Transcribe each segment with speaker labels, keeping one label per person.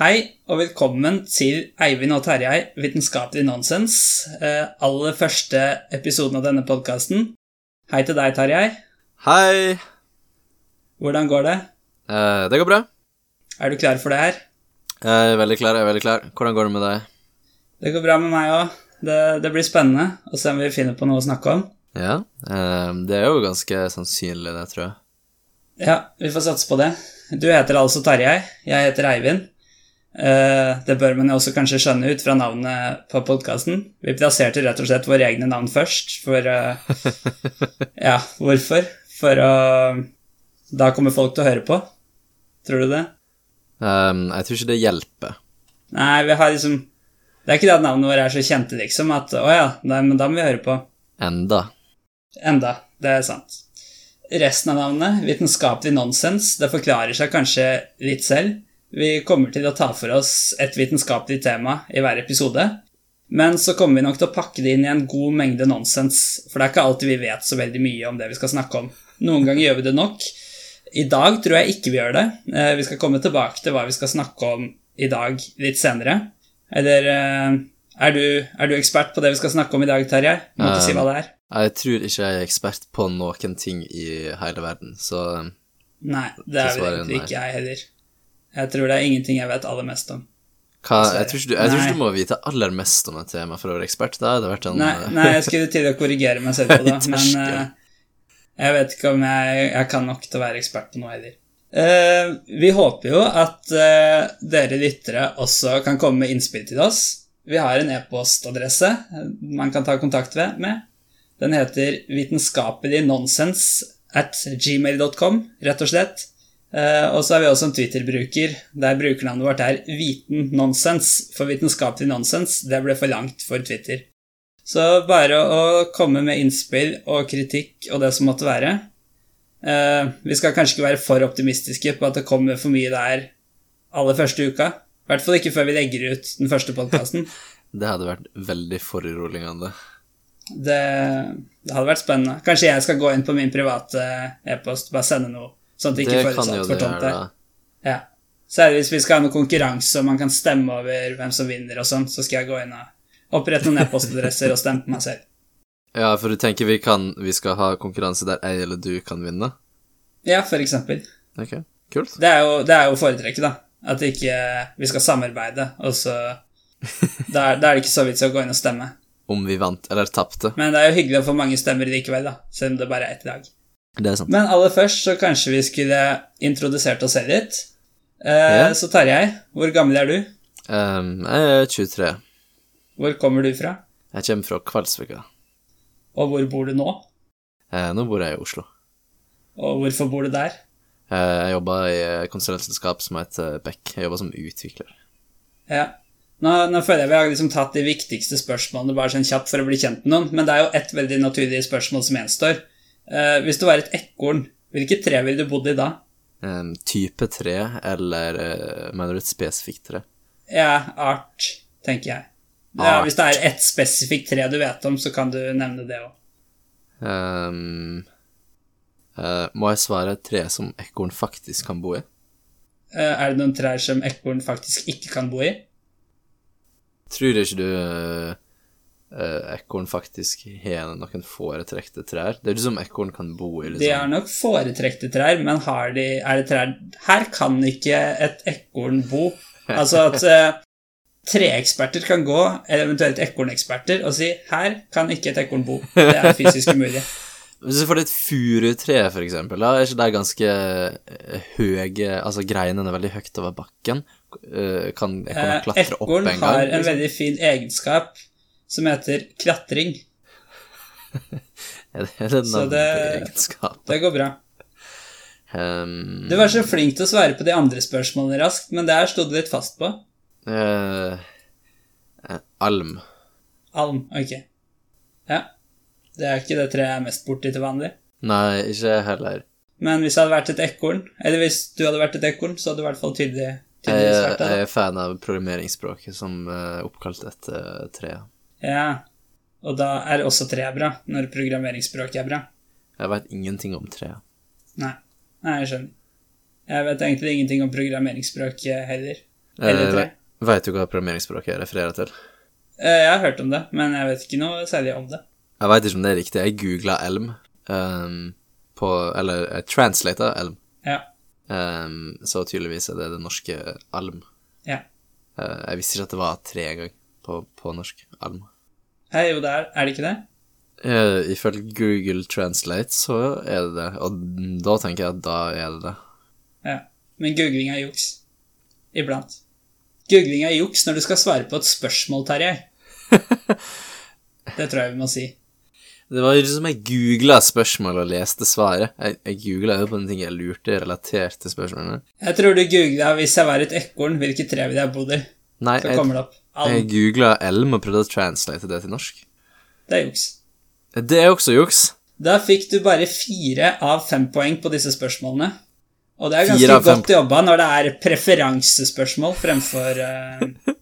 Speaker 1: Hei, og velkommen til Eivind og Tarjei vitenskapelig nonsens. eh, Aller første episoden av denne podkasten. Hei til deg, Tarjei.
Speaker 2: Hei!
Speaker 1: Hvordan går det?
Speaker 2: Eh, det går bra.
Speaker 1: Er du klar for det her?
Speaker 2: Jeg er veldig klar. jeg er veldig klar. Hvordan går det med deg?
Speaker 1: Det går bra med meg òg. Det, det blir spennende å se om vi finner på noe å snakke om.
Speaker 2: Ja, eh, det er jo ganske sannsynlig, det, tror jeg.
Speaker 1: Ja, vi får satse på det. Du heter altså Tarjei. Jeg heter Eivind. Eh, Det bør man jo også kanskje skjønne ut fra navnet på podkasten. Vi plasserte rett og slett våre egne navn først, for eh, Ja, hvorfor? For å Da kommer folk til å høre på. Tror du det?
Speaker 2: Ehm, jeg tror ikke det hjelper.
Speaker 1: Nei, vi har liksom Det er ikke det at navnet vårt er så kjente, liksom, at å ja, nei, men da må vi høre på.
Speaker 2: Enda.
Speaker 1: Enda. Det er sant. Resten av navnet, vitenskapelig nonsens, det forklarer seg kanskje litt selv. Vi kommer til å ta for oss et vitenskapelig tema i hver episode. Men så kommer vi nok til å pakke det inn i en god mengde nonsens, for det er ikke alltid vi vet så veldig mye om det vi skal snakke om. Noen ganger gjør vi det nok. I dag tror jeg ikke vi gjør det. Eh, Vi skal komme tilbake til hva vi skal snakke om i dag litt senere. Eller eh, er du, er du ekspert på det vi skal snakke om i dag, Terje? Må ikke si hva det er.
Speaker 2: Jeg tror ikke jeg er ekspert på noen ting i hele verden, så ehm,
Speaker 1: Nei, det er vel
Speaker 2: Dessverre,
Speaker 1: egentlig
Speaker 2: nei.
Speaker 1: ikke jeg heller. Jeg tror det er ingenting jeg vet aller mest om.
Speaker 2: hva, jeg, tror ikke du, jeg tror ikke
Speaker 1: Nei.
Speaker 2: du må vite aller mest om et tema for å være ekspert. Da hadde det vært en
Speaker 1: Nei,
Speaker 2: eh,
Speaker 1: nei jeg skulle til å korrigere meg selv på det,
Speaker 2: Høy
Speaker 1: men
Speaker 2: terskel.
Speaker 1: eh, jeg vet ikke om jeg, jeg kan nok til å være ekspert på noe heller. Eh, vi håper jo at eh, dere lyttere også kan komme med innspill til oss. Vi har en e-postadresse man kan ta kontakt ved- med. Den heter vitenskapelignonsens at gmail.com, rett og slett. Eh, og så er vi også en Twitter-bruker, der brukernavnet vårt er vitennonsens, for vitenskapelig nonsens, det ble for langt for Twitter. Så bare å komme med innspill og kritikk og det som måtte være. Eh, vi skal kanskje ikke være for optimistiske på at det kommer for mye der aller første uka. I hvert fall ikke før vi legger ut den første podkasten.
Speaker 2: Det hadde vært veldig foruroligende.
Speaker 1: Det, det hadde vært spennende. Kanskje jeg skal gå inn på min private e-post, bare sende noe. Sånn at det
Speaker 2: Det
Speaker 1: ikke
Speaker 2: kan
Speaker 1: føles
Speaker 2: jo
Speaker 1: altfor
Speaker 2: du
Speaker 1: tomt
Speaker 2: gjøre,
Speaker 1: der.
Speaker 2: da.
Speaker 1: Ja. Særlig hvis vi skal ha noen konkurranse og man kan stemme over hvem som vinner og sånn, så skal jeg gå inn og opprette noen e-postadresser og stemme på meg selv.
Speaker 2: Ja, for du tenker vi, kan, vi skal ha konkurranse der jeg eller du kan vinne?
Speaker 1: Ja, for eksempel.
Speaker 2: Ok, kult.
Speaker 1: Det er jo, det er jo foretrekket, da. At ikke eh, vi skal samarbeide, og så da er, da er det ikke så vits i å gå inn og stemme.
Speaker 2: Om vi vant eller tapte.
Speaker 1: Men det er jo hyggelig å få mange stemmer likevel, da, selv om det bare er ett lag.
Speaker 2: Det er sant.
Speaker 1: Men aller først så kanskje vi skulle introdusert oss selv litt. Eh,
Speaker 2: Ja.
Speaker 1: Så Tarjei, hvor gammel er du?
Speaker 2: Ehm, jeg er 23.
Speaker 1: Hvor kommer du fra?
Speaker 2: Jeg kommer fra Kvalsvika.
Speaker 1: Og hvor bor du nå?
Speaker 2: Eh, nå bor jeg i Oslo.
Speaker 1: Og hvorfor bor du der?
Speaker 2: Eh, jeg jobber i et konsulentselskap som heter Beck. Jeg jobber som utvikler.
Speaker 1: Ja. Nå, nå føler jeg vi har liksom tatt de viktigste spørsmålene bare sånn kjapt for å bli kjent med noen, men det er jo ett veldig naturlig spørsmål som gjenstår. Eh, hvis du var et ekorn, hvilket tre ville du bodd i da?
Speaker 2: Ehm, type 3, eller eh, mener du et spesifikt tre?
Speaker 1: Ja, art, tenker jeg. Ja,
Speaker 2: Art.
Speaker 1: hvis det er ett spesifikt tre du vet om, så kan du nevne det òg.
Speaker 2: Ehm, eh, må jeg svare et tre som ekorn faktisk kan bo i?
Speaker 1: Eh, er det noen trær som ekorn faktisk ikke kan bo i?
Speaker 2: Tror ikke du eh, eh, ekorn faktisk har noen foretrekte trær? Det er ikke som ekorn kan bo i,
Speaker 1: De
Speaker 2: liksom.
Speaker 1: har nok foretrekte trær, men har de, er det trær Her kan ikke et ekorn bo. Altså at eh, treeksperter kan gå, eller eventuelt ekorneksperter, og si 'her kan ikke et ekorn bo'. Det er fysisk umulig.
Speaker 2: Hvis du får et furutre, for eksempel, da er ikke det ganske eh, høye Altså, greinene er veldig høyt over bakken. Eh, Kan ekornet
Speaker 1: Eh,
Speaker 2: klatre opp
Speaker 1: Ekorn
Speaker 2: en gang?
Speaker 1: har en
Speaker 2: liksom?
Speaker 1: veldig fin egenskap som heter klatring.
Speaker 2: Er det- Er det
Speaker 1: Så
Speaker 2: navnet
Speaker 1: det-
Speaker 2: egenskap?
Speaker 1: Det går bra.
Speaker 2: Ehm,
Speaker 1: Du var så flink til å svare på de andre spørsmålene raskt, men det her sto du litt fast på.
Speaker 2: eh, eh, Alm.
Speaker 1: Alm. Ok. Ja. Det er ikke det treet jeg er mest borti til vanlig.
Speaker 2: Nei, ikke jeg heller.
Speaker 1: Men hvis jeg hadde vært et ekorn, eller hvis du hadde vært et ekorn, så hadde du i hvert fall tydelig, tydeligvis
Speaker 2: Jeg,
Speaker 1: vært det.
Speaker 2: jeg
Speaker 1: da.
Speaker 2: er fan av programmeringsspråket som er oppkalt etter treet.
Speaker 1: Ja. Og da er også treet bra, når programmeringsspråket er bra.
Speaker 2: Jeg veit ingenting om treet.
Speaker 1: Nei. Nei, jeg skjønner. Jeg vet egentlig ingenting om programmeringsspråk eh, heller. Eller tre.
Speaker 2: Veit du hva programmeringsspråket jeg refererer til?
Speaker 1: Eh, Jeg har hørt om det, men jeg vet ikke noe særlig om det.
Speaker 2: Jeg veit ikke om det er riktig. Jeg googla Elm ehm, på Eller jeg translata Elm.
Speaker 1: Ja.
Speaker 2: Ehm, så tydeligvis er det det norske Alm.
Speaker 1: Ja.
Speaker 2: Eh, jeg visste ikke at det var tre engang på, på norsk. Alm.
Speaker 1: Hei, jo, det er, er det ikke det?
Speaker 2: Eh, ifølge Google Translate så er det det, og da tenker jeg at da er det det.
Speaker 1: Ja. Men googling er juks. Iblant. Googling er juks når du skal svare på et spørsmål, Terje. Det tror jeg vi må si.
Speaker 2: Det var jo som jeg googla spørsmålet og leste svaret. Jeg, jeg googla jo på en ting jeg lurte relatert til spørsmålene.
Speaker 1: Jeg tror du googla 'hvis jeg var et ekorn, hvilket tre ville jeg bodd i'?
Speaker 2: Nei,
Speaker 1: Så
Speaker 2: jeg,
Speaker 1: kommer det opp.
Speaker 2: jeg
Speaker 1: Alm.
Speaker 2: googla Elm og prøvde å translate det til norsk. Eh,
Speaker 1: Det er juks.
Speaker 2: Det er også juks.
Speaker 1: Da fikk du bare fire av fem poeng på disse spørsmålene. Og det er
Speaker 2: Fire
Speaker 1: ganske
Speaker 2: av fem.
Speaker 1: godt jobba når det er preferansespørsmål fremfor, uh,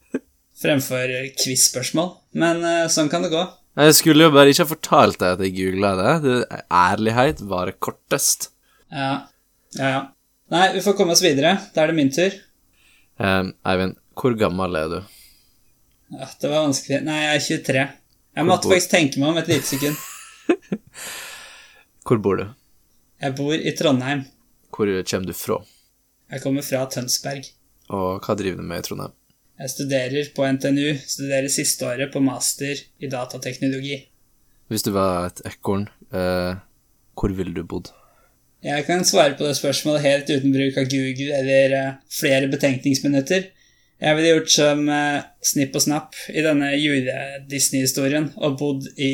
Speaker 1: fremfor quiz-spørsmål. Men eh, sånn kan det gå.
Speaker 2: Jeg skulle jo bare ikke ha fortalt deg at jeg googla det. det. Ærlighet varer kortest.
Speaker 1: Ja. ja, ja. Nei, vi får komme oss videre. Da er det min tur.
Speaker 2: Ehm, Eivind, hvor gammel er du?
Speaker 1: Ja, det var vanskelig. Nei, jeg er 23. Jeg måtte
Speaker 2: bor-
Speaker 1: faktisk tenke meg om et lite sekund.
Speaker 2: Hvor bor du?
Speaker 1: Jeg bor i Trondheim.
Speaker 2: Hvor kommer du fra?
Speaker 1: Jeg kommer fra Tønsberg.
Speaker 2: Og hva driver du med i Trondheim?
Speaker 1: Jeg studerer på NTNU, studerer siste året på master i datateknologi.
Speaker 2: Hvis du var et ekorn, eh, hvor ville du bodd?
Speaker 1: Jeg kan svare på det spørsmålet helt uten bruk av Google eller eh, flere betenkningsminutter. Jeg ville gjort som eh, Snipp og Snapp i denne jule-Disney-historien og bodd i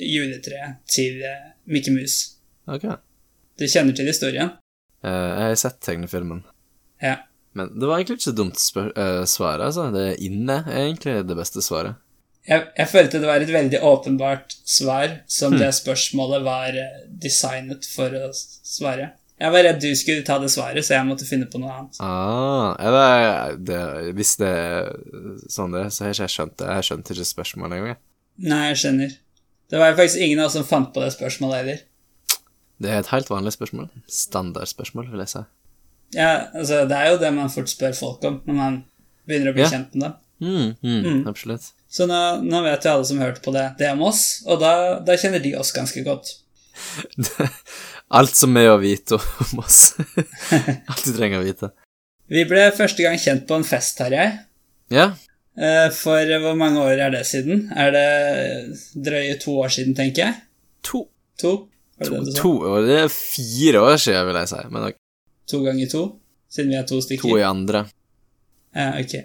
Speaker 1: juletreet til eh, Mickey Mouse.
Speaker 2: Ok. Eh,
Speaker 1: Du kjenner til historien?
Speaker 2: jeg har sett tegnefilmen.
Speaker 1: Ja.
Speaker 2: Men det var egentlig ikke så dumt spør eh, svaret, altså. Det er inne er egentlig det beste svaret.
Speaker 1: Jeg, jeg følte det var et veldig åpenbart svar, som det spørsmålet var eh, designet for å s- svare. Jeg var redd du skulle ta det svaret, så jeg måtte finne på noe annet.
Speaker 2: Ah, eller det, Hvis det er sånn det er, så har ikke jeg skjønt det. Jeg skjønte ikke spørsmålet engang. jeg.
Speaker 1: Nei, jeg skjønner. Det var faktisk ingen av oss som fant på det spørsmålet heller.
Speaker 2: Det er et helt vanlig spørsmål. Standardspørsmål, vil jeg si.
Speaker 1: Ja, altså Det er jo det man fort spør folk om når man begynner å bli
Speaker 2: Ja.
Speaker 1: kjent med dem.
Speaker 2: Mm, mm,
Speaker 1: Mm.
Speaker 2: Absolutt.
Speaker 1: Så nå, nå vet jo alle som hørte på det, det om oss, og da, da kjenner de oss ganske godt.
Speaker 2: Alt som er å vite om oss. Alt du trenger å vite.
Speaker 1: Vi ble første gang kjent på en fest, Tarjei.
Speaker 2: Ja,
Speaker 1: Eh, For hvor mange år er det siden? Er det drøye to år siden, tenker jeg?
Speaker 2: to,
Speaker 1: To? Var det
Speaker 2: to,
Speaker 1: det du sa?
Speaker 2: to år Det er fire år siden, vil jeg si. Men ok,
Speaker 1: to ganger to? Siden vi er to stykker?
Speaker 2: to i andre.
Speaker 1: Ja, Eh, ok.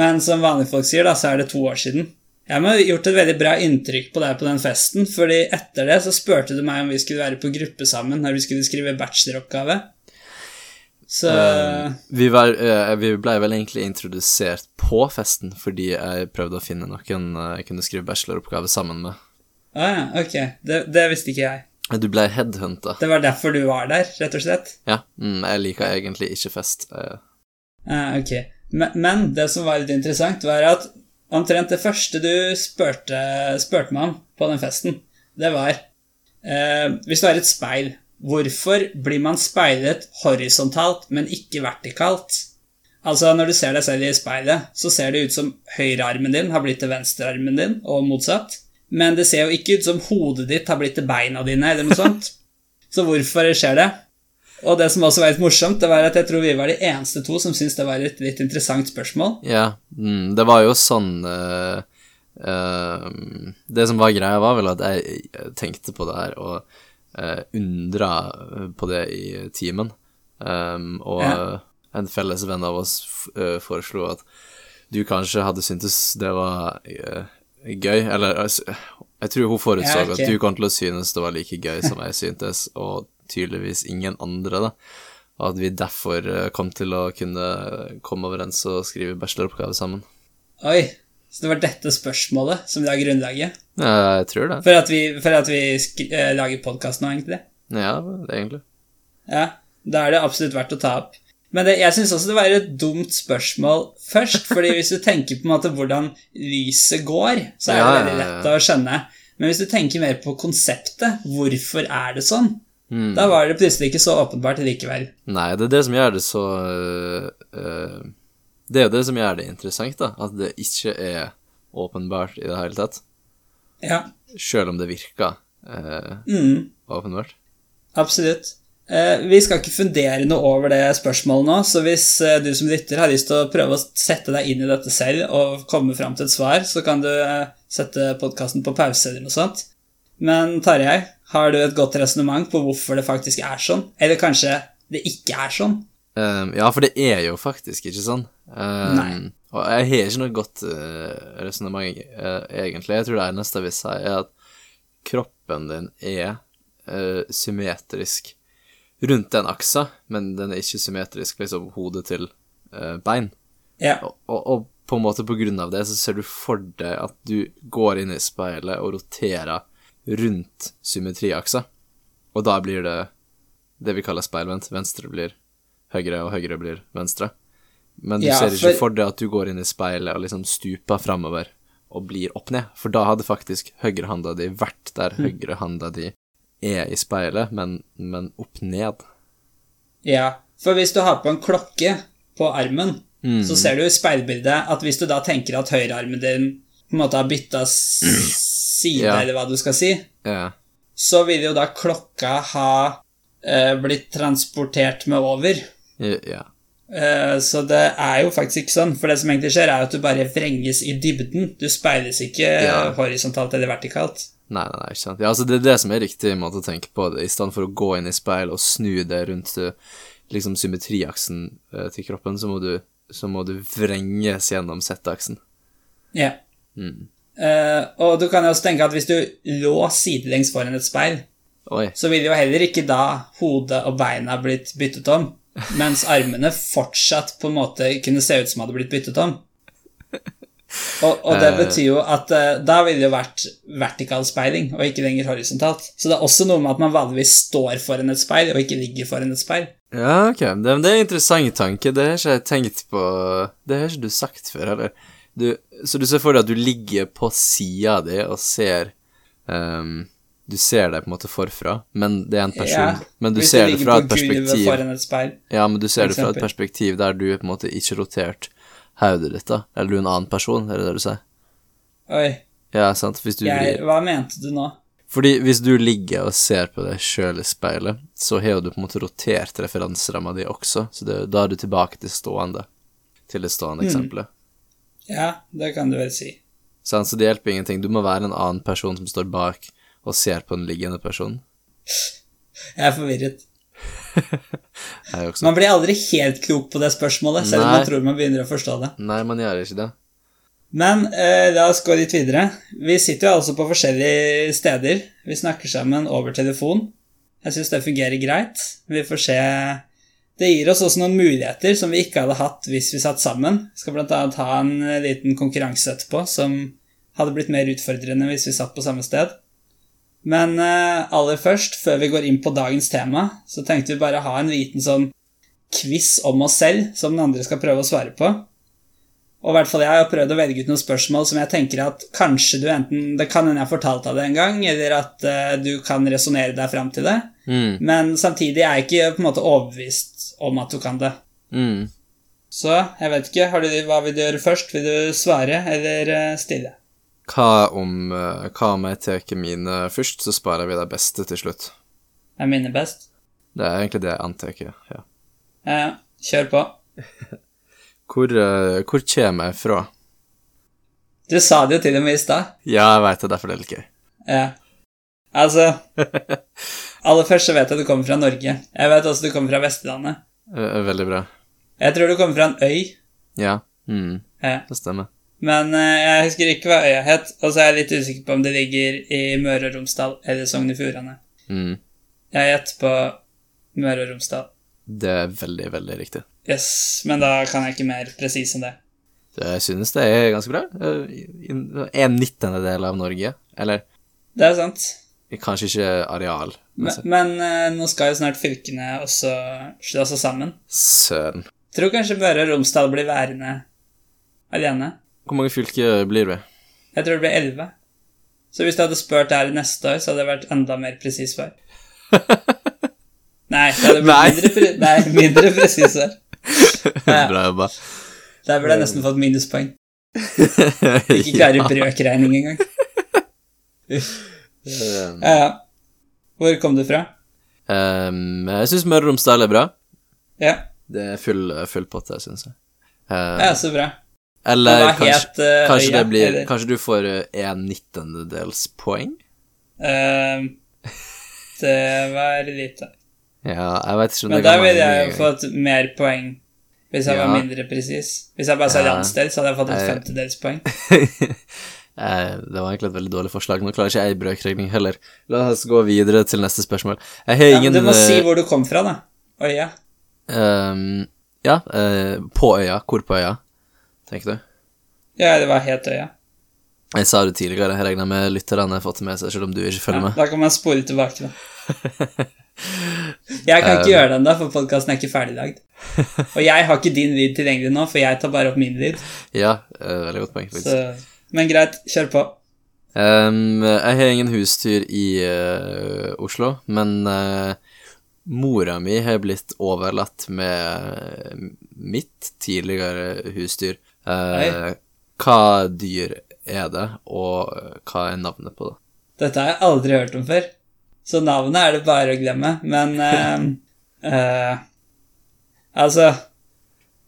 Speaker 1: Men som vanlige folk sier, da, så er det to år siden. Jeg må ha gjort et veldig bra inntrykk på deg på den festen, fordi etter det så spurte du meg om vi skulle være på gruppe sammen når vi skulle skrive bacheloroppgave. Så
Speaker 2: Eh, vi, var, eh, vi ble vel egentlig introdusert på festen fordi jeg prøvde å finne noen eh, jeg kunne skrive bacheloroppgave sammen med.
Speaker 1: Å ah, ja, ok. Det, det visste ikke jeg.
Speaker 2: Du ble headhunta.
Speaker 1: Det var derfor du var der, rett og slett.
Speaker 2: Ja, mm, jeg liker egentlig ikke fest. eh.
Speaker 1: Ja, ok. Men, men det som var litt interessant, var at omtrent det første du spurte, spurte meg om på den festen, det var eh, Hvis du har et speil, hvorfor blir man speilet horisontalt, men ikke vertikalt? Altså, når du ser deg selv i speilet, så ser det ut som høyrearmen din har blitt til venstrearmen din, og motsatt. Men det ser jo ikke ut som hodet ditt har blitt til beina dine, eller noe sånt. Så hvorfor skjer det? Og det som også var litt morsomt, det var at jeg tror vi var de eneste to som syntes det var et litt interessant spørsmål.
Speaker 2: Ja, mm, det var jo sånn eh, eh, Det som var greia, var vel at jeg tenkte på det her og uh, undra på det i timen. Um, og
Speaker 1: Ja.
Speaker 2: en felles venn av oss f eh, foreslo at du kanskje hadde syntes det var eh, gøy, eller altså, jeg tror hun forutså
Speaker 1: Ja, ok.
Speaker 2: at du kom til å synes det var like gøy som jeg syntes, og tydeligvis ingen andre, da. Og at vi derfor eh, kom til å kunne komme overens og skrive bacheloroppgave sammen.
Speaker 1: Oi, så det var dette spørsmålet som la grunnlaget
Speaker 2: Ja, jeg tror det.
Speaker 1: for at vi, for at vi sk eh, lager podkast nå, egentlig.
Speaker 2: Ja, egentlig.
Speaker 1: Ja, da er det absolutt verdt å ta opp. Men det, jeg syns også det var et dumt spørsmål først, fordi hvis du tenker på en måte hvordan lyset går, så er det
Speaker 2: Ja, ja,
Speaker 1: veldig
Speaker 2: ja,
Speaker 1: lett
Speaker 2: ja.
Speaker 1: å skjønne. Men hvis du tenker mer på konseptet, hvorfor er det sånn,
Speaker 2: Mm.
Speaker 1: da var det plutselig ikke så åpenbart likevel.
Speaker 2: Nei, det er det som gjør det så øh, øh, eh, Det er jo det som gjør det interessant, da. At det ikke er åpenbart i det hele tatt.
Speaker 1: Ja.
Speaker 2: Sjøl om det virker eh,
Speaker 1: Mm.
Speaker 2: åpenbart.
Speaker 1: Absolutt. Eh, vi skal ikke fundere noe over det spørsmålet nå, så hvis eh, du som lytter har lyst til å prøve å sette deg inn i dette selv og komme fram til et svar, så kan du eh, sette podkasten på pause eller noe sånt. Men Tarjei, har du et godt resonnement på hvorfor det faktisk er sånn? Eller kanskje det ikke er sånn?
Speaker 2: Ehm, ja, for det er jo faktisk ikke sånn. Ehm,
Speaker 1: Nei.
Speaker 2: Og jeg har ikke noe godt uh, resonnement, eh, egentlig. Jeg tror det eneste jeg vil si, er at kroppen din er eh, symmetrisk rundt den aksa, men den er ikke symmetrisk liksom hodet til eh, bein.
Speaker 1: Ja.
Speaker 2: Og, og, og på en måte på grunn av det så ser du for deg at du går inn i speilet og roterer rundt symmetriaksa. Og da blir det det vi kaller speilvendt. Venstre blir høyre, og høyre blir venstre. Men du
Speaker 1: Ja,
Speaker 2: ser ikke
Speaker 1: for-
Speaker 2: for deg at du går inn i speilet og liksom stuper framover og blir opp ned, for da hadde faktisk høyrehanda di vært der
Speaker 1: Mm.
Speaker 2: høyrehanda di er i speilet, men, men opp ned.
Speaker 1: ja. For hvis du har på en klokke på armen, så ser du i speilbildet at hvis du da tenker at høyrearmen din på en måte har bytta side,
Speaker 2: Ja.
Speaker 1: eller hva du skal si,
Speaker 2: Ja.
Speaker 1: så vil jo da klokka ha eh, blitt transportert med over.
Speaker 2: ja.
Speaker 1: Eh, så det er jo faktisk ikke sånn, for det som egentlig skjer, er jo at du bare vrenges i dybden. Du speiles ikke eh,
Speaker 2: Ja.
Speaker 1: horisontalt eller vertikalt.
Speaker 2: Nei, nei, nei, ikke sant. Ja, altså Det er det som er riktig måte å tenke på det, i stedet for å gå inn i speil og snu det rundt eh, liksom symmetriaksen eh, til kroppen, så må du, så må du vrenges gjennom Z-aksen.
Speaker 1: Ja.
Speaker 2: Mm.
Speaker 1: Eh, og du kan jo også tenke at hvis du lå sidelengs foran et speil,
Speaker 2: Oi.
Speaker 1: så ville jo heller ikke da hodet og beina blitt byttet om, mens armene fortsatt på en måte kunne se ut som hadde blitt byttet om. Og, og det
Speaker 2: Eh.
Speaker 1: betyr jo at eh, da ville det jo vært vertikal speiling, og ikke lenger horisontalt. Så det er også noe med at man vanligvis står foran et speil, og ikke ligger foran et speil.
Speaker 2: Ja, ok. Det, men det er en interessant tanke. Det har ikke jeg tenkt på Det har ikke du sagt før, heller. Du, så du ser for deg at du ligger på sida di og ser ehm, Du ser deg på en måte forfra, men det er en person.
Speaker 1: Ja,
Speaker 2: men du
Speaker 1: hvis
Speaker 2: ser det
Speaker 1: ligger
Speaker 2: fra
Speaker 1: på
Speaker 2: et
Speaker 1: gulvet
Speaker 2: perspektiv
Speaker 1: Foran et speil.
Speaker 2: Ja, men du ser
Speaker 1: For
Speaker 2: det fra et
Speaker 1: eksempel.
Speaker 2: perspektiv der du er på en måte ikke rotert hodet ditt, da. Eller du er en annen person, er det det du sier?
Speaker 1: Oi,
Speaker 2: Ja, sant. Hvis du
Speaker 1: jeg,
Speaker 2: vrir.
Speaker 1: hva mente du nå?
Speaker 2: Fordi hvis du ligger og ser på deg sjøl i speilet, så har jo du på en måte rotert referanseramma di også, så det, da er du tilbake til stående. Til det
Speaker 1: Mm.
Speaker 2: stående eksempelet.
Speaker 1: Ja, det kan du vel si.
Speaker 2: Sant, Så det hjelper ingenting. Du må være en annen person som står bak og ser på den liggende personen.
Speaker 1: Jeg er forvirret.
Speaker 2: Jeg er jo også
Speaker 1: Man blir aldri helt klok på det spørsmålet, selv om
Speaker 2: Nei.
Speaker 1: man tror man begynner å forstå det.
Speaker 2: Nei, man gjør ikke det.
Speaker 1: Men eh, la oss gå litt videre. Vi sitter jo altså på forskjellige steder. Vi snakker sammen over telefon. Jeg syns det fungerer greit. Vi får se Det gir oss også noen muligheter som vi ikke hadde hatt hvis vi satt sammen. Vi skal bl.a. ha en eh, liten konkurranse etterpå som hadde blitt mer utfordrende hvis vi satt på samme sted. Men eh, aller først, før vi går inn på dagens tema, så tenkte vi bare ha en liten sånn quiz om oss selv som den andre skal prøve å svare på. Og i hvert fall jeg har prøvd å velge ut noen spørsmål som jeg tenker at kanskje du enten Det kan hende jeg har fortalt deg det en gang, eller at eh, du kan resonnere deg fram til det.
Speaker 2: Mm.
Speaker 1: Men samtidig er jeg ikke på en måte overbevist om at du kan det.
Speaker 2: Mm.
Speaker 1: Så jeg vet ikke. Har du, hva vil du gjøre først? Vil du svare eller eh, stille?
Speaker 2: Hva om, eh, hva om jeg tar mine først, så sparer vi de beste til slutt.
Speaker 1: Jeg minner best.
Speaker 2: Det er egentlig det jeg antar, ja.
Speaker 1: Eh, kjør på.
Speaker 2: Hvor, eh, hvor kommer jeg fra?
Speaker 1: Du sa det jo til og med i stad.
Speaker 2: Ja, jeg veit det, derfor det er litt gøy.
Speaker 1: Ja. Altså Aller først så vet jeg du kommer fra Norge. Jeg vet også du kommer fra Vestlandet.
Speaker 2: Eh, Veldig bra.
Speaker 1: Jeg tror du kommer fra en øy.
Speaker 2: Ja. Mm,
Speaker 1: Ja.
Speaker 2: det stemmer.
Speaker 1: Men eh, jeg husker ikke hva øya het, og så er jeg litt usikker på om det ligger i Møre og Romsdal eller Sogn og Fjordane.
Speaker 2: Mm,
Speaker 1: Jeg gjetter på Møre og Romsdal.
Speaker 2: det er veldig, veldig riktig.
Speaker 1: Yes, men da kan jeg ikke mer presis enn det.
Speaker 2: Så Jeg synes det er ganske bra. Eh, i- i- En nittendedel av Norge. Eller
Speaker 1: Det er sant.
Speaker 2: kanskje ikke areal. men
Speaker 1: Men,
Speaker 2: så-
Speaker 1: men eh, nå skal jo snart fylkene også slå seg sammen.
Speaker 2: Søren.
Speaker 1: Tror kanskje Møre og Romsdal blir værende alene.
Speaker 2: Hvor mange fylker blir vi?
Speaker 1: Jeg tror det blir elleve. Så hvis du hadde spurt der neste år, så hadde det vært enda mer presis svar. Nei, det hadde blitt
Speaker 2: Nei.
Speaker 1: mindre, pre nei, mindre presis svar. Ja.
Speaker 2: bra jobba.
Speaker 1: Der burde jeg nesten fått minuspoeng. Ikke klarer brøkregning engang.
Speaker 2: Um,
Speaker 1: Ja, ja. Hvor kom du fra?
Speaker 2: um, jeg syns Møre og Romsdal er bra.
Speaker 1: Ja,
Speaker 2: Det er full, eh, full potte, syns jeg. Um,
Speaker 1: ja så bra. Men
Speaker 2: eller
Speaker 1: Hva
Speaker 2: kanskje,
Speaker 1: het eh,
Speaker 2: kanskje,
Speaker 1: øya?
Speaker 2: det blir,
Speaker 1: eller?
Speaker 2: kanskje du får eh, en nittendedels poeng?
Speaker 1: Eh, Det var lite.
Speaker 2: Ja, jeg vet ikke om
Speaker 1: Men
Speaker 2: det
Speaker 1: da
Speaker 2: kan
Speaker 1: ville
Speaker 2: være
Speaker 1: jeg
Speaker 2: mye
Speaker 1: jo fått mer poeng hvis jeg var
Speaker 2: Ja.
Speaker 1: mindre presis. Hvis jeg bare sa
Speaker 2: Ja.
Speaker 1: landsdel, så hadde jeg fått et
Speaker 2: Eh.
Speaker 1: femtedelspoeng.
Speaker 2: Eh, Det var egentlig et veldig dårlig forslag. Nå klarer ikke jeg brøkregning heller. La oss gå videre til neste spørsmål. Jeg har
Speaker 1: Ja, men
Speaker 2: ingen
Speaker 1: du må si
Speaker 2: eh,
Speaker 1: hvor du kom fra, da. Øya.
Speaker 2: ehm, Ja, eh, på øya. Hvor på øya, tenker du?
Speaker 1: Ja, det var helt øya.
Speaker 2: Jeg sa det tidligere, jeg regner med lytterne har fått det med seg, selv om du ikke følger
Speaker 1: Ja,
Speaker 2: med.
Speaker 1: da kan man spole tilbake, da. Jeg
Speaker 2: Eh,
Speaker 1: kan ikke gjøre det ennå, for podkasten er ikke ferdiglagd. Og jeg har ikke din lyd tilgjengelig nå, for jeg tar bare opp min lyd.
Speaker 2: Ja, eh, veldig godt poeng, faktisk.
Speaker 1: Så. Men greit, kjør på.
Speaker 2: Ehm, jeg har ingen husdyr i eh, Oslo, men eh, mora mi har blitt overlatt med mitt tidligere husdyr. Eh,
Speaker 1: Oi.
Speaker 2: hva dyr er det, og hva er navnet på det?
Speaker 1: Dette har jeg aldri hørt om før. Så navnet er det bare å glemme, men eh, eh, Altså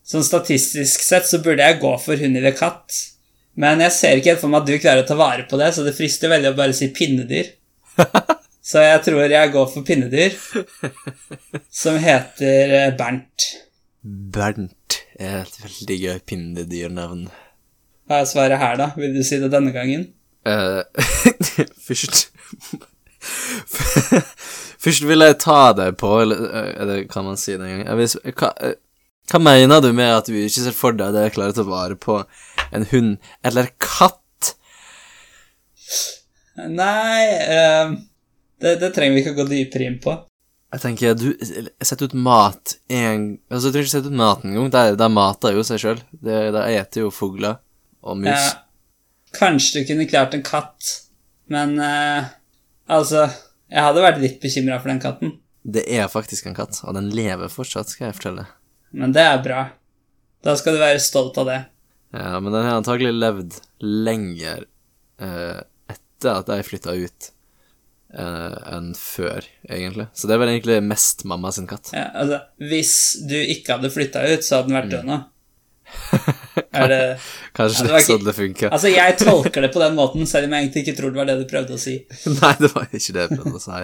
Speaker 1: Sånn statistisk sett så burde jeg gå for hund eller katt. Men jeg ser ikke helt for meg at du klarer å ta vare på det, så det frister veldig å bare si pinnedyr. Så jeg tror jeg går for pinnedyr, som heter eh, Bernt.
Speaker 2: Bernt er et veldig gøy pinnedyrnavn.
Speaker 1: Hva er svaret her, da? Vil du si det denne gangen?
Speaker 2: Eh, først Først vil jeg ta deg på, eller, eh, eller kan man si det en gang jeg vil, s- hva, eh, hva mener du med at du ikke ser for deg det jeg klarer å ta vare på en hund eller katt?
Speaker 1: Nei eh, det, det trenger vi ikke å gå dypere inn på.
Speaker 2: Jeg tenker, du setter ut mat en Altså, jeg trenger ikke sette ut mat engang. De, de mater jo seg sjøl. De, de eter jo fugler og mus.
Speaker 1: Ja, Eh, kanskje du kunne klart en katt, men eh, altså Jeg hadde vært litt bekymra for den katten,
Speaker 2: Det er faktisk en katt, og den lever fortsatt, skal jeg fortelle.
Speaker 1: men det er bra. Da skal du være stolt av det.
Speaker 2: Ja, Eh, men den har antagelig levd lenger eh, etter at jeg flytta ut eh, enn før, egentlig. Så det er vel egentlig mest mamma sin katt.
Speaker 1: Ja, altså, hvis du ikke hadde flytta ut, så hadde den vært død
Speaker 2: Mm.
Speaker 1: nå. Er det Ja,
Speaker 2: Kanskje
Speaker 1: det
Speaker 2: det
Speaker 1: var
Speaker 2: er sånn
Speaker 1: ikke-
Speaker 2: det funker.
Speaker 1: Altså, jeg tolker det på den måten, selv om jeg egentlig ikke tror det var det du prøvde å si.
Speaker 2: Nei, det var ikke det jeg prøvde å si.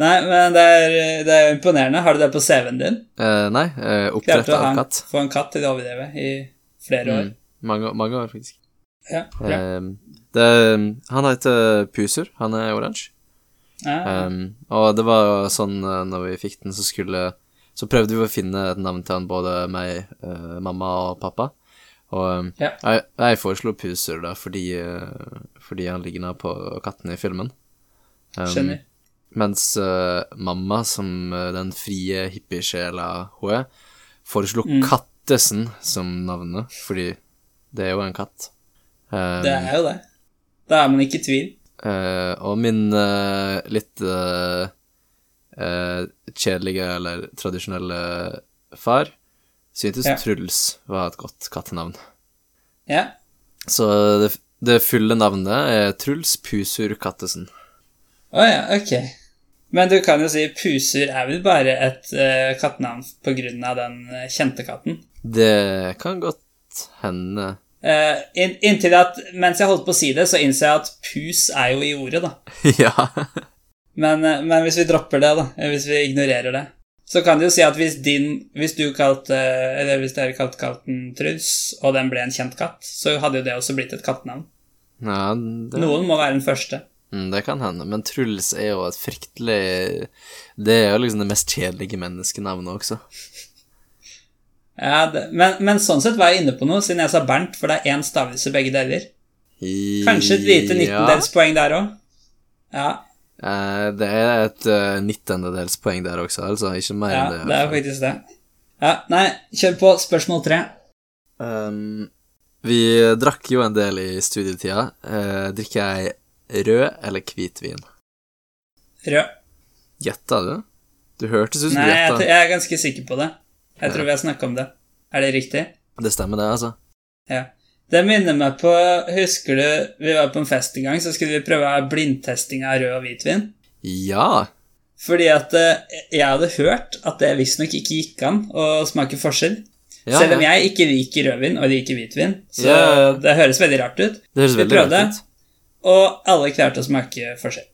Speaker 1: Nei, men det er, det er jo imponerende. Har du det på CV-en din?
Speaker 2: Eh, nei, uh, oppdrett
Speaker 1: Klarte å
Speaker 2: av
Speaker 1: ha en,
Speaker 2: katt.
Speaker 1: få en katt til å overleve i flere år.
Speaker 2: Mm. Mange, mange år, faktisk.
Speaker 1: Ja, bra.
Speaker 2: Eh, det, eh, han heter Puser. Han er oransje.
Speaker 1: Ja.
Speaker 2: Um, og det var jo sånn eh, når vi fikk den, så skulle Så prøvde vi å finne et navn til han, både meg, eh, mamma og pappa. Og um,
Speaker 1: Ja.
Speaker 2: jeg, jeg foreslo Puser, da, fordi, eh, fordi han ligna på katten i filmen. Um,
Speaker 1: Skjønner.
Speaker 2: Mens eh, mamma, som eh, den frie hippiesjela hun er, foreslo
Speaker 1: Mm.
Speaker 2: Kattesen som navnet, fordi det er jo en katt. Um,
Speaker 1: Det er jo det. Da er man ikke i tvil.
Speaker 2: Eh, og min eh, litt eh, eh, kjedelige eller tradisjonelle far syntes
Speaker 1: Ja.
Speaker 2: Truls var et godt kattenavn.
Speaker 1: Ja.
Speaker 2: Så det, det fulle navnet er Truls Pusur Kattesen.
Speaker 1: Å ja, ok. Men du kan jo si puser er vel bare et eh, kattenavn på grunn av den eh, kjente katten.
Speaker 2: Det kan godt hende
Speaker 1: Eh, inn, inntil at, mens jeg holdt på å si det, så innså jeg at pus er jo i ordet, da.
Speaker 2: Ja.
Speaker 1: Men, eh, men hvis vi dropper det, da, eh, hvis vi ignorerer det, så kan du jo si at hvis din, hvis du kalte, eller hvis dere kalte katten Truls, og den ble en kjent katt, så hadde jo det også blitt et kattenavn.
Speaker 2: ja det,
Speaker 1: Noen må være den første.
Speaker 2: mm, det kan hende. Men Truls er jo et fryktelig Det er jo liksom det mest kjedelige menneskenavnet også.
Speaker 1: Ja, det, men, men sånn sett var jeg inne på noe, siden jeg sa Bernt, for det er én stavelse begge deler. Kanskje et lite
Speaker 2: Ja.
Speaker 1: nittendelspoeng der òg. Ja,
Speaker 2: Eh, det er et uh, nittendedelspoeng der også, altså. Ikke mer
Speaker 1: ja,
Speaker 2: enn det.
Speaker 1: det er faktisk det. Ja, nei, kjør på. Spørsmål tre.
Speaker 2: Um, vi drakk jo en del i studietida. Eh, drikker jeg rød eller hvitvin?
Speaker 1: Rød.
Speaker 2: Gjetta du? Du hørtes ut som
Speaker 1: Nei,
Speaker 2: du
Speaker 1: jeg,
Speaker 2: gjetta.
Speaker 1: jeg er ganske sikker på det. Jeg tror vi har snakka om det. Er det riktig?
Speaker 2: Det stemmer, det, altså.
Speaker 1: Ja. Det minner meg på Husker du vi var på en fest en gang, så skulle vi prøve blindtesting av rød og hvitvin?
Speaker 2: Ja.
Speaker 1: Fordi at eh, jeg hadde hørt at det visstnok ikke gikk an å smake forskjell.
Speaker 2: ja
Speaker 1: Selv om
Speaker 2: ja.
Speaker 1: jeg ikke liker rødvin og liker hvitvin, så
Speaker 2: Ja, ja, ja.
Speaker 1: det høres veldig rart ut.
Speaker 2: Det høres
Speaker 1: vi
Speaker 2: veldig rart
Speaker 1: prøvde.
Speaker 2: ut.
Speaker 1: Og alle klarte å smake forskjell.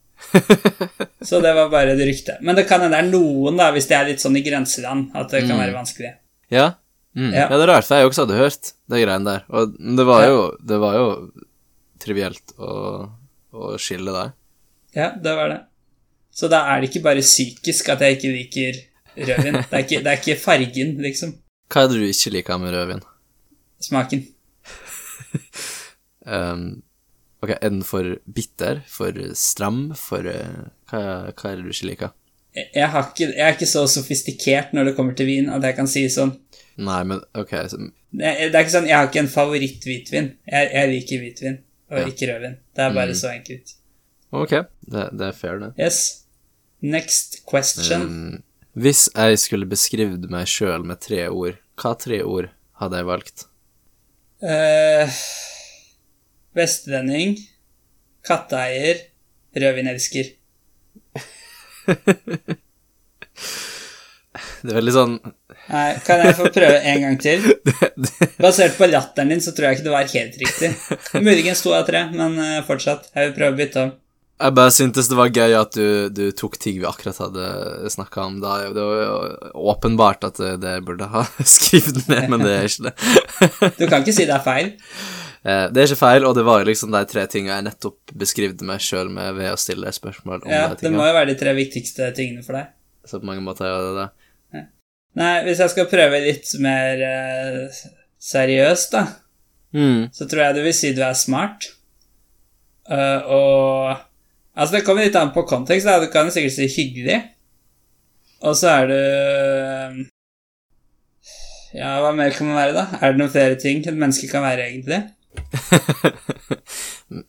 Speaker 1: så det var bare et rykte. Men det kan hende det er noen, da, hvis det er litt sånn i grenseland, at det kan
Speaker 2: Mm.
Speaker 1: være vanskelig.
Speaker 2: Ja. Mm.
Speaker 1: Ja.
Speaker 2: ja. det er rart, for jeg også hadde hørt de greiene der. Og men det var
Speaker 1: Ja.
Speaker 2: jo, det var jo trivielt å, å skille der.
Speaker 1: Ja, det var det. Så da er det ikke bare psykisk at jeg ikke liker rødvin. Det er ikke, det er ikke fargen, liksom.
Speaker 2: Hva er det du ikke liker med rødvin?
Speaker 1: Smaken.
Speaker 2: Ehm, ok, Er den for bitter? For stram? For eh, hva, hva er det du ikke liker?
Speaker 1: Jeg, jeg, har ikke, jeg er ikke så sofistikert når det kommer til vin at jeg kan si sånn
Speaker 2: Nei, men ok så,
Speaker 1: Det er det er ikke sånn, Jeg har ikke en favoritt-hvitvin. Jeg, jeg liker hvitvin og
Speaker 2: Ja.
Speaker 1: ikke rødvin. Det er bare
Speaker 2: Mm.
Speaker 1: så enkelt.
Speaker 2: Ok, det, det er fair, det.
Speaker 1: Yes. Next question.
Speaker 2: Ehm, hvis jeg skulle beskrevet meg sjøl med tre ord, hva tre ord hadde jeg valgt?
Speaker 1: Eh, vestlending, katteeier, rødvinelsker.
Speaker 2: Det er veldig sånn
Speaker 1: Nei, kan jeg få prøve en gang til?
Speaker 2: det, det,
Speaker 1: Basert på latteren din så tror jeg ikke det var helt riktig. Muligens to av tre, men eh, fortsatt. Jeg vil prøve å bytte om.
Speaker 2: Jeg bare syntes det var gøy at du, du tok ting vi akkurat hadde snakka om da. Det var jo åpenbart at det jeg burde ha skrevet ned, men det er ikke det.
Speaker 1: Du kan ikke si det er feil.
Speaker 2: Eh, Det er ikke feil, og det var jo liksom de tre tinga jeg nettopp beskrivde meg sjøl med ved å stille spørsmål om
Speaker 1: Ja,
Speaker 2: de
Speaker 1: Det må
Speaker 2: tinga.
Speaker 1: jo være de tre viktigste tingene for deg.
Speaker 2: Så på mange måter er det det.
Speaker 1: Nei, hvis jeg skal prøve litt mer eh, seriøst, da,
Speaker 2: Mm.
Speaker 1: så tror jeg du vil si du er smart. Eh, og Altså, det kommer litt an på kontekst. Da. Du kan jo sikkert si hyggelig. Og så er du eh, Ja, hva mer kan man være, da? Er det noen flere ting et menneske kan være, egentlig?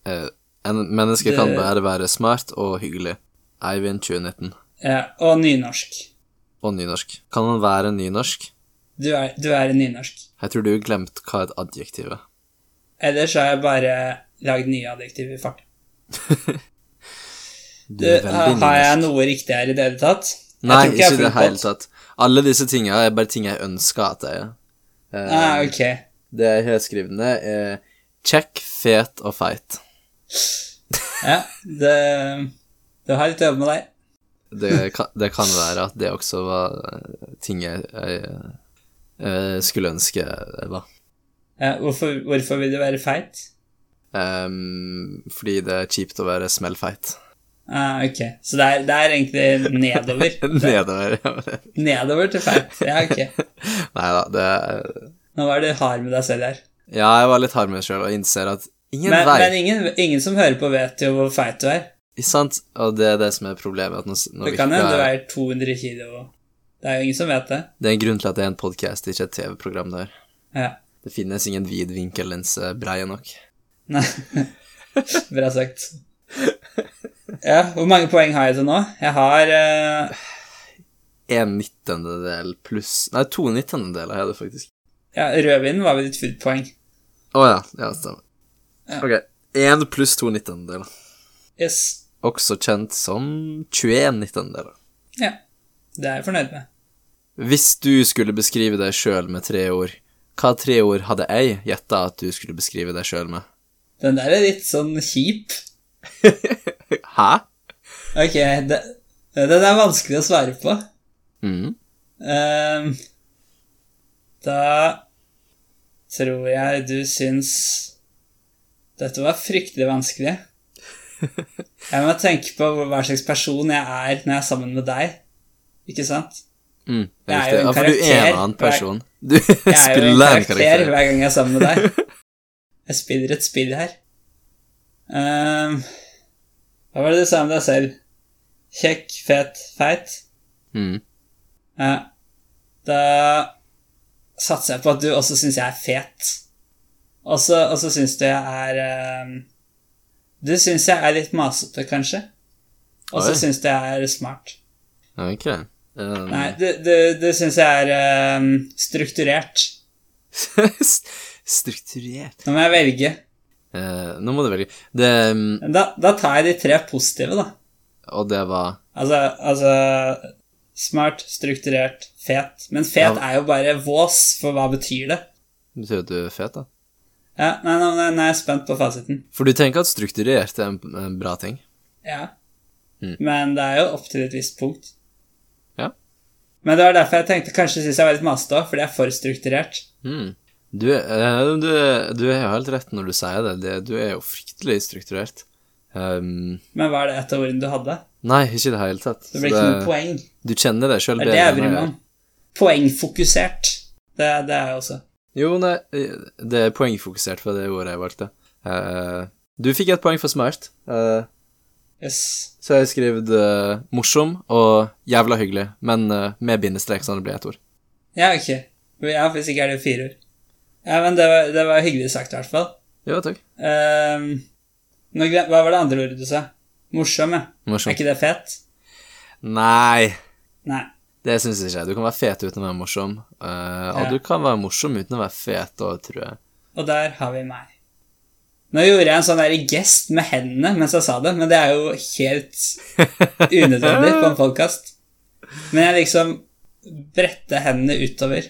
Speaker 2: Eh, En menneske kan
Speaker 1: Det-
Speaker 2: bare være smart og hyggelig. Eivind 2019.
Speaker 1: Ja, og nynorsk.
Speaker 2: Og nynorsk. Kan man være nynorsk?
Speaker 1: Du er, du er en nynorsk.
Speaker 2: Jeg tror du glemte hva et adjektiv er.
Speaker 1: Ellers har jeg bare lagd nye adjektiv i fart.
Speaker 2: Du
Speaker 1: Du,
Speaker 2: er veldig
Speaker 1: har jeg
Speaker 2: nynorsk.
Speaker 1: noe riktig her i det hele tatt? Jeg
Speaker 2: Nei,
Speaker 1: tror
Speaker 2: ikke
Speaker 1: jeg
Speaker 2: i det
Speaker 1: har
Speaker 2: hele
Speaker 1: fulgt opp.
Speaker 2: tatt. Alle disse tinga er bare ting jeg ønsker at jeg er. Eh,
Speaker 1: Ah, ok.
Speaker 2: Det jeg har skrevet ned, er kjekk, fet og feit.
Speaker 1: Ja, det, du har litt å jobbe med der.
Speaker 2: Det kan, det kan være at det også var eh, ting jeg, jeg eh, skulle ønske jeg var.
Speaker 1: Ja, hvorfor, hvorfor vil du være feit?
Speaker 2: Ehm, fordi det er kjipt å være smellfeit.
Speaker 1: Ah, ok. Så det er, det er egentlig nedover. Det-
Speaker 2: Nedover. ja.
Speaker 1: nedover til feit. Ja, ok.
Speaker 2: Nei da, det er-
Speaker 1: Nå var du hard med deg selv her.
Speaker 2: Ja, jeg var litt hard med meg sjøl og innser at ingen
Speaker 1: Men,
Speaker 2: vei.
Speaker 1: men ingen, ingen som hører på, vet jo hvor feit du er.
Speaker 2: Sant? Og det er det som er problemet. At nå, s- nå
Speaker 1: Det
Speaker 2: vi
Speaker 1: kan
Speaker 2: ikke
Speaker 1: hende du
Speaker 2: er,
Speaker 1: veier 200 kilo. Det er jo ingen som vet det.
Speaker 2: det er en grunn til at det er en podkast, ikke et TV-program der.
Speaker 1: Ja.
Speaker 2: Det finnes ingen vidvinkellinse breie nok.
Speaker 1: Nei. Bra sagt. Ja, hvor mange poeng har jeg til nå? Jeg har eh,
Speaker 2: En nittendedel pluss Nei, to nittendedeler er det faktisk.
Speaker 1: Ja, rødvinen var vel ditt fullt poeng.
Speaker 2: Å ja. Ja, stemmer.
Speaker 1: Ja.
Speaker 2: Ok. Én pluss to nittendedeler.
Speaker 1: Yes.
Speaker 2: Også kjent som 21 nittendedeler.
Speaker 1: Ja. Det er jeg fornøyd med.
Speaker 2: Hvis du skulle beskrive deg sjøl med tre ord, hva tre ord hadde jeg gjetta at du skulle beskrive deg sjøl med?
Speaker 1: Den der er litt sånn kjip.
Speaker 2: Hæ?
Speaker 1: Ok, det, den er vanskelig å svare på.
Speaker 2: Mm.
Speaker 1: Ehm, da tror jeg du syns Dette var fryktelig vanskelig. Jeg må tenke på hvor- hva slags person jeg er når jeg er sammen med deg. Ikke sant?
Speaker 2: Mm, det
Speaker 1: Jeg er
Speaker 2: er
Speaker 1: jo
Speaker 2: riktig.
Speaker 1: en
Speaker 2: Ja, for du er
Speaker 1: karakter.
Speaker 2: en annen
Speaker 1: Jeg-
Speaker 2: person. Du
Speaker 1: Jeg er jo en
Speaker 2: spiller en
Speaker 1: karakter
Speaker 2: karakter.
Speaker 1: hver gang jeg er sammen med deg. Jeg spiller et spill her. Ehm, hva var det du sa om deg selv? Kjekk, fet, feit?
Speaker 2: Mm.
Speaker 1: Ja. Da satser jeg på at du også syns jeg er fet. Og så og så syns du jeg er ehm, Du syns jeg er litt masete, kanskje. Og så
Speaker 2: Oi.
Speaker 1: syns du jeg er smart.
Speaker 2: Ok. Um, Hmm.
Speaker 1: Nei, du, du, du syns jeg er ehm, strukturert.
Speaker 2: Strukturert.
Speaker 1: Nå må jeg velge.
Speaker 2: Eh, nå må du velge. Det mm,
Speaker 1: Da, da tar jeg de tre positive, da.
Speaker 2: Og det var
Speaker 1: Altså, altså Smart, strukturert, fet. Men fet
Speaker 2: Ja.
Speaker 1: er jo bare vås, for hva betyr det?
Speaker 2: Betyr at du er fet, da?
Speaker 1: Ja, nei, nei, nei, nei, jeg er spent på fasiten.
Speaker 2: For du tenker at strukturert er en, en bra ting?
Speaker 1: Ja.
Speaker 2: Mm.
Speaker 1: Men det er jo opp til et visst punkt.
Speaker 2: Ja.
Speaker 1: Men det var derfor jeg tenkte kanskje synes jeg var litt masete òg, fordi jeg er for strukturert.
Speaker 2: Mm. Du, eh, du, du er jo helt rett når du sier det. det du er jo fryktelig strukturert. Ehm,
Speaker 1: Men var det et av ordene du hadde?
Speaker 2: nei, ikke i det hele tatt.
Speaker 1: Det blir ikke noe poeng.
Speaker 2: Du kjenner deg sjøl
Speaker 1: Det er det jeg bryr meg om. Poengfokusert. Det, det er jeg også.
Speaker 2: Jo, nei, det er poengfokusert for det ordet jeg valgte. Eh, du fikk et poeng for smart, eh,
Speaker 1: Yes.
Speaker 2: så har jeg skrevet eh, morsom og jævla hyggelig, men eh, med bindestrek, sånn at det blir ett ord.
Speaker 1: Ja, ok. Ja, hvis ikke er det jo fire ord. Ja, men det var, det var hyggelig sagt, i hvert fall.
Speaker 2: Jo, takk.
Speaker 1: Ehm, nå glem, hva var det andre ordet du sa? Morsom, ja. Er
Speaker 2: Morsom.
Speaker 1: ikke det fett?
Speaker 2: Nei,
Speaker 1: Nei.
Speaker 2: det syns jeg ikke. Du kan være fet uten å være morsom. eh,
Speaker 1: Ja.
Speaker 2: Og du kan være morsom uten å være fet òg, tror jeg.
Speaker 1: Og der har vi meg. Nå gjorde jeg en sånn der gest med hendene mens jeg sa det, men det er jo helt unødvendig på en podkast. Men jeg liksom bredte hendene utover.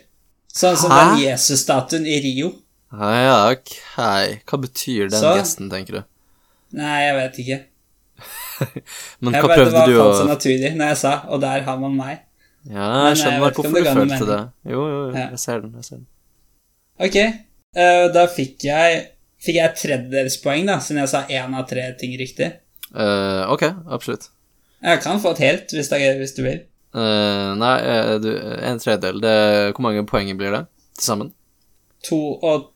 Speaker 1: Sånn som
Speaker 2: Hæ?
Speaker 1: den Jesus-statuen i Rio.
Speaker 2: Ja, ja, ok. Hva betyr den
Speaker 1: Så?
Speaker 2: gesten, tenker du?
Speaker 1: Nei, jeg vet ikke.
Speaker 2: Men
Speaker 1: Jeg
Speaker 2: hva
Speaker 1: vet, det
Speaker 2: prøvde
Speaker 1: var
Speaker 2: du å
Speaker 1: falt så naturlig når jeg sa 'og der har man meg'.
Speaker 2: Ja, jeg
Speaker 1: Men eh, jeg
Speaker 2: skjønner
Speaker 1: vet ikke om
Speaker 2: hvorfor
Speaker 1: det
Speaker 2: du
Speaker 1: ga noe
Speaker 2: følte det. Jo, jo, jo,
Speaker 1: Ja.
Speaker 2: jeg ser den. jeg ser den.
Speaker 1: Ok, eh, da fikk jeg Fikk jeg et tredjedelspoeng, da, siden jeg sa én av tre ting riktig.
Speaker 2: Eh, ok, absolutt.
Speaker 1: Jeg kan få et helt, hvis, det, er- hvis du vil.
Speaker 2: Eh, nei, eh, du, en tredjedel. Det, hvor mange poeng blir det til sammen?
Speaker 1: To og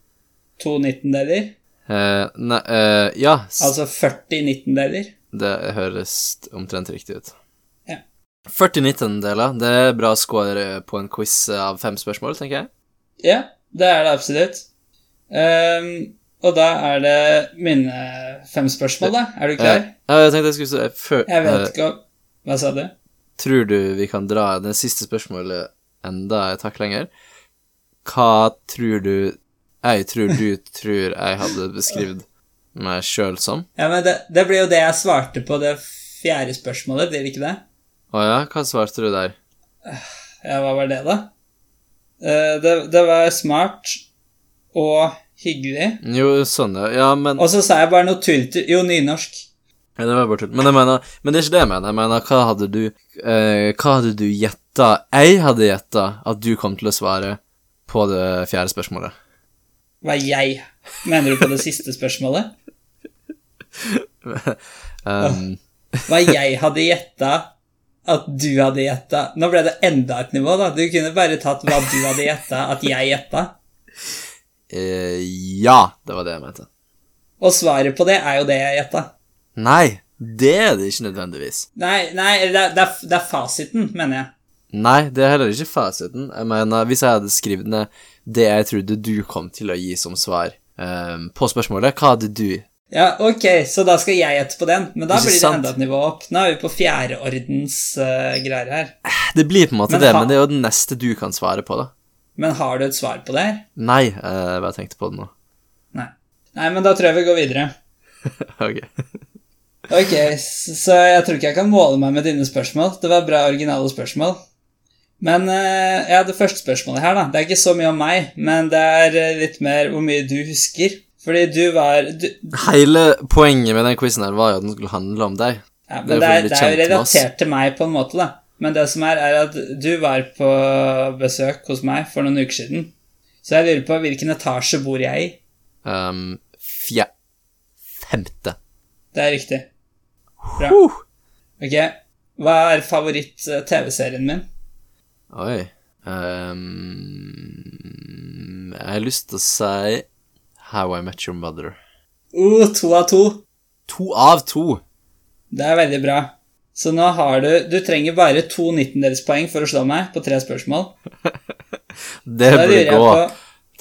Speaker 1: to nittendeler.
Speaker 2: Eh, nei, eh, ja, s-
Speaker 1: Altså 40 nittendeler.
Speaker 2: det høres omtrent riktig ut.
Speaker 1: Ja.
Speaker 2: 40 nittendeler, det er bra score på en quiz av fem spørsmål, tenker jeg.
Speaker 1: Ja, det er det absolutt. Ehm, og da er det mine fem spørsmål, da. Er du klar?
Speaker 2: Eh, jeg tenkte jeg skulle si før,
Speaker 1: Jeg vet
Speaker 2: eh,
Speaker 1: ikke om Hva sa du?
Speaker 2: Tror du vi kan dra det siste spørsmålet enda et hakk lenger? Hva tror du Jeg tror du tror jeg hadde beskrevet meg sjøl som?
Speaker 1: Ja, men det, det blir jo det jeg svarte på det fjerde spørsmålet, blir det ikke det?
Speaker 2: Å ja, hva svarte du der?
Speaker 1: Ja, hva var det, da? Eh, det, det var smart og hyggelig.
Speaker 2: Jo, sånn, ja. ja men
Speaker 1: Og så sa jeg bare noe tull til Jo, nynorsk.
Speaker 2: ja, Det var bare tull. Men jeg mener Men det er ikke det jeg mener. Jeg mener, hva hadde du eh, Hva hadde du gjetta Jeg hadde gjetta at du kom til å svare på det fjerde spørsmålet.
Speaker 1: Hva er jeg? Mener du på det siste spørsmålet?
Speaker 2: Um,
Speaker 1: Hva jeg hadde gjetta at du hadde gjetta Nå ble det enda et nivå, da. Du kunne bare tatt hva du hadde gjetta at jeg gjetta.
Speaker 2: eh, ja, det var det jeg mente.
Speaker 1: Og svaret på det er jo det jeg gjetta.
Speaker 2: Nei, det er det ikke nødvendigvis.
Speaker 1: Nei, nei det, er- det, er, det er fasiten, mener jeg.
Speaker 2: Nei, det er heller ikke fasiten. Jeg mener, hvis jeg hadde skrevet ned det jeg trodde du kom til å gi som svar ehm, på spørsmålet, hva hadde du
Speaker 1: Ja, ok, så da skal jeg gjette på den. Men da
Speaker 2: Ikke
Speaker 1: blir det
Speaker 2: sant?
Speaker 1: enda et nivå opp. Nå er vi på fjerdeordens uh, greier her.
Speaker 2: Det blir på en måte
Speaker 1: Men
Speaker 2: det,
Speaker 1: fa-
Speaker 2: men det er jo den neste du kan svare på, da.
Speaker 1: Men har du et svar på det her?
Speaker 2: Nei, eh, jeg bare tenkte på det nå.
Speaker 1: Nei. Nei, men da tror jeg vi går videre.
Speaker 2: ok.
Speaker 1: Ok, s- så jeg tror ikke jeg kan måle meg med dine spørsmål. Det var bra originale spørsmål. Men eh, ja, det første spørsmålet her, da. Det er ikke så mye om meg, men det er eh, litt mer hvor mye du husker. Fordi du var du,
Speaker 2: Hele poenget med den quizen her var jo at den skulle handle om deg.
Speaker 1: ja, men
Speaker 2: Det er
Speaker 1: det er,
Speaker 2: for å bli
Speaker 1: det er jo
Speaker 2: kjent med oss.
Speaker 1: relatert til meg på en måte, da. Men det som er, er at du var på besøk hos meg for noen uker siden. Så jeg lurer på hvilken etasje bor jeg i.
Speaker 2: Ehm, fje... Femte.
Speaker 1: Det er riktig. Bra.
Speaker 2: Huh!
Speaker 1: Ok, hva er favoritt-TV-serien min?
Speaker 2: Oi. Ehm, jeg har lyst til å si How I Met Your Mother.
Speaker 1: Uh, to av to.
Speaker 2: To av to.
Speaker 1: Det er veldig bra. Så nå har du Du trenger bare to nittendelspoeng for å slå meg på tre spørsmål.
Speaker 2: Det
Speaker 1: Da
Speaker 2: burde
Speaker 1: lurer jeg
Speaker 2: gå,
Speaker 1: på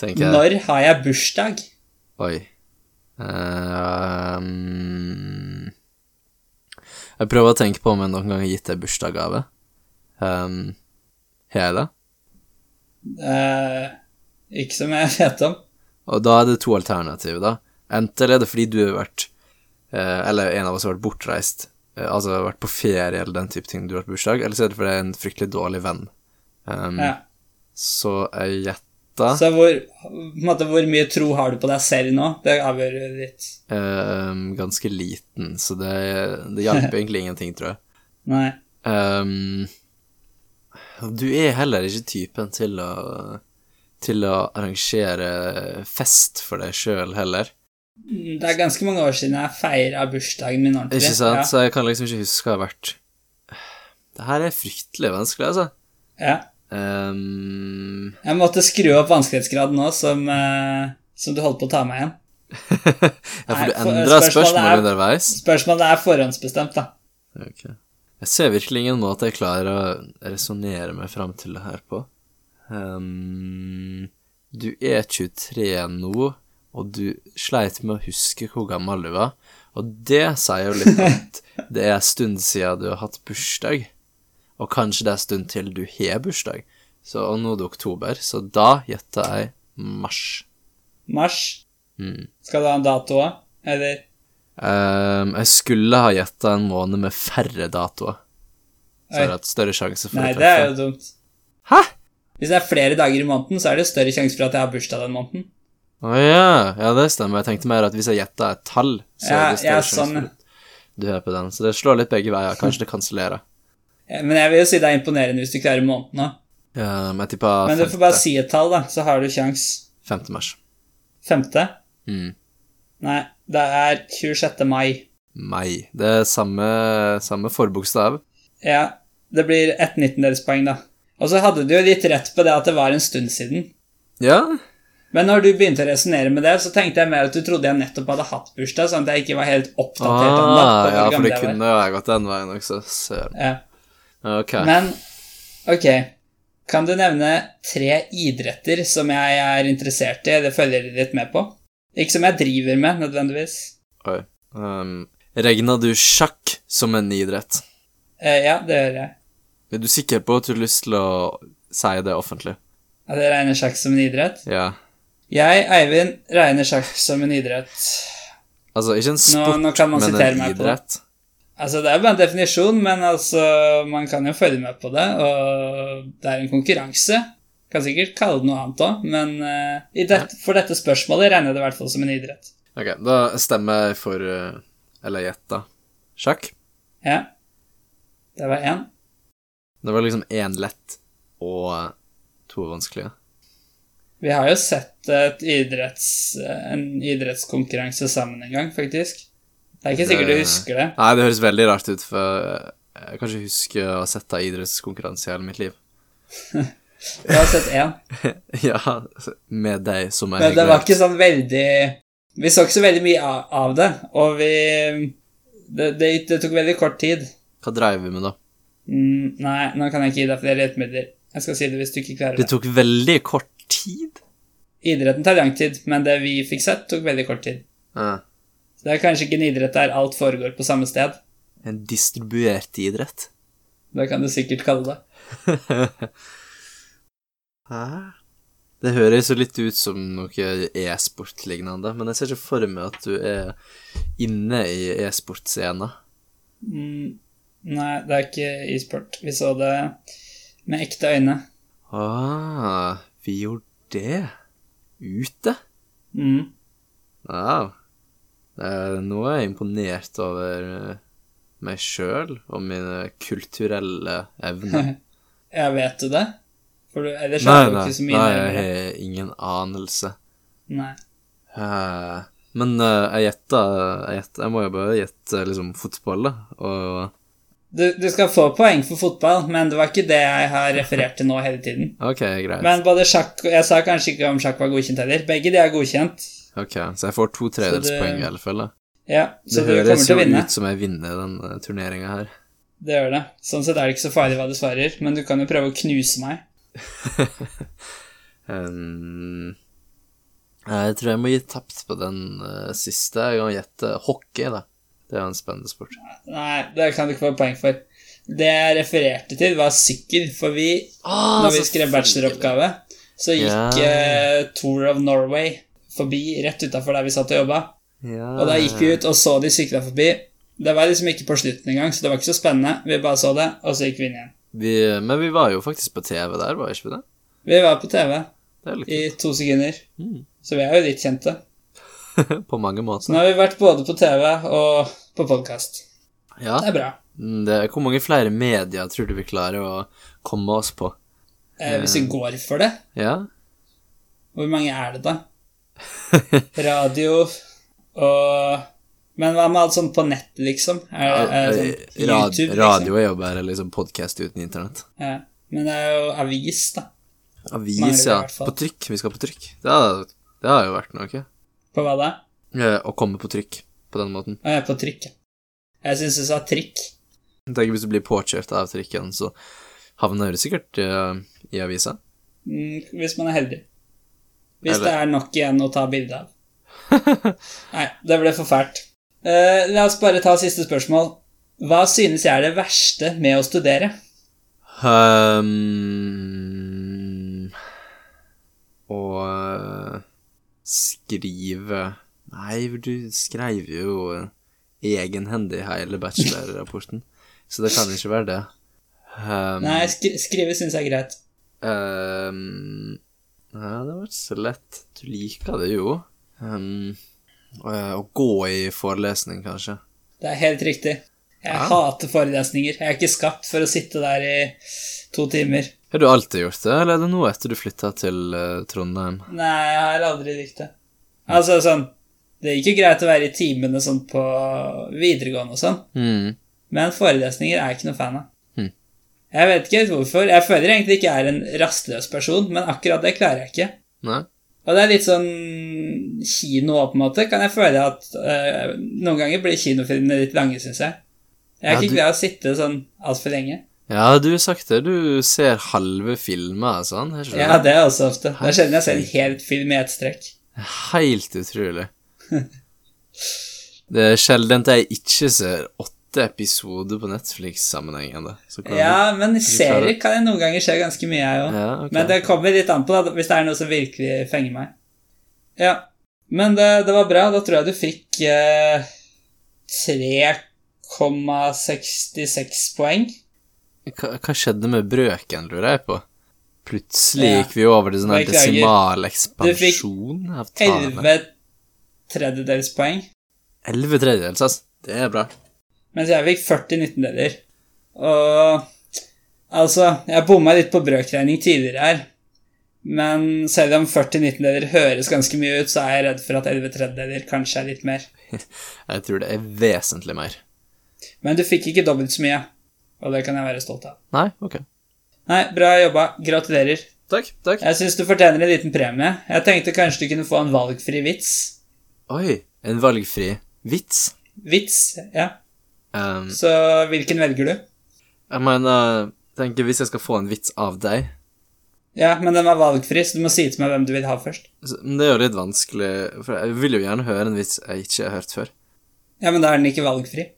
Speaker 2: tenker jeg.
Speaker 1: når har jeg bursdag?
Speaker 2: Oi. Ehm, jeg prøver å tenke på om jeg noen gang har gitt deg Ehm, bursdagsgave. Um, har jeg det?
Speaker 1: Eh, Ikke som jeg vet om.
Speaker 2: Og da er det to alternativer, da. Enten er det fordi du har vært eh, Eller en av oss har vært bortreist, eh, altså vært på ferie eller den type ting, du har hatt bursdag, eller så er det fordi det er en fryktelig dårlig venn. Um,
Speaker 1: Ja.
Speaker 2: Så jeg gjetta
Speaker 1: Så hvor, på en måte, hvor mye tro har du på deg selv nå? Det avgjør jo litt.
Speaker 2: ehm, ganske liten, så det, det hjalp egentlig ingenting, tror jeg.
Speaker 1: Nei.
Speaker 2: Ehm, du er heller ikke typen til å til å arrangere fest for deg sjøl heller.
Speaker 1: Det er ganske mange år siden jeg feira bursdagen min ordentlig.
Speaker 2: Ikke sant? Så jeg kan liksom ikke huske å ha vært Det her er fryktelig vanskelig, altså.
Speaker 1: Ja. ja.
Speaker 2: Ehm,
Speaker 1: Jeg måtte skru opp vanskelighetsgraden nå, som, eh, som du holdt på å ta meg igjen.
Speaker 2: ja, for
Speaker 1: Nei,
Speaker 2: du
Speaker 1: for-
Speaker 2: endra
Speaker 1: spørsmålet
Speaker 2: spørsmålet
Speaker 1: er-
Speaker 2: underveis.
Speaker 1: Spørsmålet er forhåndsbestemt, da.
Speaker 2: Ok. Jeg ser virkelig ingen måte jeg klarer å resonnere meg fram til det her på. Ehm, du er 23 nå, og du sleit med å huske hvor gammel du var. Og det sier jo litt at det er en stund siden du har hatt bursdag, og kanskje det er en stund til du har bursdag. Så og nå er det oktober, så da gjetter jeg mars.
Speaker 1: Mars.
Speaker 2: Mm.
Speaker 1: Skal du ha en dato òg? Eller
Speaker 2: Ehm, jeg skulle ha gjetta en måned med færre datoer, så
Speaker 1: Oi.
Speaker 2: jeg har hatt større sjanse for
Speaker 1: Nei,
Speaker 2: å
Speaker 1: det er
Speaker 2: treffe.
Speaker 1: jo dumt.
Speaker 2: Hæ?
Speaker 1: Hvis det er flere dager i måneden, så er det større sjanse for at jeg har bursdag den måneden.
Speaker 2: Å ja. ja, det stemmer. Jeg tenkte mer at hvis jeg gjetta et tall, så
Speaker 1: Ja,
Speaker 2: er det større
Speaker 1: ja,
Speaker 2: sjanse
Speaker 1: sånn,
Speaker 2: for at du hører på den. Så det slår litt begge veier. Kanskje det kansellerer.
Speaker 1: Eh, Men jeg vil jo si det er imponerende hvis du klarer måneden òg.
Speaker 2: Eh, men jeg tipper
Speaker 1: Men du
Speaker 2: 5.
Speaker 1: får bare si et tall, da, så har du kjangs.
Speaker 2: mars.
Speaker 1: Femte?
Speaker 2: Mm.
Speaker 1: Nei, det er 26. mai.
Speaker 2: Mai. Det er samme, samme forbokstav.
Speaker 1: Ja, det blir et nittendelspoeng, da. Og så hadde du jo litt rett på det at det var en stund siden.
Speaker 2: Ja.
Speaker 1: Men når du begynte å resonnere med det, så tenkte jeg mer at du trodde jeg nettopp hadde hatt bursdag, sånn at jeg ikke var helt oppdatert om det.
Speaker 2: Ah,
Speaker 1: på hvor
Speaker 2: ja, for
Speaker 1: gammel
Speaker 2: det
Speaker 1: jeg var.
Speaker 2: kunne jo ha gått den veien også. Søren.
Speaker 1: Ja.
Speaker 2: Ok.
Speaker 1: Men ok, kan du nevne tre idretter som jeg er interessert i, eller følger litt med på? Ikke som jeg driver med, nødvendigvis.
Speaker 2: Oi. Um, Regna du sjakk som en idrett?
Speaker 1: Eh, ja, det gjør jeg.
Speaker 2: Er du sikker på at du har lyst til å si det offentlig?
Speaker 1: Ja, det regner sjakk som en idrett.
Speaker 2: Ja.
Speaker 1: Jeg, Eivind, regner sjakk som en idrett.
Speaker 2: Altså, ikke en
Speaker 1: Nå,
Speaker 2: sport,
Speaker 1: nå kan man
Speaker 2: men
Speaker 1: sitere
Speaker 2: en
Speaker 1: meg på det.
Speaker 2: idrett.
Speaker 1: Altså, det er jo bare en definisjon, men altså, man kan jo følge med på det, og det er en konkurranse. Kan sikkert kalle det noe annet òg, men eh, i dette, for dette spørsmålet regner jeg det i hvert fall som en idrett.
Speaker 2: Ok, da stemmer jeg for eh, Eller gjetta. Sjakk.
Speaker 1: Ja. Det var én.
Speaker 2: Det var liksom én lett og to vanskelige.
Speaker 1: Vi har jo sett et idretts, eh, en idrettskonkurranse sammen en gang, faktisk. Det er ikke sikkert du
Speaker 2: Det-
Speaker 1: husker det.
Speaker 2: Nei, det høres veldig rart ut, for eh, jeg kan ikke huske å ha sett ei idrettskonkurranse i hele mitt liv.
Speaker 1: Jeg har sett én.
Speaker 2: ja, med deg som er
Speaker 1: Men det var ikke sånn veldig Vi så ikke så veldig mye av- av det, og vi Det, det, det tok veldig kort tid.
Speaker 2: Hva dreiv vi med da?
Speaker 1: Mm, nei, nå kan jeg ikke gi deg flere hjelpemidler. Jeg skal si det hvis du ikke klarer
Speaker 2: Det
Speaker 1: det.
Speaker 2: tok veldig kort tid.
Speaker 1: Idretten tar lang tid, men det vi fikk sett, tok veldig kort tid.
Speaker 2: Ja.
Speaker 1: Så det er kanskje ikke en idrett der alt foregår på samme sted.
Speaker 2: En distribuert idrett.
Speaker 1: Det kan du sikkert kalle det.
Speaker 2: Hæ? Det høres jo litt ut som noe e-sport-lignende, men jeg ser ikke for meg at du er inne i e-sportscena.
Speaker 1: Mm, nei, det er ikke e-sport. Vi så det med ekte øyne.
Speaker 2: Ah, vi gjorde det ute?
Speaker 1: Mm.
Speaker 2: Wow. Eh, Nå er jeg imponert over eh, meg sjøl og mine kulturelle evner.
Speaker 1: Jeg vet du det? For du, ellers
Speaker 2: Nei,
Speaker 1: er det jo
Speaker 2: nei,
Speaker 1: ikke så mye
Speaker 2: nei, jeg
Speaker 1: nærmere.
Speaker 2: har ingen anelse.
Speaker 1: Nei.
Speaker 2: Eh, Men eh, jeg gjetta jeg, gjetta- jeg må jo bare gjette liksom fotball, da. Og
Speaker 1: Du, du skal få poeng for fotball, men det var ikke det jeg har referert til nå hele tiden.
Speaker 2: OK, greit.
Speaker 1: Men både sjakk Jeg sa kanskje ikke om sjakk var godkjent heller. Begge de er godkjent.
Speaker 2: Ok, Så jeg får to tredjedelspoeng i alle fall. da.
Speaker 1: Ja, så du
Speaker 2: Det
Speaker 1: kommer
Speaker 2: høres
Speaker 1: til
Speaker 2: jo
Speaker 1: å vinne.
Speaker 2: ut som jeg vinner den turneringa her.
Speaker 1: Det gjør det. Sånn sett er det ikke så farlig hva du svarer, men du kan jo prøve å knuse meg.
Speaker 2: Ehm, eh, jeg tror jeg må gi tapt på den eh, siste. Jeg kan gjette hockey, da. Det er jo en spennende sport.
Speaker 1: Nei, det kan du ikke få poeng for. Det jeg refererte til, var sykkel, for vi
Speaker 2: Ah,
Speaker 1: Når vi skrev bacheloroppgave, så gikk
Speaker 2: Ja.
Speaker 1: eh, Tour of Norway forbi rett utafor der vi satt og jobba.
Speaker 2: Ja.
Speaker 1: Og da gikk vi ut og så de sykla forbi. Det var liksom ikke på slutten engang, så det var ikke så spennende. Vi bare så det, og så gikk vi inn igjen.
Speaker 2: Vi, men vi var jo faktisk på TV der, var ikke vi det?
Speaker 1: Vi var på TV
Speaker 2: Det er litt
Speaker 1: i to sekunder,
Speaker 2: Mm.
Speaker 1: så vi er jo litt kjente.
Speaker 2: kult. På mange
Speaker 1: Så nå
Speaker 2: måter.
Speaker 1: har vi vært både på TV og på podkast.
Speaker 2: Ja.
Speaker 1: Det er bra.
Speaker 2: Mm, Det, hvor mange flere medier tror du vi klarer å komme oss på?
Speaker 1: Eh, hvis vi går for det,
Speaker 2: Ja?
Speaker 1: hvor mange er det da? Radio og Men hva med alt sånn på nett, liksom? Er, er det sånn
Speaker 2: Eh, Rad,
Speaker 1: YouTube, liksom?
Speaker 2: radio er jo bare liksom podkast uten internett.
Speaker 1: Ja. Men det er jo avis, da. Mangler det
Speaker 2: Avis,
Speaker 1: i
Speaker 2: ja.
Speaker 1: hvert fall.
Speaker 2: På trykk. Vi skal på trykk. Det har, det har jo vært noe.
Speaker 1: På hva da?
Speaker 2: Eh, Å komme på trykk på den måten.
Speaker 1: Å, ja, på trykk. ja. Jeg syns du sa trikk.
Speaker 2: Tenk hvis du blir påkjørt av trikken, så havner du sikkert eh, i avisa.
Speaker 1: Mm, hvis man er heldig. Hvis
Speaker 2: Eller-
Speaker 1: det er nok igjen å ta bilde av. Nei, det ble for fælt. Eh, la oss bare ta siste spørsmål. Hva synes jeg er det verste med å studere?
Speaker 2: Um, og eh, skrive Nei, du skrev jo egenhendig hele bachelorrapporten, så det kan ikke være det. Um,
Speaker 1: Nei, sk skrive synes jeg er greit.
Speaker 2: um, Nei, det var ikke så lett. Du liker det jo. Um, eh, å gå i forelesning, kanskje.
Speaker 1: Det er helt riktig. Jeg
Speaker 2: Ja.
Speaker 1: hater forelesninger. Jeg er ikke skapt for å sitte der i to timer.
Speaker 2: Har du alltid gjort det, eller er det nå etter du flytta til eh, Trondheim?
Speaker 1: Nei, jeg har aldri likt det. Altså, sånn Det gikk jo greit å være i timene sånn på videregående og sånn,
Speaker 2: Mm.
Speaker 1: Men forelesninger er jeg ikke noe fan av.
Speaker 2: Hmm.
Speaker 1: Jeg vet ikke helt hvorfor. Jeg føler egentlig ikke jeg er en rastløs person, men akkurat det klarer jeg ikke.
Speaker 2: Nei?
Speaker 1: Og det er litt sånn kino òg, på en måte. Kan jeg føle at eh, Noen ganger blir kinofilmene litt lange, syns jeg. Jeg er
Speaker 2: Ja,
Speaker 1: ikke
Speaker 2: du-
Speaker 1: glad i å sitte sånn altfor lenge.
Speaker 2: Ja, du har sagt det. Du ser halve filmer, sånn. Har ikke du
Speaker 1: Ja,
Speaker 2: det?
Speaker 1: det er også ofte. Det er sjelden jeg ser en hel film i ett strekk.
Speaker 2: Helt utrolig. Det er sjeldent jeg ikke ser åtte episoder på Netflix-sammenhengende. Så klarer
Speaker 1: Ja, men i
Speaker 2: klarer
Speaker 1: serier
Speaker 2: det.
Speaker 1: kan jeg noen ganger se ganske mye, jeg
Speaker 2: du-
Speaker 1: òg.
Speaker 2: ja ok.
Speaker 1: Men det kommer litt an på da, hvis det er noe som virkelig fenger meg. Ja. Men det, det var bra. Da tror jeg du fikk eh, 3,66 poeng.
Speaker 2: hva, hva skjedde med brøken, lurer jeg på? Plutselig
Speaker 1: Ja.
Speaker 2: gikk vi over til sånn her
Speaker 1: Beklager.
Speaker 2: desimal
Speaker 1: Du fikk
Speaker 2: ekspansjon av tallene.
Speaker 1: 11 tredjedelspoeng,
Speaker 2: Elleve tredjedels, altså. Det er bra.
Speaker 1: mens jeg fikk 40 nittendeler. Og altså Jeg bomma litt på brøkregning tidligere her. Men selv om 40 nittendeler høres ganske mye ut, så er jeg redd for at 11 tredjedeler kanskje er litt mer.
Speaker 2: Jeg tror det er vesentlig mer.
Speaker 1: Men du fikk ikke dobbelt så mye, og det kan jeg være stolt av.
Speaker 2: Nei, ok.
Speaker 1: Nei, bra jobba. Gratulerer.
Speaker 2: Takk, takk.
Speaker 1: Jeg syns du fortjener en liten premie. Jeg tenkte kanskje du kunne få en valgfri vits.
Speaker 2: Oi, en valgfri vits.
Speaker 1: Vits, ja.
Speaker 2: Um,
Speaker 1: Så hvilken velger du?
Speaker 2: Jeg mener, tenker hvis jeg skal få en vits av deg
Speaker 1: Ja, men den var valgfri, så du må si til meg hvem du vil ha først.
Speaker 2: så- Men det er jo litt vanskelig, for jeg vil jo gjerne høre en vits jeg ikke har hørt før.
Speaker 1: Ja, men da er den ikke valgfri.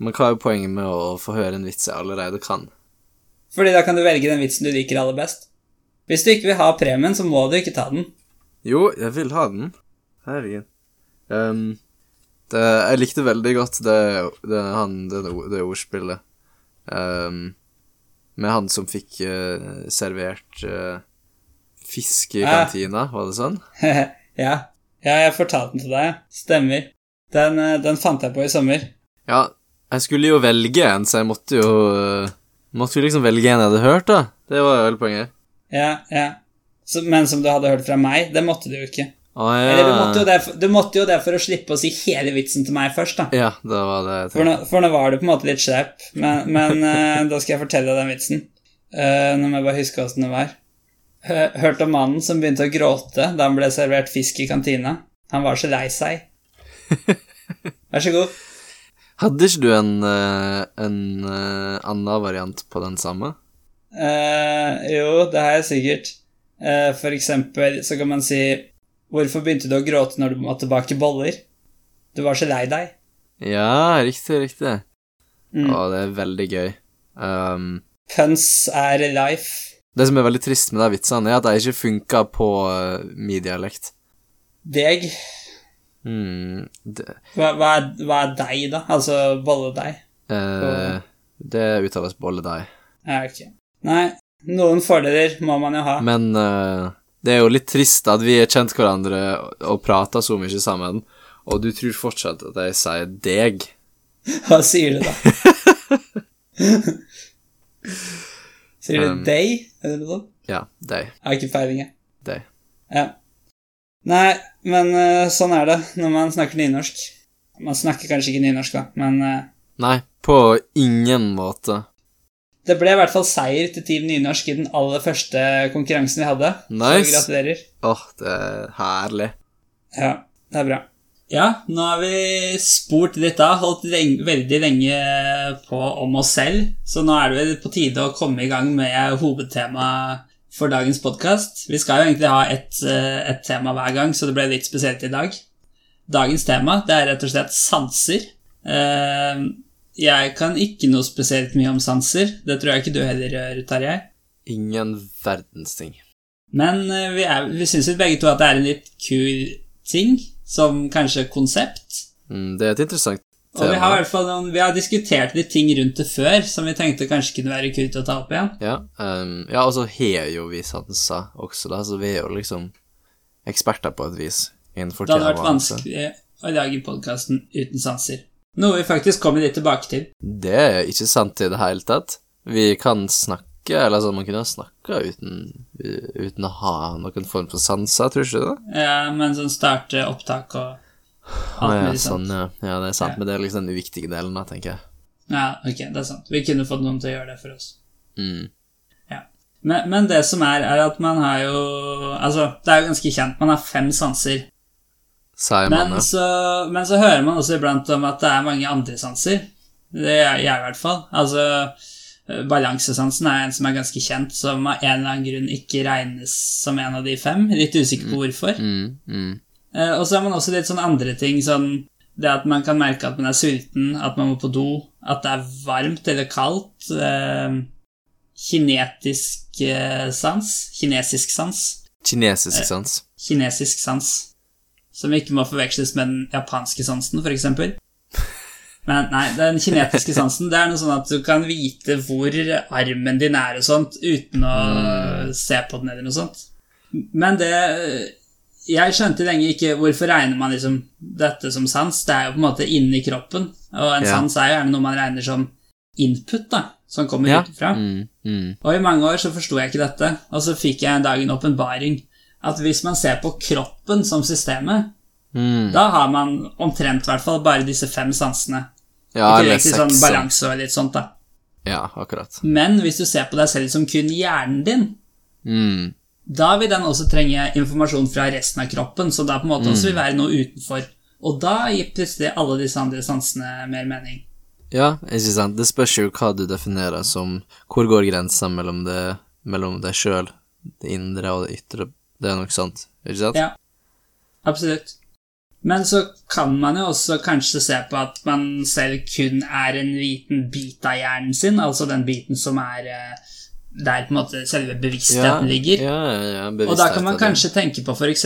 Speaker 2: Men hva er poenget med å få høre en vits jeg allerede kan?
Speaker 1: Fordi da kan du velge den vitsen du liker aller best. Hvis du ikke vil ha premien, så må du ikke ta den.
Speaker 2: Jo, jeg vil ha den. Herregud. Ehm, det, jeg likte veldig godt det, det, han, det, det ordspillet. Ehm, med han som fikk eh, servert eh, fisk i
Speaker 1: Ah.
Speaker 2: kantina, var det sånn?
Speaker 1: ja. ja, jeg fortalte den til deg. Stemmer. Den, eh, den fant jeg på i sommer.
Speaker 2: Ja, jeg skulle jo velge en, så jeg måtte jo øh, Måtte jo liksom velge en jeg hadde hørt, da. Det var jo hele poenget.
Speaker 1: Ja, ja. Så, men som du hadde hørt fra meg, det måtte du jo ikke.
Speaker 2: Å, ja.
Speaker 1: Eller du måtte, jo det for, du måtte jo det for å slippe å si hele vitsen til meg først, da.
Speaker 2: Ja, det var det
Speaker 1: For
Speaker 2: jeg tenkte.
Speaker 1: nå, for nå var du på en måte litt skjerp, men, men eh, da skal jeg fortelle deg den vitsen. Eh, nå må jeg bare huske åssen det var. Hø- Hørte om mannen som begynte å gråte da han ble servert fisk i kantina. Han var så lei seg. Vær så god.
Speaker 2: Hadde ikke du en, øh, en øh, annen variant på den samme?
Speaker 1: Eh, jo, det har jeg sikkert. Eh, for eksempel så kan man si Hvorfor begynte du å gråte når du måtte bake boller? Du var så lei deg.
Speaker 2: Ja, riktig, riktig.
Speaker 1: Mm.
Speaker 2: Å, det er veldig gøy. Ehm,
Speaker 1: Puns er life.
Speaker 2: Det som er veldig trist med de vitsene, er at de ikke funker på eh, min dialekt.
Speaker 1: Deg.
Speaker 2: Mm, det,
Speaker 1: Hva, hva, er, hva er deg, da? Altså bolledeig?
Speaker 2: eh, det uttales bolledeig.
Speaker 1: Ja, ok. Nei, noen fordeler må man jo ha.
Speaker 2: Men eh, det er jo litt trist at vi har kjent hverandre og, og prata så mye sammen, og du tror fortsatt at jeg sier deg.
Speaker 1: Hva sier du da? sier du
Speaker 2: Um,
Speaker 1: deg? Eller noe sånt?
Speaker 2: Ja, deg.
Speaker 1: Jeg har ikke peiling, jeg.
Speaker 2: Deg.
Speaker 1: Ja. Nei, men eh, sånn er det når man snakker nynorsk. Man snakker kanskje ikke nynorsk, da, men eh,
Speaker 2: Nei, på ingen måte.
Speaker 1: det ble i hvert fall seier til Team Nynorsk i den aller første konkurransen vi hadde.
Speaker 2: Nice.
Speaker 1: Så gratulerer.
Speaker 2: Åh, det er herlig.
Speaker 1: Ja, det er bra. Ja, nå har vi spurt litt da, holdt leng- veldig lenge på om oss selv, så nå er det vel på tide å komme i gang med hovedtemaet for dagens podkast. Vi skal jo egentlig ha et, eh, et tema hver gang, så det ble litt spesielt i dag. Dagens tema det er rett og slett sanser. Eh, Jeg kan ikke noe spesielt mye om sanser. Det tror jeg ikke du heller gjør, Tarjei.
Speaker 2: Ingen verdens ting.
Speaker 1: Men eh, vi, er- vi syns jo begge to at det er en litt kul ting, som kanskje konsept.
Speaker 2: Mm, det er et interessant
Speaker 1: Og vi
Speaker 2: tema.
Speaker 1: har i hvert fall noen, vi har diskutert litt ting rundt det før som vi tenkte kanskje kunne være kult å ta opp igjen.
Speaker 2: Ja, ehm, ja og så har jo vi sanser også, da, så vi er jo liksom eksperter på et vis. Innenfor
Speaker 1: Det hadde vært
Speaker 2: temaet, så
Speaker 1: vanskelig å lage podkasten uten sanser. Noe vi faktisk kommer litt tilbake til.
Speaker 2: Det er ikke sant i det hele tatt. Vi kan snakke, eller sånn, man kunne ha snakka uten, uten å ha noen form for sanser, tror du ikke det?
Speaker 1: Ja, men sånn starte opptak og alt
Speaker 2: ja,
Speaker 1: mulig sånt.
Speaker 2: sånn, ja. ja, det er sant, men det er liksom den uviktige delen, da, tenker jeg.
Speaker 1: Ja, ok, det er sant. Vi kunne fått noen til å gjøre det for oss.
Speaker 2: Mm.
Speaker 1: Men, men det som er, er at man har jo Altså, det er jo ganske kjent. Man har fem sanser.
Speaker 2: Sier man
Speaker 1: Men
Speaker 2: det?
Speaker 1: så, men så hører man også iblant om at det er mange andre sanser. Det er jeg i hvert fall. Altså, eh, balansesansen er en som er ganske kjent, som av en eller annen grunn ikke regnes som en av de fem. Litt usikker på hvorfor.
Speaker 2: Mm, mm.
Speaker 1: Eh, Og så har man også litt sånn andre ting, sånn det at man kan merke at man er sulten, at man må på do, at det er varmt eller kaldt. Eh, kinetisk eh, sans. Kinesisk sans.
Speaker 2: Kinesisk sans.
Speaker 1: Kinesisk sans. Som ikke må forveksles med den japanske sansen, f.eks. Men nei, den kinetiske sansen det er noe sånn at du kan vite hvor armen din er og sånt, uten å
Speaker 2: Mm.
Speaker 1: se på den eller noe sånt. Men det Jeg skjønte lenge ikke hvorfor regner man liksom dette som sans. Det er jo på en måte inni kroppen, og en
Speaker 2: Ja.
Speaker 1: sans er jo gjerne noe man regner som input, da, som kommer
Speaker 2: Ja.
Speaker 1: utenfra.
Speaker 2: Mm, mm.
Speaker 1: Og i mange år så forsto jeg ikke dette, og så fikk jeg en dag en åpenbaring. At hvis man ser på kroppen som systemet,
Speaker 2: Mm.
Speaker 1: da har man omtrent i hvert fall bare disse fem sansene.
Speaker 2: Ja,
Speaker 1: I
Speaker 2: eller
Speaker 1: tillegg til sånn
Speaker 2: sex. sånn.
Speaker 1: balanse og litt sånt, da.
Speaker 2: Ja, akkurat.
Speaker 1: Men hvis du ser på deg selv som kun hjernen din,
Speaker 2: Mm.
Speaker 1: da vil den også trenge informasjon fra resten av kroppen, så da på en måte
Speaker 2: Mm.
Speaker 1: også vil være noe utenfor. Og da gir plutselig alle disse andre sansene mer mening.
Speaker 2: Ja, ikke sant. Det spørs jo hva du definerer som Hvor går grensa mellom, det, mellom deg sjøl, det indre og det ytre? Det er nok sant, ikke sant?
Speaker 1: Ja. Absolutt. Men så kan man jo også kanskje se på at man selv kun er en liten bit av hjernen sin, altså den biten som er eh, der på en måte selve bevisstheten ligger.
Speaker 2: Ja, ja, ja,
Speaker 1: Og da kan man
Speaker 2: bevisstheten.
Speaker 1: kanskje tenke på f.eks.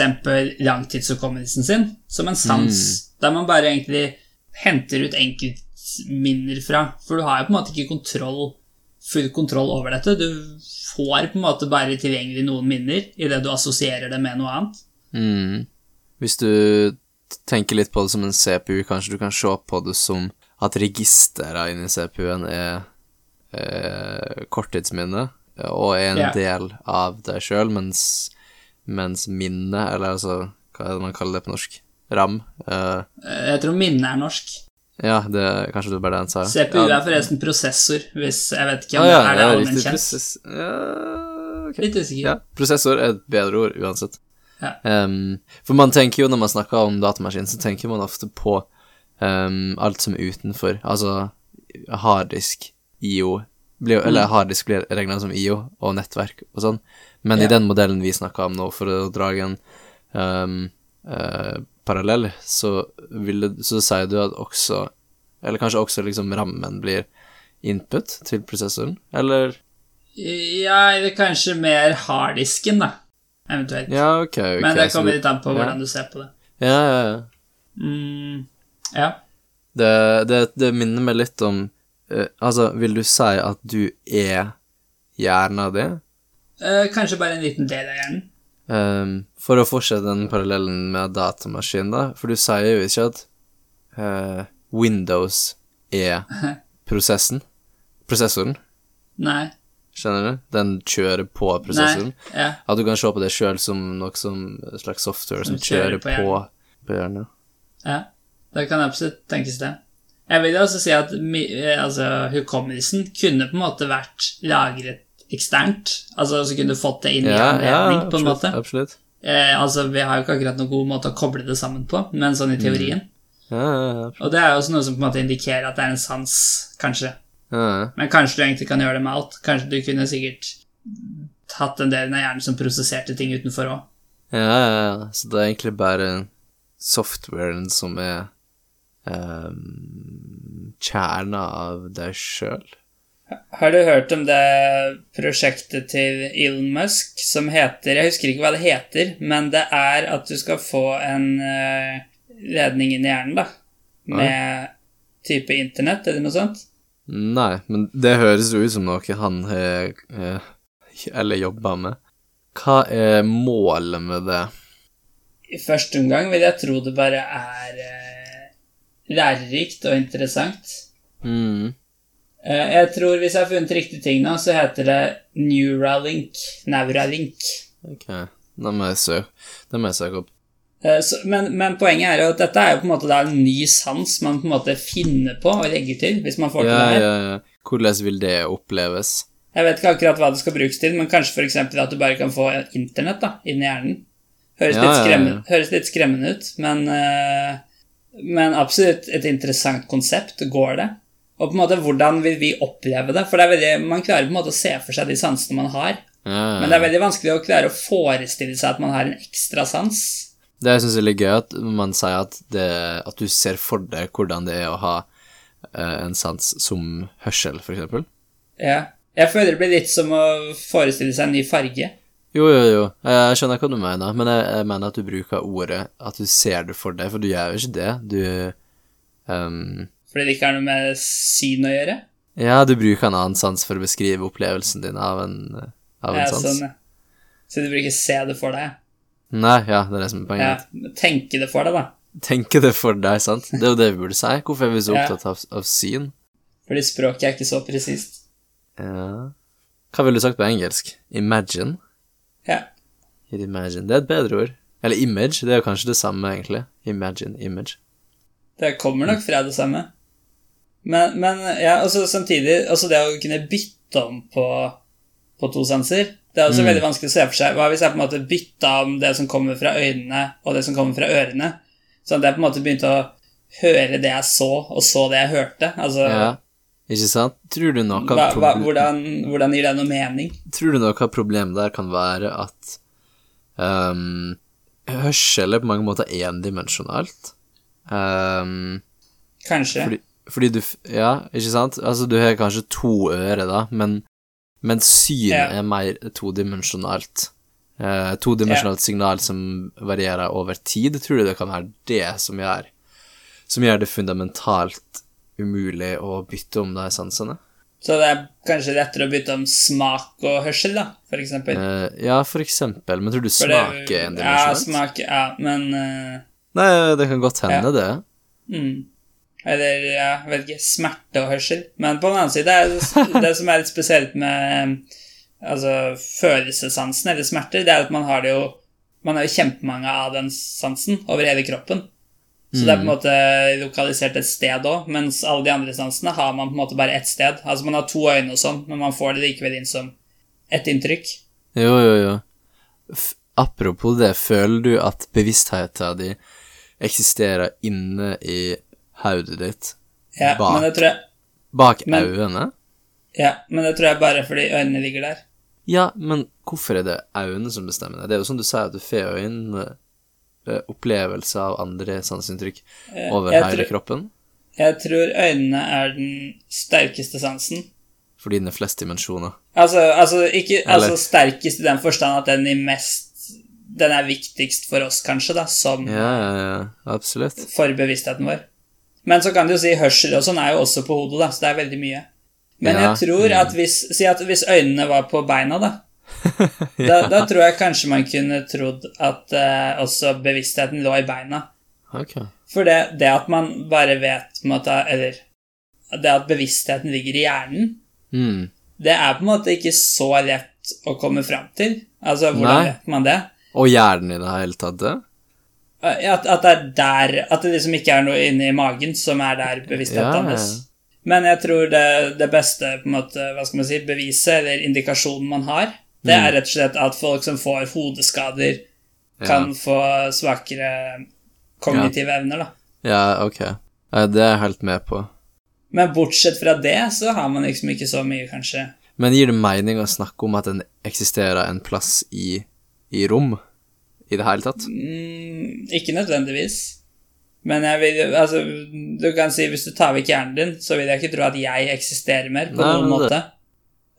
Speaker 1: langtidshukommelsen sin som en sans,
Speaker 2: Mm.
Speaker 1: der man bare egentlig henter ut enkeltminner fra. For du har jo på en måte ikke kontroll, full kontroll over dette. Du får på en måte bare tilgjengelig noen minner idet du assosierer det med noe annet.
Speaker 2: mm. Hvis du t- tenker litt på det som en CPU, kanskje du kan se på det som at registera inni CPU-en er eh, korttidsminne, og er en
Speaker 1: Ja.
Speaker 2: del av deg sjøl, mens, mens minnet, eller altså Hva er det man kaller det på norsk? RAM? Eh,
Speaker 1: Eh, Jeg tror minne er norsk.
Speaker 2: Ja, det kanskje det var det han sa.
Speaker 1: CPU
Speaker 2: ja. Ah,
Speaker 1: er forresten prosessor, hvis jeg vet ikke
Speaker 2: ja,
Speaker 1: om
Speaker 2: ja,
Speaker 1: det er det
Speaker 2: ja,
Speaker 1: allmenn
Speaker 2: riktig.
Speaker 1: kjent.
Speaker 2: Prosess... Ja, ok.
Speaker 1: Litt usikker.
Speaker 2: ja, prosessor er et bedre ord uansett.
Speaker 1: Ja.
Speaker 2: Ehm, for man tenker jo når man snakker om datamaskin, så tenker man ofte på ehm, alt som er utenfor. Altså harddisk, IO
Speaker 1: Mm.
Speaker 2: blir, jo- Eller harddisk blir regna som IO og nettverk og sånn. Men
Speaker 1: Ja.
Speaker 2: i den modellen vi snakka om nå, for å dra en ehm, eh, parallell, så, ville, så sier du at også Eller kanskje også liksom rammen blir input til prosessoren, eller
Speaker 1: Ja, eller kanskje mer harddisken, da. Eventuelt.
Speaker 2: Ja, ok. ok,
Speaker 1: Men det
Speaker 2: så
Speaker 1: kommer
Speaker 2: du-
Speaker 1: litt an på
Speaker 2: ja.
Speaker 1: hvordan du ser på det.
Speaker 2: Ja, ja, ja.
Speaker 1: Mm, ja.
Speaker 2: Det, det, det minner meg litt om eh, Altså, vil du si at du er hjerna di?
Speaker 1: Eh, kanskje bare en liten del av hjernen.
Speaker 2: Ehm, for å fortsette den parallellen med datamaskin, da. For du sier jo ikke at eh, Windows er prosessen. Prosessoren.
Speaker 1: Nei.
Speaker 2: Skjønner du? Den kjører på prosessoren.
Speaker 1: Ja.
Speaker 2: At du kan se på det sjøl som noe som slags software som,
Speaker 1: Som kjører
Speaker 2: kjører,
Speaker 1: på
Speaker 2: på, på hjernen.
Speaker 1: Ja, det kan absolutt tenkes det. Jeg vil også si at mi- eh, altså, hukommelsen kunne på en måte vært lagret eksternt. Altså så kunne du fått det inn i en ledning, på en
Speaker 2: absolutt,
Speaker 1: måte.
Speaker 2: absolutt.
Speaker 1: Eh, altså, vi har jo ikke akkurat noen god måte å koble det sammen på, men sånn i teorien.
Speaker 2: Ja, ja, ja, absolutt.
Speaker 1: Og det er jo også noe som på en måte indikerer at det er en sans, kanskje.
Speaker 2: Ja, ja.
Speaker 1: Men kanskje du egentlig kan gjøre det med alt. Kanskje du kunne sikkert hatt den delen av hjernen som prosesserte ting utenfor òg.
Speaker 2: Ja, ja, ja. Så det er egentlig bare softwaren som er ehm, kjerna av deg sjøl.
Speaker 1: Har du hørt om det prosjektet til Elon Musk som heter Jeg husker ikke hva det heter, men det er at du skal få en eh, ledning inn i hjernen, da. Med type internett eller noe sånt.
Speaker 2: Nei, men det høres jo ut som noe han har eh, Eller jobba med. Hva er målet med det?
Speaker 1: I første omgang vil jeg tro det bare er eh, lærerikt og interessant.
Speaker 2: Mm.
Speaker 1: Eh, jeg tror hvis jeg har funnet riktig ting nå, så heter det Neuralink. Neuralink.
Speaker 2: Ok, det må jeg søke, det må jeg søke opp.
Speaker 1: Eh, Så, men, men poenget er jo at dette er jo på en måte da en ny sans man på en måte finner på og legger til, hvis man får til
Speaker 2: Ja,
Speaker 1: det her.
Speaker 2: ja, ja. Hvordan vil det oppleves?
Speaker 1: Jeg vet ikke akkurat hva det skal brukes til, men kanskje f.eks. at du bare kan få internett da, inn i hjernen. Høres,
Speaker 2: Ja,
Speaker 1: litt,
Speaker 2: ja, ja.
Speaker 1: skremmende, høres litt skremmende ut, men, eh, men absolutt et interessant konsept. Går det? Og på en måte, hvordan vil vi oppleve det? For det er veldig, man klarer på en måte å se for seg de sansene man har,
Speaker 2: Ja, ja.
Speaker 1: men det er veldig vanskelig å klare å forestille seg at man har en ekstra sans.
Speaker 2: Det jeg syns er litt gøy, at man sier at, det, at du ser for deg hvordan det er å ha eh, en sans som hørsel, for eksempel.
Speaker 1: Ja. Jeg føler det blir litt som å forestille seg en ny farge.
Speaker 2: Jo, jo, jo, eh, jeg skjønner hva du mener, men jeg, jeg mener at du bruker ordet at du ser det for deg, for du gjør jo ikke det. Du ehm,
Speaker 1: Fordi det ikke har noe med syn å gjøre.
Speaker 2: Ja, du bruker en annen sans for å beskrive opplevelsen din av en, av en
Speaker 1: Ja,
Speaker 2: sans.
Speaker 1: sånn, ja. Så du bør ikke se det for deg.
Speaker 2: Nei, ja, det er det som er
Speaker 1: Ja.
Speaker 2: poenget.
Speaker 1: Tenke det for deg, da.
Speaker 2: Tenke det for deg, sant? Det er jo det vi burde si. Hvorfor er vi så
Speaker 1: Ja.
Speaker 2: opptatt av, av syn?
Speaker 1: Fordi språket er ikke så presist.
Speaker 2: Ja. Hva ville du sagt på engelsk? Imagine?
Speaker 1: Ja.
Speaker 2: It Imagine. Det er et bedre ord. Eller image. Det er jo kanskje det samme, egentlig. Imagine, image.
Speaker 1: Det kommer nok fra det samme. Men, men ja, altså samtidig altså Det å kunne bytte om på, på to sanser Det er også
Speaker 2: Mm.
Speaker 1: veldig vanskelig å se for seg. Hva hvis jeg på en måte bytta om det som kommer fra øynene, og det som kommer fra ørene? Sånn at jeg på en måte begynte å høre det jeg så, og så det jeg hørte. Altså,
Speaker 2: Ja. Ikke sant? Tror du noe
Speaker 1: hva, hva,
Speaker 2: av proble-
Speaker 1: hvordan, hvordan gir det noe mening?
Speaker 2: tror du noe av problemet der kan være at ehm, hørsel er på mange måter endimensjonalt? Ehm,
Speaker 1: Kanskje.
Speaker 2: fordi, fordi du f- Ja, ikke sant? Altså, du har kanskje to ører, da, men, men syn
Speaker 1: Ja.
Speaker 2: er mer todimensjonalt. Eh, todimensjonalt signal som varierer over tid, tror du det kan være det som gjør Som gjør det fundamentalt umulig å bytte om de sansene?
Speaker 1: Så det er kanskje lettere å bytte om smak og hørsel, da, for eksempel.
Speaker 2: Eh, ja, for eksempel, men tror du
Speaker 1: For det-
Speaker 2: smak er
Speaker 1: Ja,
Speaker 2: endimensjonalt?
Speaker 1: smak, ja, men eh,
Speaker 2: Nei, det kan godt hende, det.
Speaker 1: mm. Eller, ja, jeg vet ikke, smerte og hørsel. Men på den annen side, det, er, det som er litt spesielt med eh, altså, følelsessansen, eller smerter, det er at man har det jo Man har jo kjempemange av den sansen over hele kroppen. Så det er på en måte lokalisert et sted òg, mens alle de andre sansene har man på en måte bare ett sted. Altså man har to øyne og sånn, men man får det likevel inn som ett inntrykk.
Speaker 2: Jo, jo, jo. F apropos det, føler du at bevisstheten din eksisterer inne i hodet ditt?
Speaker 1: Ja,
Speaker 2: Bak.
Speaker 1: men det tror jeg
Speaker 2: Bak
Speaker 1: Men-
Speaker 2: øynene?
Speaker 1: Ja, men det tror jeg bare fordi øynene ligger der.
Speaker 2: Ja, men hvorfor er det øynene som bestemmer det? Det er jo sånn du sier at du får øynene eh, opplevelser av andre sanseinntrykk over
Speaker 1: Eh, jeg
Speaker 2: hele
Speaker 1: tror-
Speaker 2: kroppen.
Speaker 1: Jeg tror øynene er den sterkeste sansen.
Speaker 2: fordi den er flest dimensjoner.
Speaker 1: Altså, altså, ikke,
Speaker 2: Eller-
Speaker 1: altså sterkest i den forstand at den i mest Den er viktigst for oss, kanskje, da, som
Speaker 2: Ja, ja, ja, absolutt.
Speaker 1: for bevisstheten vår. Men så kan du jo si hørsel og sånn er jo også på hodet, da, så det er veldig mye. Men
Speaker 2: Ja, Mm.
Speaker 1: jeg tror at hvis, si at hvis øynene var på beina, da, da, da tror jeg kanskje man kunne trodd at eh, også bevisstheten lå i beina.
Speaker 2: Ok.
Speaker 1: For det, det at man bare vet på en måte, Eller det at bevisstheten ligger i hjernen,
Speaker 2: Mm.
Speaker 1: det er på en måte ikke så lett å komme fram til. Altså, hvordan
Speaker 2: Nei.
Speaker 1: vet man det?
Speaker 2: Og hjernen i det hele tatt, det?
Speaker 1: At, at det er der At det liksom ikke er noe inni magen som er der bevisstheten
Speaker 2: Ja, ja, ja.
Speaker 1: hans. Men jeg tror det, det beste på en måte, hva skal man si, beviset eller indikasjonen man har, det
Speaker 2: Mm.
Speaker 1: er rett og slett at folk som får hodeskader, kan få svakere kognitive evner. da.
Speaker 2: Ja, ok. Nei, Det er jeg helt med på.
Speaker 1: Men bortsett fra det så har man liksom ikke så mye, kanskje.
Speaker 2: Men gir det mening å snakke om at den eksisterer en plass i, i rom? I det hele tatt?
Speaker 1: Mm, ikke nødvendigvis. Men jeg vil, altså, du kan si hvis du tar vekk hjernen din, så vil jeg ikke tro at jeg eksisterer mer på
Speaker 2: Nei,
Speaker 1: noen
Speaker 2: men det-
Speaker 1: måte.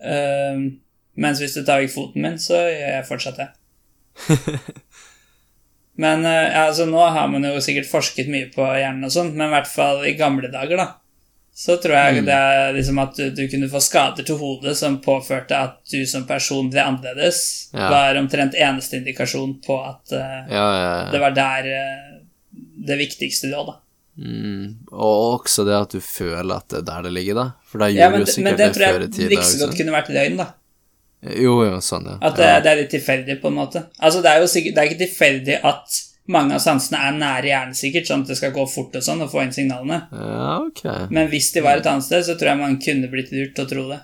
Speaker 1: Ehm, mens hvis du tar vekk foten min, så gjør jeg fortsatt det. men eh, altså, nå har man jo sikkert forsket mye på hjernen og sånn, men i hvert fall i gamle dager, da. Så tror
Speaker 2: Mm.
Speaker 1: jeg det er liksom at du, du kunne få skader til hodet som påførte at du som person ble annerledes,
Speaker 2: Ja.
Speaker 1: var omtrent eneste indikasjon på at eh,
Speaker 2: Ja, ja, ja.
Speaker 1: det var der eh, det viktigste lå, da.
Speaker 2: Mm. Og også det at du føler at det er der det ligger, da. For da gjorde
Speaker 1: Ja, men,
Speaker 2: du
Speaker 1: men
Speaker 2: sikkert
Speaker 1: det
Speaker 2: det,
Speaker 1: tror
Speaker 2: før i
Speaker 1: jeg
Speaker 2: tida.
Speaker 1: like så godt
Speaker 2: Liksom.
Speaker 1: kunne vært løgn, da.
Speaker 2: Jo, jo, sånn, ja.
Speaker 1: At det,
Speaker 2: ja.
Speaker 1: det er litt tilfeldig, på en måte. Altså, det er jo sikkert, det er ikke tilfeldig at mange av sansene er nære hjernen, sikkert, sånn at det skal gå fort og sånn og få inn signalene.
Speaker 2: ja, ok.
Speaker 1: Men hvis de var et annet sted, så tror jeg man kunne blitt lurt til å tro det.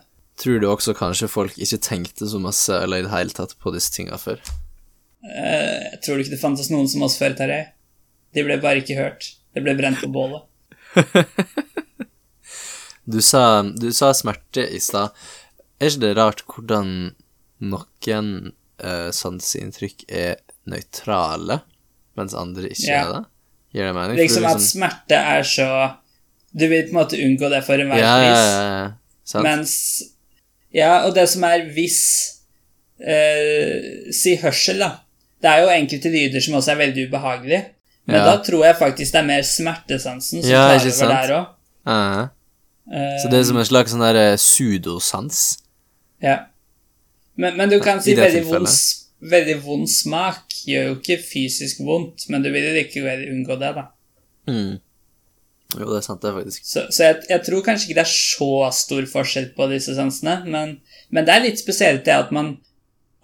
Speaker 2: Tror du også kanskje folk ikke tenkte så masse eller i det hele tatt på disse tinga før?
Speaker 1: Eh, Jeg tror ikke det fantes noen som oss før, Terje. De ble bare ikke hørt. Det ble brent på bålet.
Speaker 2: Du sa, du sa smerte i stad. Er ikke det rart hvordan noen eh, sanseinntrykk er nøytrale, mens andre ikke
Speaker 1: Ja.
Speaker 2: er det? Gir det sånn- mening? For
Speaker 1: Liksom at smerte er så Du vil på en måte unngå det for enhver
Speaker 2: ja, ja,
Speaker 1: pris.
Speaker 2: ja, ja. Sant?
Speaker 1: Mens Ja, og det som er hvis eh, Si hørsel, da. Det er jo enkelte lyder som også er veldig ubehagelige. Men
Speaker 2: Ja.
Speaker 1: da tror jeg faktisk det er mer smertesansen som
Speaker 2: Ja,
Speaker 1: tar
Speaker 2: ikke
Speaker 1: over
Speaker 2: sant?
Speaker 1: der Eh, òg.
Speaker 2: Ja, ja. Så det er som en slags sånn der eh, pseudosans?
Speaker 1: ja. men, men du kan si
Speaker 2: I det
Speaker 1: veldig vond,
Speaker 2: tilfellet.
Speaker 1: s- veldig vond smak gjør jo ikke fysisk vondt, men du vil jo likevel unngå det, da.
Speaker 2: Mm. Jo, det er sant, det, er faktisk.
Speaker 1: Så, så jeg, jeg tror kanskje ikke det er så stor forskjell på disse sansene, men, men det er litt spesielt det at man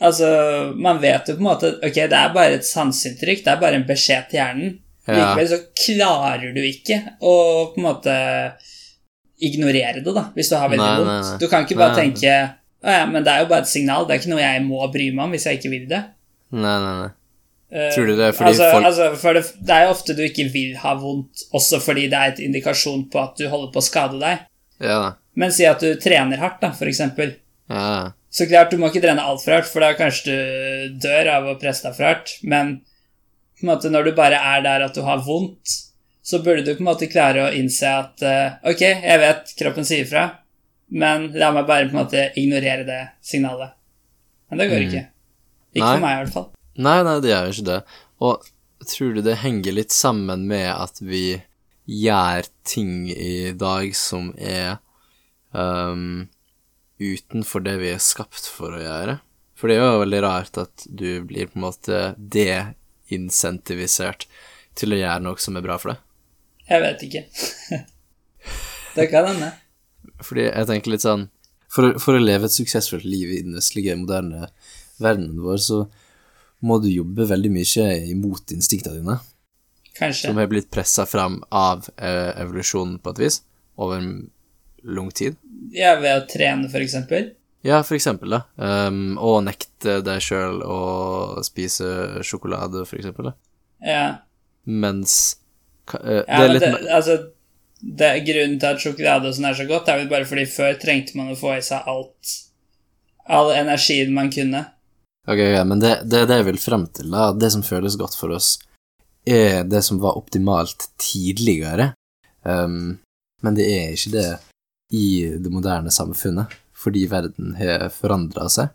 Speaker 1: Altså, man vet jo på en måte at, Ok, det er bare et sanseinntrykk, det er bare en beskjed til hjernen.
Speaker 2: Ja.
Speaker 1: Likevel så klarer du ikke å på en måte ignorere det, da, hvis du har veldig
Speaker 2: Nei, nei,
Speaker 1: vondt.
Speaker 2: nei.
Speaker 1: Du kan ikke bare
Speaker 2: Nei.
Speaker 1: tenke Å ja, men det er jo bare et signal, det er ikke noe jeg må bry meg om hvis jeg ikke vil det.
Speaker 2: Nei, nei, nei.
Speaker 1: Eh,
Speaker 2: Tror du det er fordi
Speaker 1: altså,
Speaker 2: folk-
Speaker 1: altså, for det, det er jo ofte du ikke vil ha vondt, også fordi det er et indikasjon på at du holder på å skade deg.
Speaker 2: Ja, da.
Speaker 1: Men si at du trener hardt, da, for eksempel.
Speaker 2: ja. ja.
Speaker 1: Så klart, du må ikke trene altfor hardt, for da kanskje du dør av å presse deg for hardt. Men på en måte, når du bare er der at du har vondt, så burde du på en måte klare å innse at eh, ok, jeg vet kroppen sier fra, men la meg bare på en måte ignorere det signalet. Men det går ikke. Ikke
Speaker 2: Mm. Nei.
Speaker 1: for meg, i hvert fall.
Speaker 2: Nei, nei, det gjør jo ikke det. Og tror du det henger litt sammen med at vi gjør ting i dag som er ehm, utenfor det vi er skapt for å gjøre? For det er jo veldig rart at du blir på en måte deinsentivisert til å gjøre noe som er bra for deg.
Speaker 1: Jeg vet ikke. det kan hende.
Speaker 2: Fordi jeg tenker litt sånn For, for å leve et suksessfullt liv i den vestlige, moderne verdenen vår, så må du jobbe veldig mye imot instinktene dine,
Speaker 1: Kanskje.
Speaker 2: som har blitt pressa fram av eh, evolusjonen på et vis, over en lang tid.
Speaker 1: Ja, ved å trene, for eksempel.
Speaker 2: Ja, for eksempel, da. Um, å nekte deg sjøl å spise sjokolade, for eksempel. Da.
Speaker 1: Ja.
Speaker 2: Mens ka- eh,
Speaker 1: Ja,
Speaker 2: Det er
Speaker 1: men
Speaker 2: litt
Speaker 1: det, altså, det, grunnen til at sjokolade og sånn er så godt, er vel bare fordi før trengte man å få i seg alt. All energien man kunne.
Speaker 2: Ok, ok, men det, det er det jeg vil frem til, da. Det som føles godt for oss, er det som var optimalt tidligere. Ehm, men det er ikke det i det moderne samfunnet. fordi verden har forandra seg.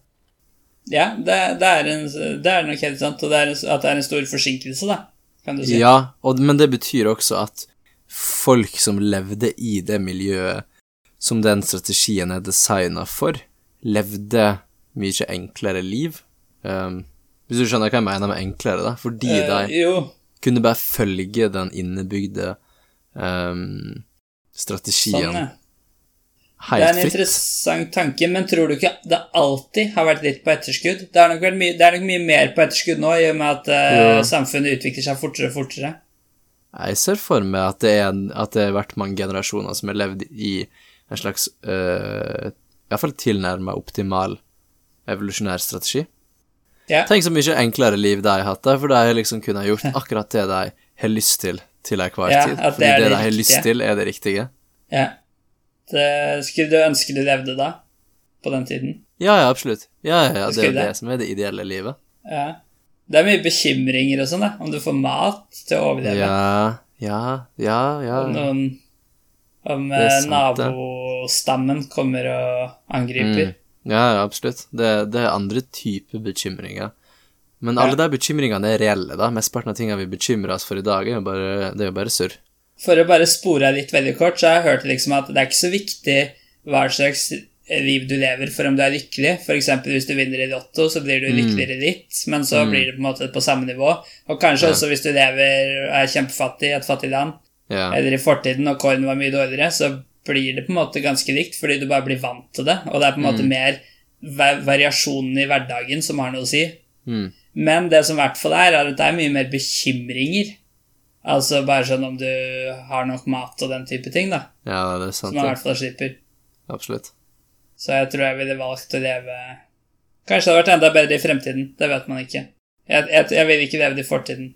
Speaker 1: Ja, det, det, er en, det er nok helt sant, og det er en, at det er en stor forsinkelse, da, kan du si.
Speaker 2: Ja, og, men det betyr også at folk som levde i det miljøet som den strategien er designa for, levde mye enklere liv. Um, hvis du skjønner hva jeg mener med enklere, da. Fordi
Speaker 1: Eh,
Speaker 2: de
Speaker 1: jo,
Speaker 2: kunne bare følge den innebygde um, strategien
Speaker 1: sånn, ja. Det er
Speaker 2: helt
Speaker 1: en
Speaker 2: fritt.
Speaker 1: interessant tanke, men tror du ikke det alltid har vært litt på etterskudd? Det er nok, vært mye, det er nok mye mer på etterskudd nå, i og med at eh,
Speaker 2: Ja.
Speaker 1: samfunnet utvikler seg fortere og fortere.
Speaker 2: Jeg ser for meg at det, er, en- at det har vært mange generasjoner som har levd i en slags øh, Iallfall tilnærma optimal evolusjonær strategi.
Speaker 1: Ja.
Speaker 2: Tenk så mye enklere liv de har hatt, da, for de har liksom kunnet ha gjort akkurat det de har lyst til til enhver
Speaker 1: Ja,
Speaker 2: tid.
Speaker 1: at det
Speaker 2: Fordi det,
Speaker 1: er det
Speaker 2: de har lyst
Speaker 1: riktige.
Speaker 2: til, er det riktige.
Speaker 1: Ja. Det, skulle du ønske du levde da? På den tiden?
Speaker 2: Ja, ja, absolutt. Ja, ja, ja, det er
Speaker 1: Skulle
Speaker 2: jo
Speaker 1: det.
Speaker 2: det som er det ideelle livet.
Speaker 1: Ja. Det er mye bekymringer og sånn, da. Om du får mat til å overleve.
Speaker 2: Ja, ja, ja, ja.
Speaker 1: Om noen Om
Speaker 2: er
Speaker 1: eh,
Speaker 2: sant, det.
Speaker 1: nabostammen kommer og angriper.
Speaker 2: Mm. Ja, ja, absolutt. Det, det er andre typer bekymringer. Men alle de bekymringene er reelle, da. Mesteparten av tingene vi bekymrer oss for i dag, er jo bare, det er jo bare surr.
Speaker 1: For å bare spore deg litt veldig kort, så har jeg hørt liksom at det er ikke så viktig hva slags liv du lever for om du er lykkelig. F.eks. hvis du vinner i Lotto, så blir du
Speaker 2: Mm.
Speaker 1: lykkeligere litt, men så blir det på en måte på samme nivå. Og kanskje også hvis du lever og er kjempefattig i et fattig land,
Speaker 2: Ja.
Speaker 1: eller i fortiden når kåren var mye dårligere, så blir det på en måte ganske likt, fordi du bare blir vant til det, og det er på en måte mer va- variasjonen i hverdagen som har noe å si.
Speaker 2: Mm.
Speaker 1: Men det som i hvert fall er, er at det er mye mer bekymringer. Altså bare sånn om du har nok mat og den type ting, da,
Speaker 2: ja, det er
Speaker 1: som man
Speaker 2: sant.
Speaker 1: i
Speaker 2: Det.
Speaker 1: hvert fall slipper.
Speaker 2: Absolutt.
Speaker 1: Så jeg tror jeg ville valgt å leve Kanskje det hadde vært enda bedre i fremtiden, det vet man ikke. Jeg, jeg, jeg vil ikke leve det i fortiden.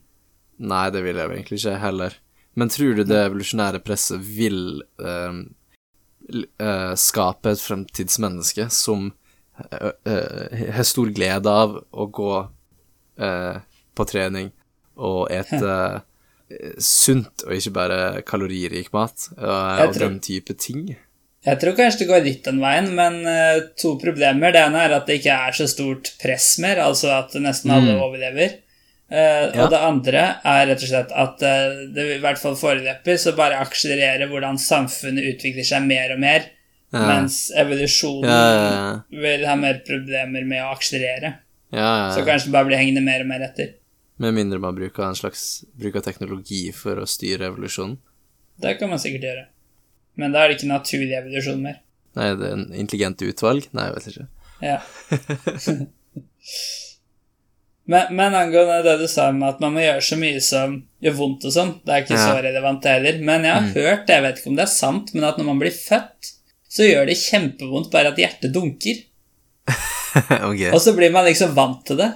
Speaker 2: Nei, det vil jeg jo egentlig ikke heller. Men tror du det evolusjonære presset vil ehm, l- eh, skape et fremtidsmenneske som eh, eh, har stor glede av å gå eh, på trening og ete eh, sunt og ikke bare kaloririk mat eh, og
Speaker 1: tror-
Speaker 2: den type ting?
Speaker 1: Jeg tror kanskje det går litt den veien, men eh, to problemer. Det ene er at det ikke er så stort press mer, altså at nesten alle overlever. Eh,
Speaker 2: Mm. Ja.
Speaker 1: Og det andre er rett og slett at eh, det i hvert fall foreløpig så bare akselererer hvordan samfunnet utvikler seg mer og mer,
Speaker 2: Ja.
Speaker 1: mens evolusjonen
Speaker 2: Ja, ja, ja.
Speaker 1: vil ha mer problemer med å akselerere.
Speaker 2: ja,
Speaker 1: Så
Speaker 2: ja, ja.
Speaker 1: kanskje det bare blir hengende mer og mer etter.
Speaker 2: Med mindre man bruker en slags bruker teknologi for å styre evolusjonen.
Speaker 1: Det kan man sikkert gjøre. Men da er det ikke naturlig evolusjon mer.
Speaker 2: Nei, det er en intelligent utvalg? Nei, jeg vet ikke.
Speaker 1: Ja. men, men angående det du sa om at man må gjøre så mye som gjør vondt og sånn, det er ikke
Speaker 2: Ja. Mm.
Speaker 1: så relevant heller. Men jeg har hørt, jeg vet ikke om det er sant, men at når man blir født, så gjør det kjempevondt bare at hjertet dunker.
Speaker 2: Ok.
Speaker 1: Og så blir man liksom vant til det.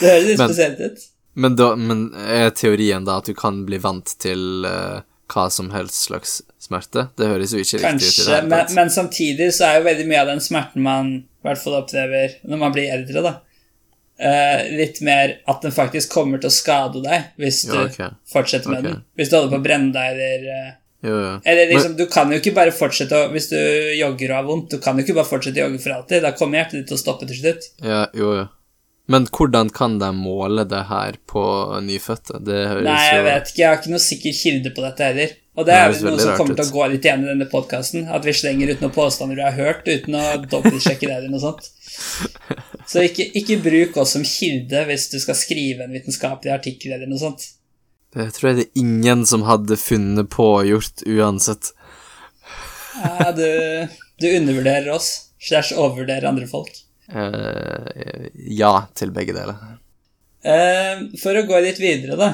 Speaker 1: Det høres litt
Speaker 2: Men-
Speaker 1: spesielt ut.
Speaker 2: Men, da, men er teorien da at du kan bli vant til eh, hva som helst slags smerte? Det høres jo ikke riktig ut i det
Speaker 1: Kanskje,
Speaker 2: hele
Speaker 1: men,
Speaker 2: tatt.
Speaker 1: men samtidig så er jo veldig mye av den smerten man i hvert fall opplever når man blir eldre, da, eh, litt mer at den faktisk kommer til å skade deg hvis du
Speaker 2: Ja, ok.
Speaker 1: fortsetter med
Speaker 2: Ok.
Speaker 1: den. Hvis du holder på å brenne deg eller eh,
Speaker 2: Jo, jo.
Speaker 1: Eller liksom, du kan jo ikke bare fortsette å Hvis du jogger og har vondt, du kan jo ikke bare fortsette å jogge for alltid. Da kommer hjertet ditt til å stoppe til slutt.
Speaker 2: Men, ja, jo, jo. Men hvordan kan de måle det her på nyfødte? Det høres
Speaker 1: Nei, jeg
Speaker 2: jo
Speaker 1: vet ikke. Jeg har ikke noe sikker kilde på dette heller. Og det
Speaker 2: Nei,
Speaker 1: er
Speaker 2: det
Speaker 1: vel
Speaker 2: høres
Speaker 1: noe
Speaker 2: veldig
Speaker 1: som
Speaker 2: rart
Speaker 1: kommer
Speaker 2: ut.
Speaker 1: til å gå litt igjen i denne podkasten. At vi slenger ut noen påstander du har hørt, uten å dobbeltsjekke det eller noe sånt. Så ikke, ikke bruk oss som kilde hvis du skal skrive en vitenskapelig artikkel eller noe sånt.
Speaker 2: Det tror jeg det er ingen som hadde funnet på og gjort uansett.
Speaker 1: Ja, du, du undervurderer oss. Slash overvurderer andre folk.
Speaker 2: Eh, ja til begge deler.
Speaker 1: Eh, for å gå litt videre, da.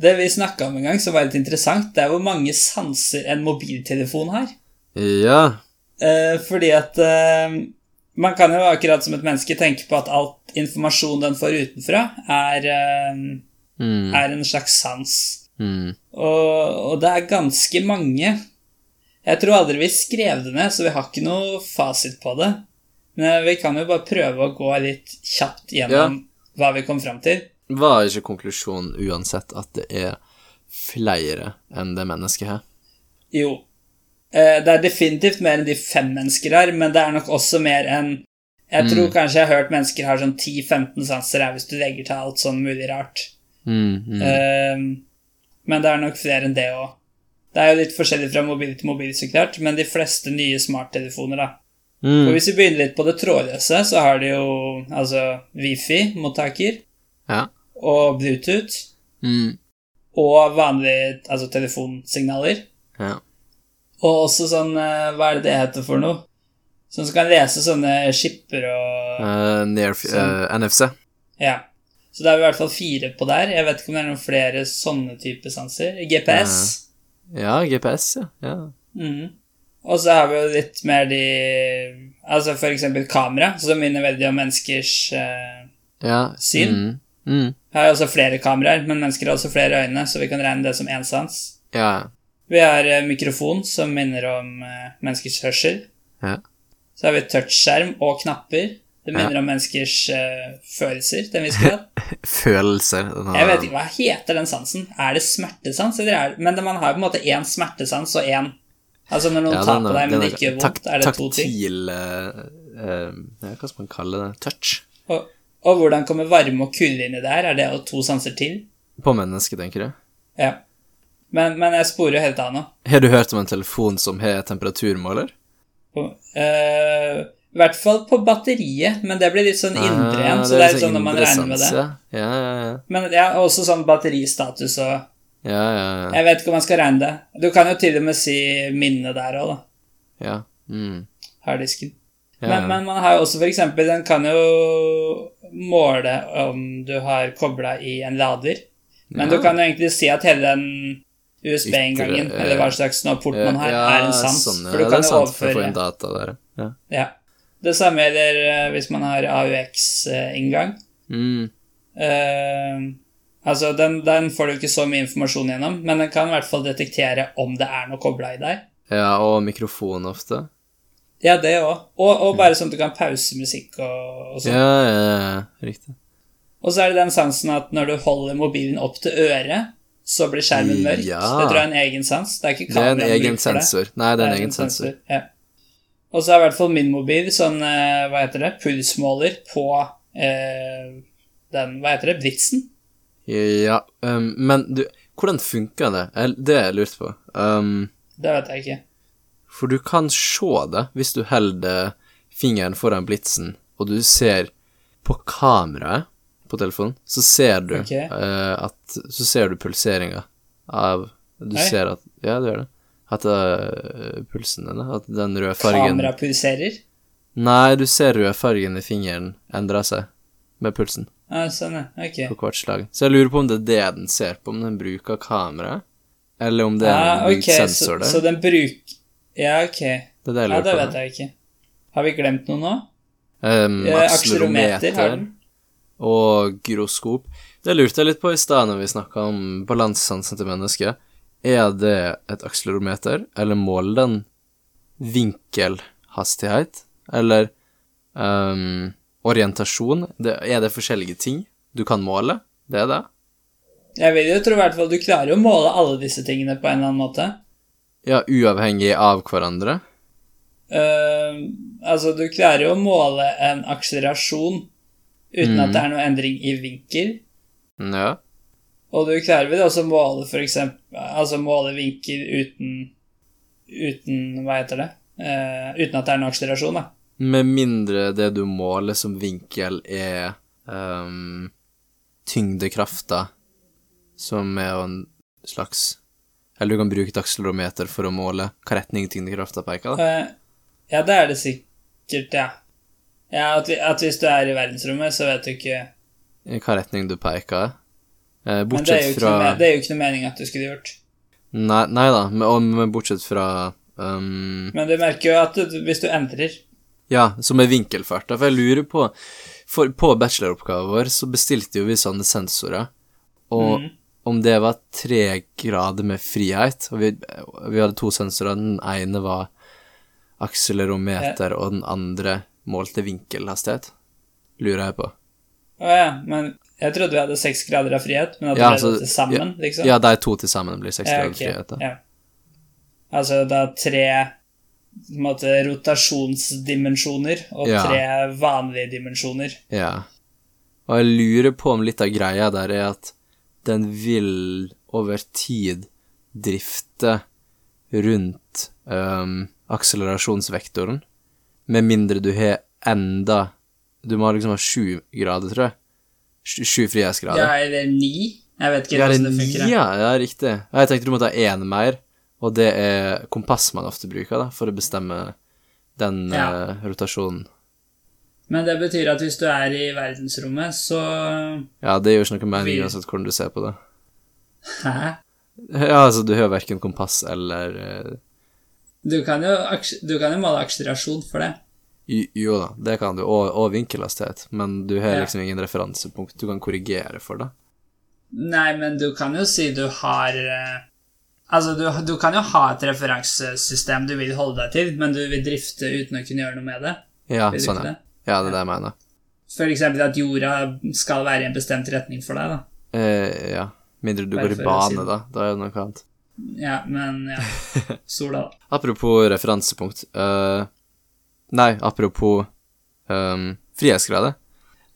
Speaker 1: Det vi snakka om en gang som var litt interessant, det er hvor mange sanser en mobiltelefon har.
Speaker 2: Ja.
Speaker 1: Eh, fordi at eh, man kan jo akkurat som et menneske tenke på at alt informasjon den får utenfra, er, eh,
Speaker 2: Mm,
Speaker 1: er en slags sans.
Speaker 2: mm.
Speaker 1: Og, og det er ganske mange. Jeg tror aldri vi skrev det ned, så vi har ikke noe fasit på det. Men eh, vi kan jo bare prøve å gå litt kjapt gjennom hva vi kom fram til.
Speaker 2: Var ikke konklusjonen uansett at det er flere enn det mennesket her?
Speaker 1: Jo, Eh, Det er definitivt mer enn de fem mennesker her, men det er nok også mer enn Jeg tror
Speaker 2: Mm.
Speaker 1: kanskje jeg har hørt mennesker har sånn 10-15 sanser her hvis du legger til alt sånn mulig rart.
Speaker 2: Mm, mm.
Speaker 1: Eh, men det er nok flere enn det òg. Det er jo litt forskjellig fra mobil til mobil, så klart, men de fleste nye smarttelefoner, da. Og
Speaker 2: Mm.
Speaker 1: hvis vi begynner litt på det trådløse, så har de jo altså wifi-mottaker
Speaker 2: Ja.
Speaker 1: og Bluetooth
Speaker 2: Mm.
Speaker 1: og vanlige altså telefonsignaler.
Speaker 2: ja.
Speaker 1: Og også sånn eh, Hva er det det heter for noe? Sånn som kan lese sånne skipper og
Speaker 2: Eh, near,
Speaker 1: Sånn.
Speaker 2: eh, NFC.
Speaker 1: Ja. Så da er vi i hvert fall fire på der. Jeg vet ikke om det er noen flere sånne type sanser. GPS.
Speaker 2: Ja, GPS, ja. ja.
Speaker 1: Mhm. Og så har vi jo litt mer de Altså for eksempel kamera, som minner veldig om menneskers eh,
Speaker 2: ja.
Speaker 1: Syn.
Speaker 2: Mm. Mm.
Speaker 1: Her er også flere kameraer, men mennesker har også flere øyne, så vi kan regne det som én sans.
Speaker 2: Ja.
Speaker 1: Vi har eh, mikrofon, som minner om eh, menneskers hørsel.
Speaker 2: Ja.
Speaker 1: Så har vi touchskjerm og knapper. Det minner om menneskers eh, følelser. til en viss grad.
Speaker 2: Følelser. den har-
Speaker 1: Jeg vet ikke, Hva heter den sansen? Er det smertesans? Eller er det, men man har jo på en måte én smertesans og én Altså når noen
Speaker 2: Ja,
Speaker 1: tar
Speaker 2: den
Speaker 1: på
Speaker 2: er-
Speaker 1: deg, men
Speaker 2: den
Speaker 1: det ikke gjør vondt,
Speaker 2: takt-
Speaker 1: er det to ting?
Speaker 2: Taktil eh, eh, ja, Hva skal man kalle det? Touch?
Speaker 1: Og, og hvordan kommer varme og kulde inn i det her? Er det jo to sanser til?
Speaker 2: På mennesket, tenker du?
Speaker 1: Ja. Men, men jeg sporer jo helt av nå.
Speaker 2: Har du hørt om en telefon som har temperaturmåler?
Speaker 1: På- eh, I hvert fall på batteriet, men det blir litt
Speaker 2: Ah,
Speaker 1: sånn indre igjen. Så det er sånn når man regner med det.
Speaker 2: Ja, ja, ja.
Speaker 1: Men jeg har også sånn batteristatus og
Speaker 2: ja, ja, ja.
Speaker 1: Jeg vet ikke om man skal regne det. Du kan jo til og med si minne der òg, da.
Speaker 2: ja. Mm.
Speaker 1: Harddisken.
Speaker 2: Ja,
Speaker 1: Men,
Speaker 2: ja.
Speaker 1: men man har jo også for eksempel Den kan jo måle om du har kobla i en lader. Men
Speaker 2: Ja.
Speaker 1: du kan jo egentlig si at hele den USB-inngangen,
Speaker 2: Ytre, eh,
Speaker 1: eller hva slags nå port man har, er en sans.
Speaker 2: sånn, ja,
Speaker 1: for du
Speaker 2: det
Speaker 1: kan
Speaker 2: er
Speaker 1: jo
Speaker 2: sant, for å få
Speaker 1: overføre
Speaker 2: inn data der. Ja.
Speaker 1: ja. Det samme gjelder eh, hvis man har AUX-inngang.
Speaker 2: Mm.
Speaker 1: Eh, altså, den, den får du ikke så mye informasjon gjennom, men den kan i hvert fall detektere om det er noe kobla i der.
Speaker 2: ja, og mikrofon ofte.
Speaker 1: Ja, det òg. Og, og bare sånn at du kan pause musikk og, og
Speaker 2: Ja,
Speaker 1: sånn.
Speaker 2: ja, ja, ja. riktig.
Speaker 1: Og så er det den sansen at når du holder mobilen opp til øret, så blir skjermen mørk.
Speaker 2: Ja.
Speaker 1: Det tror jeg er en egen sans. Det er ikke
Speaker 2: Det er en
Speaker 1: kameraet
Speaker 2: egen
Speaker 1: brukt for det.
Speaker 2: sensor. Nei, det er en egen sensor.
Speaker 1: Ja. Og så er i hvert fall min mobil sånn, eh, hva heter det, pulsmåler på eh, den, hva heter det, Blitzen?
Speaker 2: Ja, um, men du, hvordan funker det? Jeg- Det har jeg lurt på. Um,
Speaker 1: Det vet jeg ikke.
Speaker 2: for du kan se det hvis du holder fingeren foran blitsen, og du ser på kameraet på telefonen, så ser du
Speaker 1: Ok.
Speaker 2: eh, at Så ser du pulseringa av Du
Speaker 1: Oi.
Speaker 2: ser at Ja, du gjør det. At eh, pulsen din, at den røde fargen
Speaker 1: Kamera pulserer.
Speaker 2: Nei, du ser rødfargen i fingeren endre seg med pulsen
Speaker 1: Ja, sånn, ja. Ok.
Speaker 2: på hvert slag. Så jeg lurer på om det er det den ser på, om den bruker kamera, eller om det er en
Speaker 1: Ja, ok, så,
Speaker 2: sensor der.
Speaker 1: så den bruk... Ja, ok.
Speaker 2: det er det jeg
Speaker 1: Ja,
Speaker 2: lurer
Speaker 1: det
Speaker 2: på.
Speaker 1: vet jeg ikke. Har vi glemt noe nå?
Speaker 2: Um,
Speaker 1: Eh, Akselerometer har
Speaker 2: akselerometer
Speaker 1: den.
Speaker 2: og gyroskop. Det lurte jeg litt på i stad når vi snakka om balansesansen til mennesket. Er det et akselerometer, eller måler den vinkelhastighet, eller um, orientasjon? Det, er det forskjellige ting du kan måle? Det er det?
Speaker 1: Jeg vil jo tro i hvert fall du klarer å måle alle disse tingene på en eller annen måte.
Speaker 2: Ja, uavhengig av hverandre?
Speaker 1: Eh, altså, du klarer jo å måle en akselerasjon uten
Speaker 2: Mhm.
Speaker 1: at det er noe endring i vinkel.
Speaker 2: Ja.
Speaker 1: Og du klarer vel også å måle for eksempel Altså måle vinkel uten Uten Hva heter det? Eh, uten at det er noe akselerasjon, da.
Speaker 2: Med mindre det du måler som vinkel er ehm, tyngdekrafta, som er jo en slags Eller du kan bruke et akselerometer for å måle hva retning tyngdekrafta peker, da.
Speaker 1: Eh, ja, det er det sikkert, ja. ja at, vi, at hvis du er i verdensrommet, så vet du ikke
Speaker 2: I hva retning du peker. Eh,
Speaker 1: Men det er, jo
Speaker 2: bortsett
Speaker 1: ikke noe,
Speaker 2: fra
Speaker 1: me- det er jo ikke noe mening at du skulle gjort.
Speaker 2: Nei, nei da, men, og, men bortsett fra ehm,
Speaker 1: Men du merker jo at du, hvis du endrer
Speaker 2: Ja, som er vinkelfart. da, For jeg lurer på For på bacheloroppgaven vår så bestilte jo vi sånne sensorer. Og om det var tre grader med frihet Og vi, vi hadde to sensorer. Den ene var akselerometer, og den andre målte vinkelhastighet. Lurer jeg på.
Speaker 1: Å ja, men jeg trodde vi hadde seks grader av frihet, men at
Speaker 2: Ja,
Speaker 1: det ble
Speaker 2: så-
Speaker 1: til sammen, liksom?
Speaker 2: Ja, de to til sammen blir seks
Speaker 1: Ja,
Speaker 2: grader
Speaker 1: ok,
Speaker 2: frihet. da.
Speaker 1: ja. Altså det er tre på en måte, rotasjonsdimensjoner og
Speaker 2: Ja.
Speaker 1: tre vanlige dimensjoner.
Speaker 2: Ja. Og jeg lurer på om litt av greia der er at den vil over tid drifte rundt ehm, akselerasjonsvektoren, med mindre du har enda Du må liksom ha sju grader, tror jeg. Sju- Sju frihetsgrader.
Speaker 1: Ja, eller ni? Jeg vet ikke
Speaker 2: Ja,
Speaker 1: hvordan
Speaker 2: det
Speaker 1: det funker.
Speaker 2: er
Speaker 1: jeg.
Speaker 2: ja, ja, riktig. Ja, Jeg tenkte du måtte ha én mer, og det er kompass man ofte bruker da, for å bestemme den
Speaker 1: Ja.
Speaker 2: eh, rotasjonen.
Speaker 1: Men det betyr at hvis du er i verdensrommet, så
Speaker 2: Ja, det gjør ikke noe mening
Speaker 1: Vi-
Speaker 2: uansett hvordan du ser på det.
Speaker 1: Hæ?
Speaker 2: Ja, altså, du har verken kompass eller eh,
Speaker 1: Du kan jo, aks- du kan jo måle akselerasjon for det.
Speaker 2: jo, jo da, det kan du, og, og vinkelhastighet, men du har
Speaker 1: Ja.
Speaker 2: liksom ingen referansepunkt du kan korrigere for det.
Speaker 1: Nei, men du kan jo si du har eh, Altså, du, du kan jo ha et referansesystem du vil holde deg til, men du vil drifte uten å kunne gjøre noe med det.
Speaker 2: Ja,
Speaker 1: Vil du
Speaker 2: sånn,
Speaker 1: ikke
Speaker 2: ja.
Speaker 1: det?
Speaker 2: Ja, det er det jeg mener.
Speaker 1: For eksempel at jorda skal være i en bestemt retning for deg, da.
Speaker 2: Eh, ja. Mindre du
Speaker 1: Bare
Speaker 2: går i
Speaker 1: for å si
Speaker 2: bane,
Speaker 1: det.
Speaker 2: da. Da er det noe annet.
Speaker 1: Ja, men ja. Sola, da.
Speaker 2: Apropos referansepunkt eh, Nei, apropos um, frihetsgrader.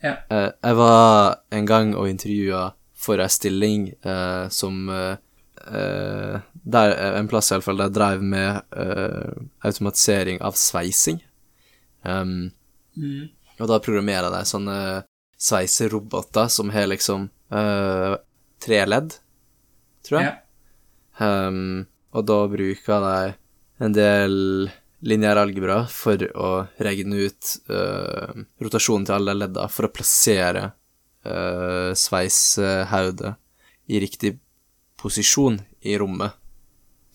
Speaker 1: Ja.
Speaker 2: Eh, jeg var en gang og intervjua for ei stilling eh, som eh, eh, der, En plass i alle fall der jeg drev med eh, automatisering av sveising. Um,
Speaker 1: Mm.
Speaker 2: og da programmerer de sånne sveiseroboter som har liksom eh, tre ledd, tror jeg.
Speaker 1: Ja.
Speaker 2: Ehm, og da bruker de en del lineær algebra for å regne ut eh, rotasjonen til alle ledda for å plassere uh, sveishaudet i riktig posisjon i rommet,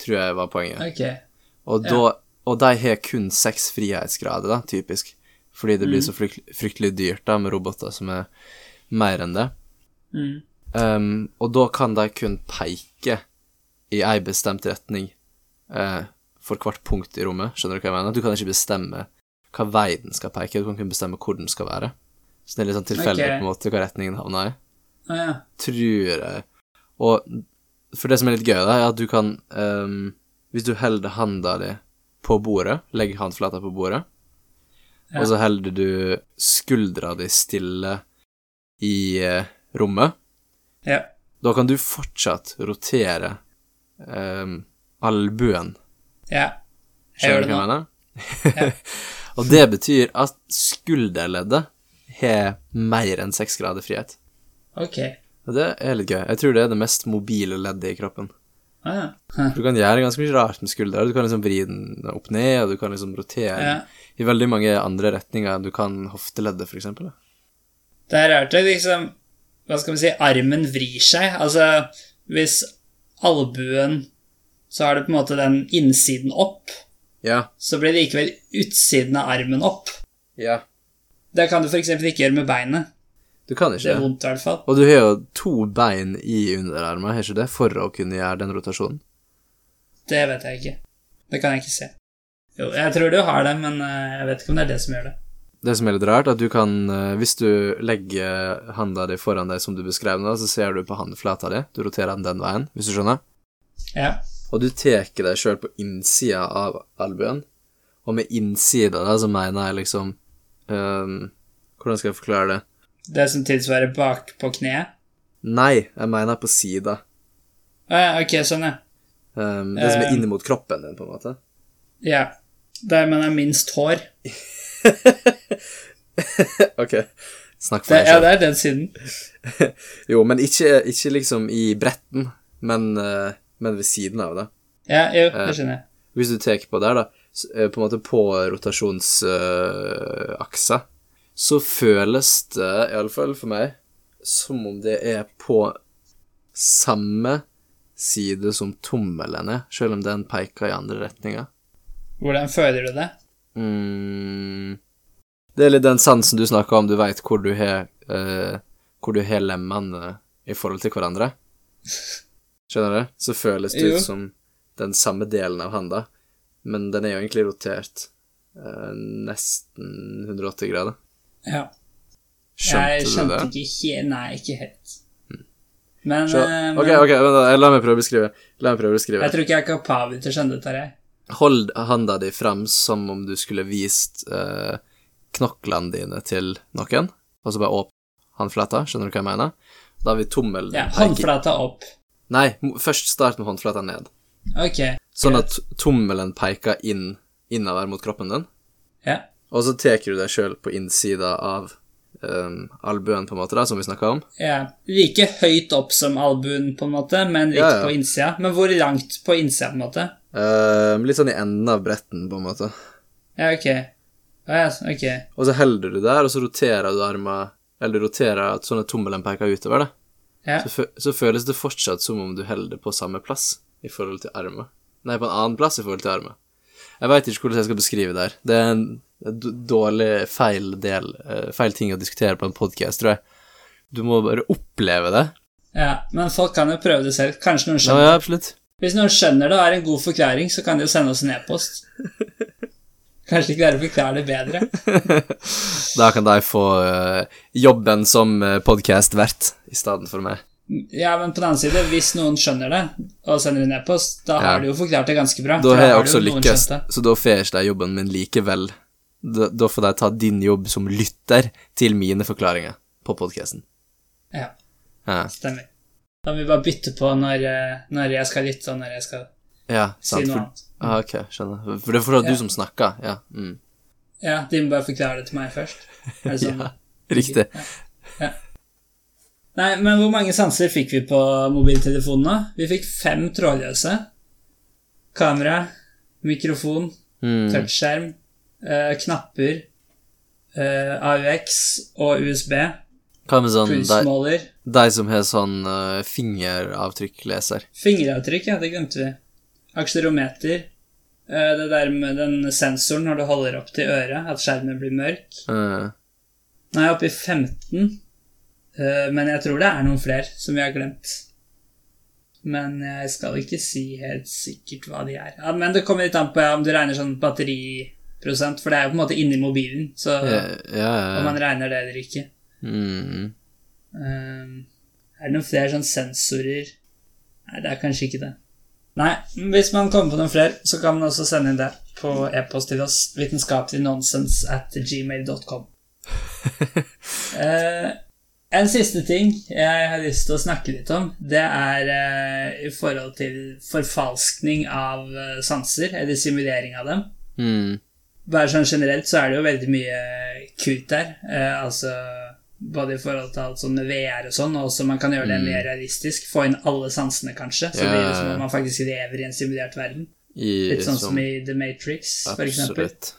Speaker 2: tror jeg var poenget.
Speaker 1: Ok.
Speaker 2: Og,
Speaker 1: Ja.
Speaker 2: da, og de har kun seks frihetsgrader, da, typisk. Fordi det blir så frykt, fryktelig dyrt da, med roboter som er mer enn det.
Speaker 1: Mm.
Speaker 2: Ehm, og da kan de kun peke i ei bestemt retning eh, for hvert punkt i rommet. Skjønner du hva jeg mener? Du kan ikke bestemme hva vei den skal peke, du kan kun bestemme hvor den skal være. Så det er litt sånn tilfeldig
Speaker 1: Ok.
Speaker 2: på en måte hva retningen havner i.
Speaker 1: Å Ah, ja.
Speaker 2: Tror jeg. Og for det som er litt gøy, da, er at du kan ehm, Hvis du holder handa di på bordet, legger håndflata på bordet,
Speaker 1: Ja.
Speaker 2: og så holder du skuldra di stille i eh, rommet
Speaker 1: ja.
Speaker 2: da kan du fortsatt rotere ehm, albuen.
Speaker 1: Ja. Jeg
Speaker 2: Skjønner
Speaker 1: gjør
Speaker 2: du
Speaker 1: det
Speaker 2: hva
Speaker 1: nå.
Speaker 2: jeg mener? og det betyr at skulderleddet har mer enn seks grader frihet.
Speaker 1: Ok.
Speaker 2: Og det er litt gøy. Jeg tror det er det mest mobile leddet i kroppen.
Speaker 1: Å Ah, ja. Hæ.
Speaker 2: Du kan gjøre ganske mye rart med skuldra. Du kan liksom vri den opp ned, og du kan liksom rotere
Speaker 1: ja.
Speaker 2: i veldig mange andre retninger enn du kan hofteleddet, for eksempel. da.
Speaker 1: Det er rart det liksom Hva skal vi si Armen vrir seg. Altså, hvis albuen Så har du på en måte den innsiden opp,
Speaker 2: Ja.
Speaker 1: så blir likevel utsiden av armen opp.
Speaker 2: Ja.
Speaker 1: Det kan du f.eks. ikke gjøre med beinet.
Speaker 2: Du kan
Speaker 1: Det
Speaker 2: ikke
Speaker 1: er
Speaker 2: det.
Speaker 1: vondt, i hvert fall.
Speaker 2: Og du har jo to bein i underarmen, har ikke det, for å kunne gjøre den rotasjonen?
Speaker 1: Det vet jeg ikke. Det kan jeg ikke se. Jo, jeg tror du har det, men eh, jeg vet ikke om det er det som gjør det.
Speaker 2: Det som er litt rart, er at du kan eh, Hvis du legger handa di foran deg som du beskrev nå, så ser du på handflata di. Du roterer den den veien, hvis du skjønner.
Speaker 1: Ja.
Speaker 2: Og du tar deg sjøl på innsida av albuen. Og med innsida da, så mener jeg liksom ehm, Hvordan skal jeg forklare det?
Speaker 1: Det som tilsvarer bak på kneet.
Speaker 2: Nei, jeg mener på sida.
Speaker 1: Å ja, ok, sånn, ja.
Speaker 2: Ehm, det som er
Speaker 1: Ehm.
Speaker 2: inni mot kroppen din, på en måte.
Speaker 1: Ja. Der man har minst hår.
Speaker 2: ok, snakk for
Speaker 1: Det,
Speaker 2: deg
Speaker 1: ja,
Speaker 2: sjøl.
Speaker 1: det er den siden.
Speaker 2: Jo, men ikke, ikke liksom i bretten, men, eh, men ved siden av det.
Speaker 1: Ja, jo, det skjønner jeg.
Speaker 2: Hvis du tar på der, da, s- eh, på en måte på rotasjonsaksa, så føles det, iallfall for meg, som om det er på samme side som tommelen er, selv om den peker i andre retninger.
Speaker 1: Hvordan føler du det?
Speaker 2: Mm. Det er litt den sansen du snakker om, du veit hvor du har eh, Hvor du har lemmene i forhold til hverandre. Skjønner du? Så føles det
Speaker 1: Jo.
Speaker 2: ut som den samme delen av handa, men den er jo egentlig rotert eh, nesten 180 grader.
Speaker 1: Ja.
Speaker 2: Skjønte
Speaker 1: jeg
Speaker 2: du
Speaker 1: skjønte
Speaker 2: det?
Speaker 1: ikke helt Nei, ikke helt. Men,
Speaker 2: Sjå.
Speaker 1: eh,
Speaker 2: Ok,
Speaker 1: men
Speaker 2: ok, vent da, la meg prøve å beskrive. La meg prøve å beskrive.
Speaker 1: jeg tror ikke jeg er kapabel til å skjønne dette. her, jeg.
Speaker 2: Hold handa di frem som om du skulle vist eh, knoklene dine til noen, og så bare åpne håndflata, skjønner du hva jeg mener? Da har vi tommelen
Speaker 1: Ja,
Speaker 2: peker-
Speaker 1: Håndflata opp.
Speaker 2: Nei, mo- først start med håndflata ned.
Speaker 1: Ok.
Speaker 2: Sånn at tommelen peker inn, innover mot kroppen din,
Speaker 1: Ja.
Speaker 2: og så tar du deg sjøl på innsida av um, albuen, på en måte, da, som vi snakka om.
Speaker 1: ja. Like høyt opp som albuen, på en måte, men litt
Speaker 2: Ja, ja.
Speaker 1: på innsida. Men hvor langt på innsida, på en måte?
Speaker 2: Eh, litt sånn i enden av bretten, på en måte.
Speaker 1: Ja, ok. Å ja, ok.
Speaker 2: Og så holder du der, og så roterer du armen, eller du roterer at sånn at tommelen peker utover, da.
Speaker 1: Ja.
Speaker 2: så, fø- så føles det fortsatt som om du holder det på samme plass i forhold til armen. Nei, på en annen plass i forhold til armen. Jeg veit ikke hvordan jeg skal beskrive det her. Det er en d- dårlig feil del eh, Feil ting å diskutere på en podkast, tror jeg. Du må bare oppleve det.
Speaker 1: ja. Men folk kan jo prøve det selv. Kanskje noen
Speaker 2: Ja,
Speaker 1: skjønner
Speaker 2: ja absolutt.
Speaker 1: Hvis noen skjønner det og har en god forklaring, så kan de jo sende oss en e-post. Kanskje de klarer å forklare det bedre.
Speaker 2: Da kan de få eh, jobben som uh, podkastvert i stedet for meg.
Speaker 1: Ja, men på den annen side, hvis noen skjønner det og sender en e-post, da
Speaker 2: Ja.
Speaker 1: har de jo forklart det ganske bra.
Speaker 2: Da
Speaker 1: for
Speaker 2: har jeg
Speaker 1: det jo
Speaker 2: også
Speaker 1: noen
Speaker 2: lykkes,
Speaker 1: skjønt det.
Speaker 2: så da får ikke de jobben min likevel. Da, da får de ta din jobb som lytter til mine forklaringer på podkasten.
Speaker 1: Ja,
Speaker 2: Ja.
Speaker 1: stemmer. Da må vi bare bytte på når, eh, når jeg skal lytte, og når jeg skal
Speaker 2: Ja,
Speaker 1: si
Speaker 2: sant.
Speaker 1: noe
Speaker 2: For,
Speaker 1: annet.
Speaker 2: ah, ok, skjønner. For det er fordi
Speaker 1: Ja.
Speaker 2: du som snakker, ja. Mm.
Speaker 1: Ja, de må bare forklare det til meg først. Er det sånn?
Speaker 2: ja. Riktig.
Speaker 1: Nei, men hvor mange sanser fikk vi på mobiltelefonen da? Vi fikk fem trådløse. Kamera, mikrofon,
Speaker 2: Mm.
Speaker 1: touchskjerm, eh, knapper, eh, AUX og USB,
Speaker 2: Hva med sånn de,
Speaker 1: pulsmåler,
Speaker 2: de som har sånn eh, fingeravtrykkleser?
Speaker 1: fingeravtrykk, ja, det glemte vi, akselerometer, eh, det der med den sensoren når du holder opp til øret, at skjermen blir mørk.
Speaker 2: Eh,
Speaker 1: Nå er jeg oppe i 15, eh, men jeg tror det er noen flere som vi har glemt. Men jeg skal ikke si helt sikkert hva de er. Ja, men det kommer litt an på ja, om du regner sånn batteriprosent, for det er jo på en måte inni mobilen, så
Speaker 2: eh, ja,
Speaker 1: om
Speaker 2: ja, ja.
Speaker 1: man regner det eller ikke.
Speaker 2: Mm.
Speaker 1: Ehm, er det noen flere sånn sensorer? Nei, det er kanskje ikke det. Nei, men hvis man kommer på noen flere, så kan man også sende inn det på e-post til oss. vitenskapeliggnonsens at gmail.com. Eh, en siste ting jeg har lyst til å snakke litt om, det er eh, i forhold til forfalskning av eh, sanser, eller simulering av dem.
Speaker 2: Mm.
Speaker 1: Bare sånn generelt så er det jo veldig mye kult der. Eh, altså både i forhold til alt sånn med VR og sånn, og også man kan gjøre det mer realistisk. Få inn alle sansene, kanskje. Så
Speaker 2: Mm. Ja,
Speaker 1: blir
Speaker 2: ja,
Speaker 1: det som
Speaker 2: ja.
Speaker 1: om man faktisk lever i en simulert verden.
Speaker 2: I,
Speaker 1: Litt sånn som
Speaker 2: som-
Speaker 1: i The Matrix, for eksempel.
Speaker 2: Absolutt.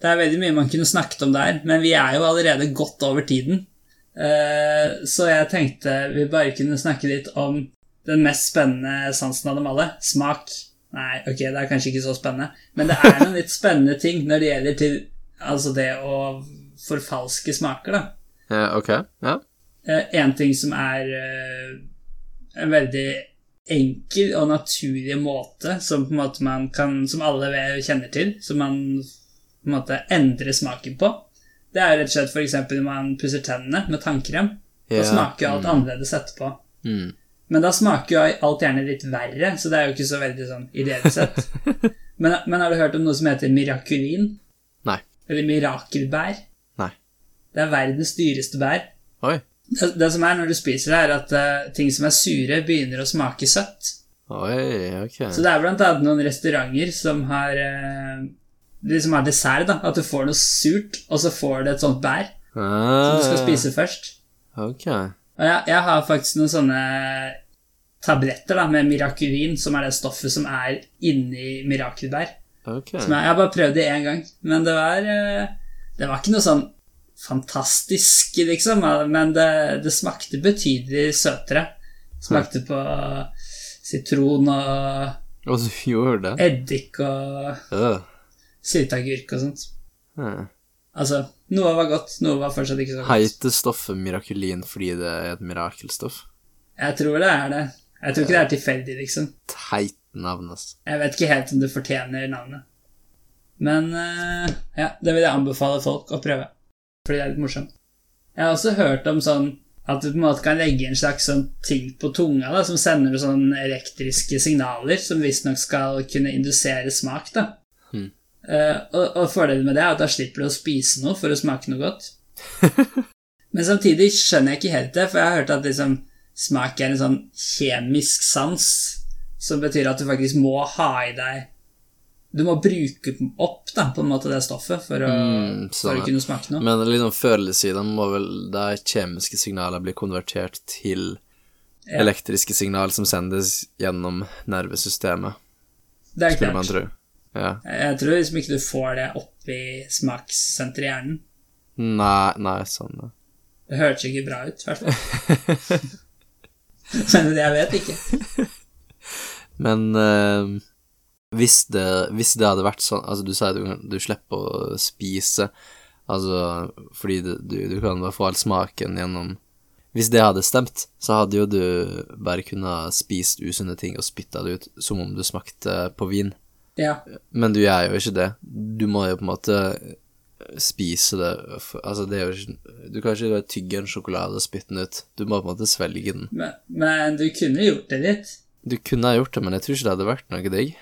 Speaker 1: Det er veldig mye man kunne snakket om der, men vi er jo allerede godt over tiden. Eh, så jeg tenkte vi bare kunne snakke litt om den mest spennende sansen av dem alle smak. Nei, ok, det er kanskje ikke så spennende, men det er noen litt spennende ting når det gjelder til altså det å forfalske smaker, da.
Speaker 2: Ja, ok, ja.
Speaker 1: Eh, en ting som er eh, en veldig enkel og naturlig måte, som, på en måte man kan, som alle vet- kjenner til, som man på en måte endrer smaken på. Det er rett og slett f.eks. når man pusser tennene med tannkrem. Da
Speaker 2: Ja,
Speaker 1: smaker jo alt annerledes etterpå.
Speaker 2: Mm.
Speaker 1: Men da smaker jo alt gjerne litt verre, så det er jo ikke så veldig sånn ideelt sett. men, men har du hørt om noe som heter mirakulin?
Speaker 2: Nei.
Speaker 1: Eller mirakelbær?
Speaker 2: Nei.
Speaker 1: Det er verdens dyreste bær.
Speaker 2: Oi.
Speaker 1: Det, det som er når du spiser det, er at eh, ting som er sure, begynner å smake søtt.
Speaker 2: Oi, ok.
Speaker 1: Så det er blant annet noen restauranter som har eh, De som har dessert, da. At du får noe surt, og så får du et sånt bær som du skal
Speaker 2: Ah.
Speaker 1: spise først. Og
Speaker 2: Ok.
Speaker 1: jeg, jeg har faktisk noen sånne tabletter da, med mirakulin, som er det stoffet som er inni mirakelbær.
Speaker 2: ok.
Speaker 1: Som jeg, jeg har bare prøvd det én gang, men det var eh, Det var ikke noe sånn fantastisk, liksom, men det, det smakte betydelig søtere. Smakte på sitron og
Speaker 2: Og så gjorde du det?
Speaker 1: eddik og
Speaker 2: Øh.
Speaker 1: sylteagurk og sånt.
Speaker 2: Hmm.
Speaker 1: Altså, noe var godt, noe var fortsatt ikke så godt.
Speaker 2: Heiter stoffet mirakulin fordi det er et mirakelstoff?
Speaker 1: Jeg tror det er det. Jeg tror ikke det er tilfeldig, liksom.
Speaker 2: Teit navn, ass.
Speaker 1: Jeg vet ikke helt om det fortjener navnet. Men eh, ja, det vil jeg anbefale folk å prøve. Fordi det er litt morsomt. Jeg har også hørt om sånn At du på en måte kan legge en slags sånn ting på tunga da, som sender ut sånn elektriske signaler som visstnok skal kunne indusere smak. da.
Speaker 2: Hmm.
Speaker 1: Eh, og, og fordelen med det er at da slipper du å spise noe for å smake noe godt. Men samtidig skjønner jeg ikke helt det, for jeg har hørt at liksom, smak er en sånn kjemisk sans, som betyr at du faktisk må ha i deg Du må bruke opp da, på en måte det stoffet for å,
Speaker 2: Mm, sånn
Speaker 1: for å
Speaker 2: er.
Speaker 1: kunne smake noe.
Speaker 2: Men liksom før eller siden må vel de kjemiske signalene bli konvertert til
Speaker 1: Ja.
Speaker 2: elektriske signal som sendes gjennom nervesystemet,
Speaker 1: Det er
Speaker 2: skulle man
Speaker 1: klart.
Speaker 2: tro. Ja.
Speaker 1: Jeg tror liksom ikke du får det oppi smakssenteret i hjernen.
Speaker 2: Nei, nei, sånn da.
Speaker 1: Det hørtes ikke bra ut, i hvert fall. Men jeg vet ikke.
Speaker 2: Men eh, hvis, det, hvis det hadde vært sånn Altså, du sier du, du slipper å spise, altså fordi du, du, du kan bare få all smaken gjennom Hvis det hadde stemt, så hadde jo du bare kunnet spist usunne ting og spytta det ut som om du smakte på vin.
Speaker 1: Ja,
Speaker 2: Men du gjør jo ikke det. Du må jo på en måte spise det for, Altså, det er jo ikke Du kan ikke bare tygge en sjokolade og spytte den ut. Du må på en måte svelge den.
Speaker 1: men, men du kunne gjort det litt.
Speaker 2: Du kunne ha gjort det, men jeg tror ikke det hadde vært noe digg.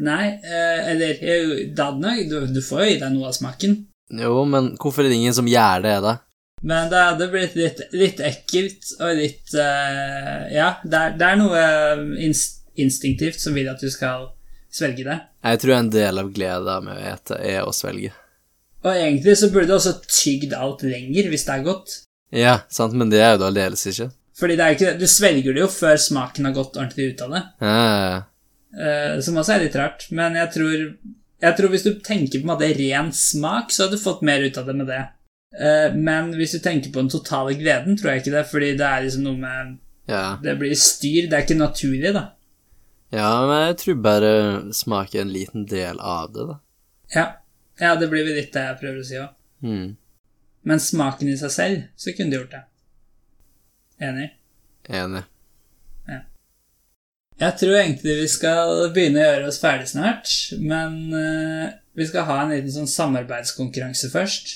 Speaker 1: Nei, eh, eller eh, da hadde nok- du, du får jo i deg noe av smaken.
Speaker 2: Jo, men hvorfor er det ingen som gjør det, da?
Speaker 1: Men det hadde blitt litt, litt ekkelt og litt eh, Ja, det er, det er noe eh, inst instinktivt som vil at du skal svelge det.
Speaker 2: Jeg tror en del av gleda med å ete er å svelge.
Speaker 1: Og egentlig så burde du også tygd alt lenger hvis det er godt.
Speaker 2: Ja, sant, men det er jo det aldeles ikke.
Speaker 1: Fordi det er jo ikke, du svelger det jo før smaken har gått ordentlig ut av det.
Speaker 2: Eh,
Speaker 1: Eh, som også er litt rart, men jeg tror, jeg tror hvis du tenker på en måte ren smak, så hadde du fått mer ut av det med det. Eh, men hvis du tenker på den totale gleden, tror jeg ikke det, fordi det er liksom noe med
Speaker 2: ja.
Speaker 1: Det blir styr, det er ikke naturlig, da.
Speaker 2: ja, men jeg tror bare smaker en liten del av det, da.
Speaker 1: Ja, ja det blir vel litt det jeg prøver å si òg.
Speaker 2: Hmm.
Speaker 1: Men smaken i seg selv, så kunne du gjort det. Enig?
Speaker 2: Enig.
Speaker 1: Jeg tror egentlig vi skal begynne å gjøre oss ferdig snart, men eh, vi skal ha en liten sånn samarbeidskonkurranse først.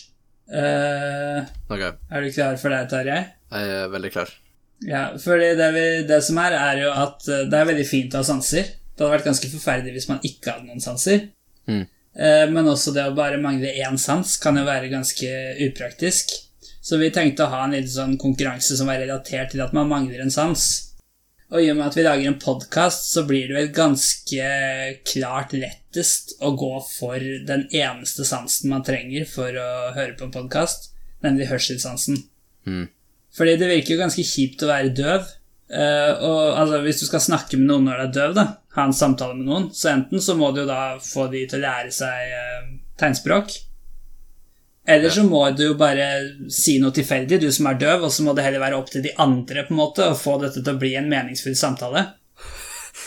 Speaker 1: Eh,
Speaker 2: Ok,
Speaker 1: er du klar for det, Tarjei?
Speaker 2: jeg er veldig klar.
Speaker 1: Ja, fordi det, vi, det som er, er jo at eh, det er veldig fint å ha sanser. Det hadde vært ganske forferdelig hvis man ikke hadde noen sanser.
Speaker 2: Mm.
Speaker 1: Eh, men også det å bare mangle én sans kan jo være ganske upraktisk. Så vi tenkte å ha en liten sånn konkurranse som var relatert til at man mangler en sans. Og i og med at vi lager en podkast, så blir det vel ganske klart lettest å gå for den eneste sansen man trenger for å høre på en podkast, nemlig hørselssansen.
Speaker 2: Mm.
Speaker 1: Fordi det virker jo ganske kjipt å være døv. Eh, og altså, hvis du skal snakke med noen når du er døv, da, ha en samtale med noen, så enten så må du jo da få de til å lære seg eh, tegnspråk, eller så må du jo bare si noe tilfeldig, du som er døv, og så må det heller være opp til de andre på en måte å få dette til å bli en meningsfull samtale.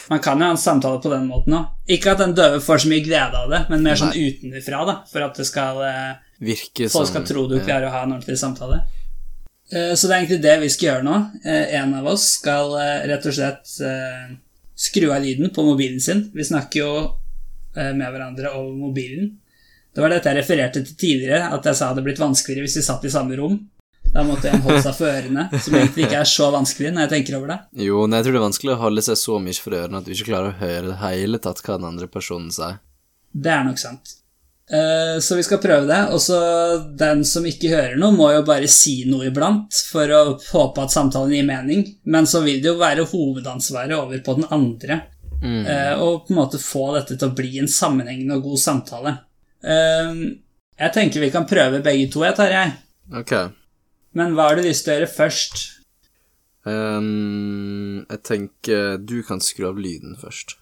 Speaker 1: Man kan jo ha en samtale på den måten òg. Ikke at den døve får så mye glede av det, men mer sånn utenfra, da, for at det skal eh,
Speaker 2: Virker som
Speaker 1: Folk skal tro du klarer å ha en ordentlig samtale. Eh, Så det er egentlig det vi skal gjøre nå. Eh, En av oss skal eh, rett og slett eh, skru av lyden på mobilen sin. Vi snakker jo eh, med hverandre over mobilen. Det var dette jeg refererte til tidligere, at jeg sa det hadde blitt vanskeligere hvis vi satt i samme rom. Da måtte en holde seg for ørene, som egentlig ikke er så vanskelig når jeg tenker over det.
Speaker 2: Jo, nei, jeg tror det er vanskelig å holde seg så mye for ørene at du ikke klarer å høre det hele tatt hva den andre personen sier.
Speaker 1: Det er nok sant. Eh, Så vi skal prøve det. Og så den som ikke hører noe, må jo bare si noe iblant for å håpe at samtalen gir mening. Men så vil det jo være hovedansvaret over på den andre.
Speaker 2: Mm.
Speaker 1: eh, Og på en måte få dette til å bli en sammenhengende og god samtale. Eh, Jeg tenker vi kan prøve begge to, jeg, Tarjei.
Speaker 2: Ok.
Speaker 1: Men hva har du lyst til å gjøre først?
Speaker 2: Ehm, jeg tenker du kan skru av lyden først.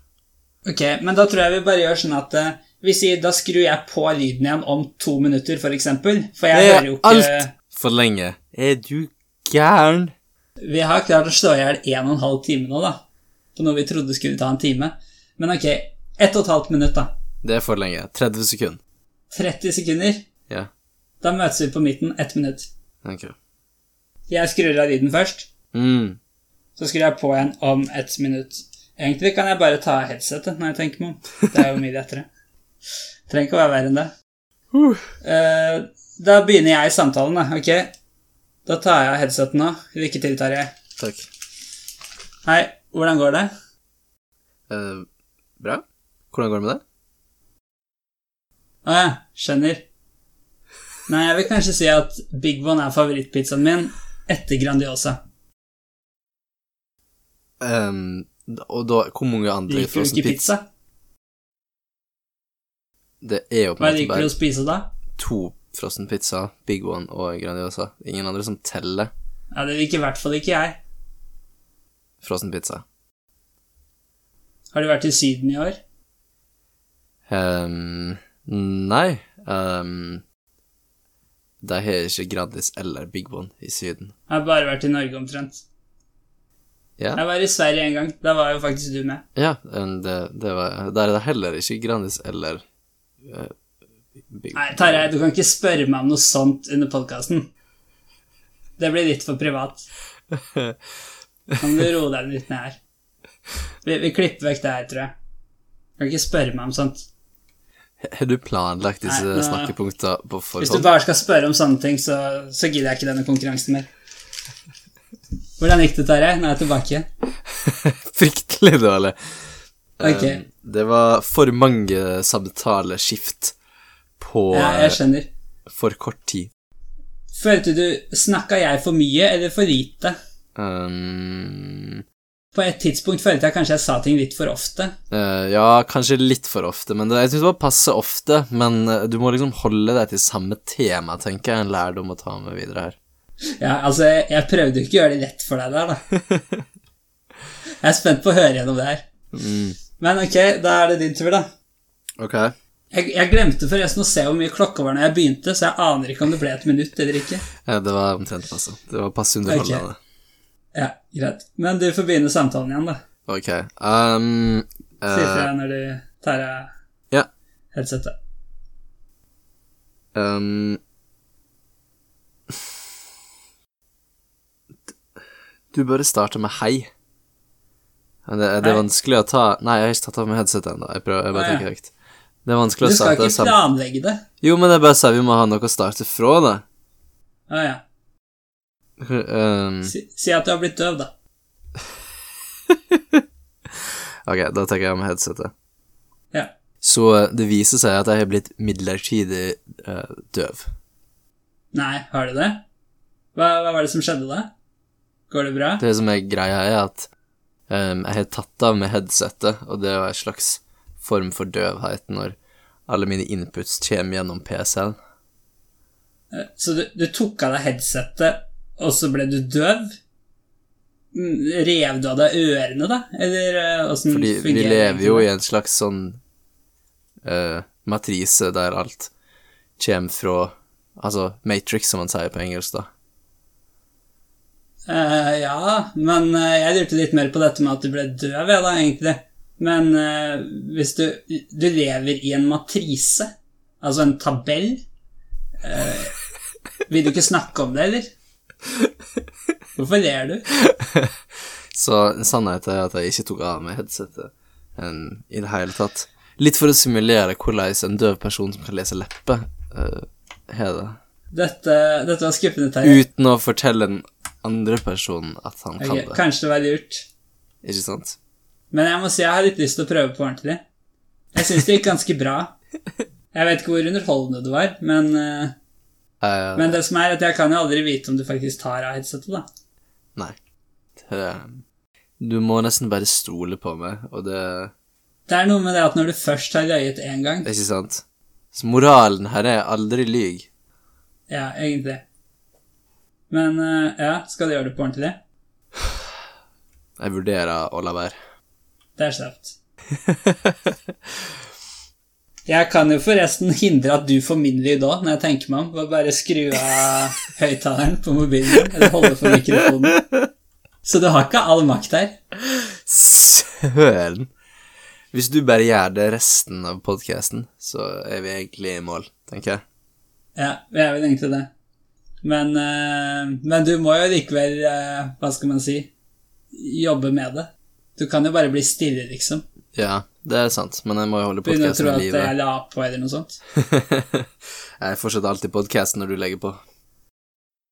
Speaker 1: Ok, men da tror jeg vi bare gjør sånn at eh, vi sier da skrur jeg på lyden igjen om to minutter, for eksempel. For jeg
Speaker 2: Det er
Speaker 1: hører jo ikke
Speaker 2: alt for lenge. Er du gæren?
Speaker 1: Vi har klart å slå i hjel en og en halv time nå, da. På noe vi trodde skulle ta en time. Men ok, ett og et halvt minutt, da.
Speaker 2: Det er for lenge. 30 sekunder.
Speaker 1: 30 sekunder.
Speaker 2: Ja,
Speaker 1: Da møtes vi på midten. Ett minutt.
Speaker 2: ok.
Speaker 1: Jeg skrur av lyden først,
Speaker 2: Mm.
Speaker 1: så skrur jeg på igjen om ett minutt. Egentlig kan jeg bare ta av headsetet når jeg tenker meg om. Det er jo mye lettere. Trenger ikke å være verre enn det. Eh, da begynner jeg samtalen, da. Ok. Da tar jeg av headsetet nå. Lykke til, Tarjei.
Speaker 2: Takk.
Speaker 1: Hei, hvordan går det?
Speaker 2: Eh, bra. Hvordan går det med deg?
Speaker 1: Å ja, skjønner. Nei, jeg vil kanskje si at Big One er favorittpizzaen min etter Grandiosa.
Speaker 2: Ehm, og da, hvor mange andre
Speaker 1: Liker du ikke pizza?
Speaker 2: Det er jo på
Speaker 1: Hva
Speaker 2: en måte
Speaker 1: liker du å
Speaker 2: bare
Speaker 1: spise da?
Speaker 2: to frossen pizza, Big One og Grandiosa. Ingen andre som teller
Speaker 1: Ja, Det liker i hvert fall ikke jeg.
Speaker 2: frossen pizza.
Speaker 1: Har du vært i Syden i år?
Speaker 2: Ehm, nei ehm, De har ikke Grandis eller Big One i Syden.
Speaker 1: Jeg har bare vært i Norge omtrent.
Speaker 2: Ja,
Speaker 1: Jeg var i Sverige en gang. Da var jo faktisk du med.
Speaker 2: ja ehm, det, det var, der er det heller ikke Grandis eller eh, Big
Speaker 1: Nei, Tarjei, du kan ikke spørre meg om noe sånt under podkasten. Det blir litt for privat. Kan du roe deg litt ned her? Vi, vi klipper vekk det her, tror jeg. Du kan ikke spørre meg om sånt.
Speaker 2: Har du planlagt disse
Speaker 1: Nei, nå-
Speaker 2: snakkepunktene på
Speaker 1: Hvis du
Speaker 2: forhånd?
Speaker 1: bare skal spørre om sånne ting, så, så gidder jeg ikke denne konkurransen mer. Hvordan gikk det, Tarjei? Nå er jeg tilbake igjen.
Speaker 2: Fryktelig dårlig.
Speaker 1: Ok.
Speaker 2: Eh, det var for mange samtaleskift på eh,
Speaker 1: Ja, jeg skjønner.
Speaker 2: for kort tid.
Speaker 1: Følte du Snakka jeg for mye eller for lite?
Speaker 2: Um,
Speaker 1: På et tidspunkt følte jeg kanskje jeg sa ting litt for ofte.
Speaker 2: eh, ja, kanskje litt for ofte, men det, jeg syns det var passe ofte. Men eh, du må liksom holde deg til samme tema, tenker jeg, en lærdom å ta med videre her.
Speaker 1: Ja, altså, jeg, jeg prøvde jo ikke å gjøre det lett for deg der, da. Jeg er spent på å høre gjennom det her.
Speaker 2: Mm.
Speaker 1: Men ok, da er det din tur, da.
Speaker 2: Ok.
Speaker 1: Jeg, jeg glemte forresten å se hvor mye klokka var når jeg begynte, så jeg aner ikke om det ble et minutt eller ikke.
Speaker 2: Ja, det var omtrent passe. Det var passe underholdende.
Speaker 1: Ja, greit. Men du får begynne samtalen igjen, da.
Speaker 2: Ok. Um,
Speaker 1: Si
Speaker 2: eh,
Speaker 1: ifra når du tar av
Speaker 2: ja.
Speaker 1: headsetet.
Speaker 2: Um, du burde starte med hei. Men Det, det er
Speaker 1: Hei.
Speaker 2: vanskelig å ta Nei, jeg har ikke tatt av meg headsetet ennå. Jeg prøver, jeg bare
Speaker 1: Å, ja.
Speaker 2: tenker høyt. Det er vanskelig
Speaker 1: Du
Speaker 2: å
Speaker 1: skal
Speaker 2: starte
Speaker 1: ikke
Speaker 2: sammen
Speaker 1: planlegge det.
Speaker 2: Jo, men jeg bare sa vi må ha noe å starte fra, da.
Speaker 1: Å ja.
Speaker 2: Um,
Speaker 1: Si, si at du har blitt døv, da.
Speaker 2: ok, da tenker jeg med headsetet.
Speaker 1: Ja.
Speaker 2: Så eh, det viser seg at jeg har blitt midlertidig eh, døv.
Speaker 1: Nei, har du det? Hva, hva var det som skjedde da? Går det bra?
Speaker 2: Det som er greia, er at ehm, jeg har tatt av med headsetet, og det er jo en slags form for døvhet når alle mine inputs kommer gjennom PC-en.
Speaker 1: Eh, Så du, du tok av deg headsetet, og så ble du døv? Mm, Rev du av deg ørene, da? Eller eh, åssen
Speaker 2: Fordi
Speaker 1: fungerer
Speaker 2: vi lever jo
Speaker 1: egentlig
Speaker 2: i en slags sånn eh, matrise der alt kommer fra Altså Matrix, som man sier på engelsk, da.
Speaker 1: det? Eh, ja, men eh, jeg lurte litt mer på dette med at du ble døv, jeg, da, egentlig. Men eh, hvis du Du lever i en matrise, altså en tabell Eh, Vil du ikke snakke om det, eller? Hvorfor ler du?
Speaker 2: Så sannheten er at jeg ikke tok av meg headsetet em, i det hele tatt. Litt for å simulere hvordan en døv person som kan lese lepper, eh, har det.
Speaker 1: Dette, dette var skuffende, Terje.
Speaker 2: Uten å fortelle den andre personen at han
Speaker 1: Ok,
Speaker 2: kan det.
Speaker 1: Kanskje det var lurt.
Speaker 2: Ikke sant?
Speaker 1: Men jeg må si jeg har litt lyst til å prøve på ordentlig. Jeg syns det gikk ganske bra. Jeg vet ikke hvor underholdende det var, men, eh,
Speaker 2: Eh,
Speaker 1: men det som er at jeg kan jo aldri vite om du faktisk tar av headsetet, da.
Speaker 2: Nei. Det, eh, du må nesten bare stole på meg, og det
Speaker 1: Det er noe med det at når du først har løyet én gang
Speaker 2: Ikke sant? Så moralen her er aldri lyg.
Speaker 1: Ja, egentlig. Men eh, ja, skal du gjøre det på ordentlig?
Speaker 2: Jeg vurderer å la være.
Speaker 1: Det er slapt. Jeg kan jo forresten hindre at du får min lyd òg, når jeg tenker meg om. Ved å bare skru av høyttaleren på mobilen, eller holde for mikrofonen. Så du har ikke all makt her.
Speaker 2: Søren! Hvis du bare gjør det resten av podkasten, så er vi egentlig i mål, tenker jeg.
Speaker 1: Ja, jeg er vel egentlig det. Men, eh, men du må jo likevel, eh, hva skal man si, jobbe med det. Du kan jo bare bli stille, liksom.
Speaker 2: Ja, det er sant, men jeg må jo holde
Speaker 1: Begynne å tro
Speaker 2: podkasten
Speaker 1: at
Speaker 2: i live.
Speaker 1: jeg la på, eller noe sånt.
Speaker 2: jeg fortsetter alltid podkasten når du legger på.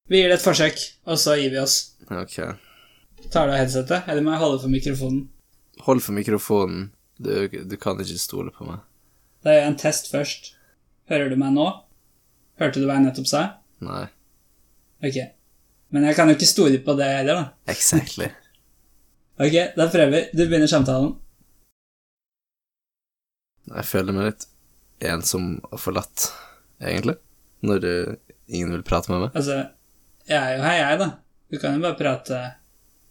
Speaker 1: Vi gir det et forsøk, og så gir vi oss.
Speaker 2: Ok.
Speaker 1: Tar du av headsetet, eller må jeg holde for mikrofonen?
Speaker 2: Hold for mikrofonen. Du, du kan ikke stole på meg.
Speaker 1: Da gjør jeg en test først. Hører du meg nå? Hørte du hva jeg nettopp sa?
Speaker 2: Nei.
Speaker 1: Ok. Men jeg kan jo ikke stole på det heller, da.
Speaker 2: Exactly.
Speaker 1: Ok, da prøver vi. Du begynner samtalen.
Speaker 2: Jeg føler meg litt ensom og forlatt, egentlig, når eh, ingen vil prate med meg.
Speaker 1: Altså, jeg er jo her, jeg, da. Du kan jo bare prate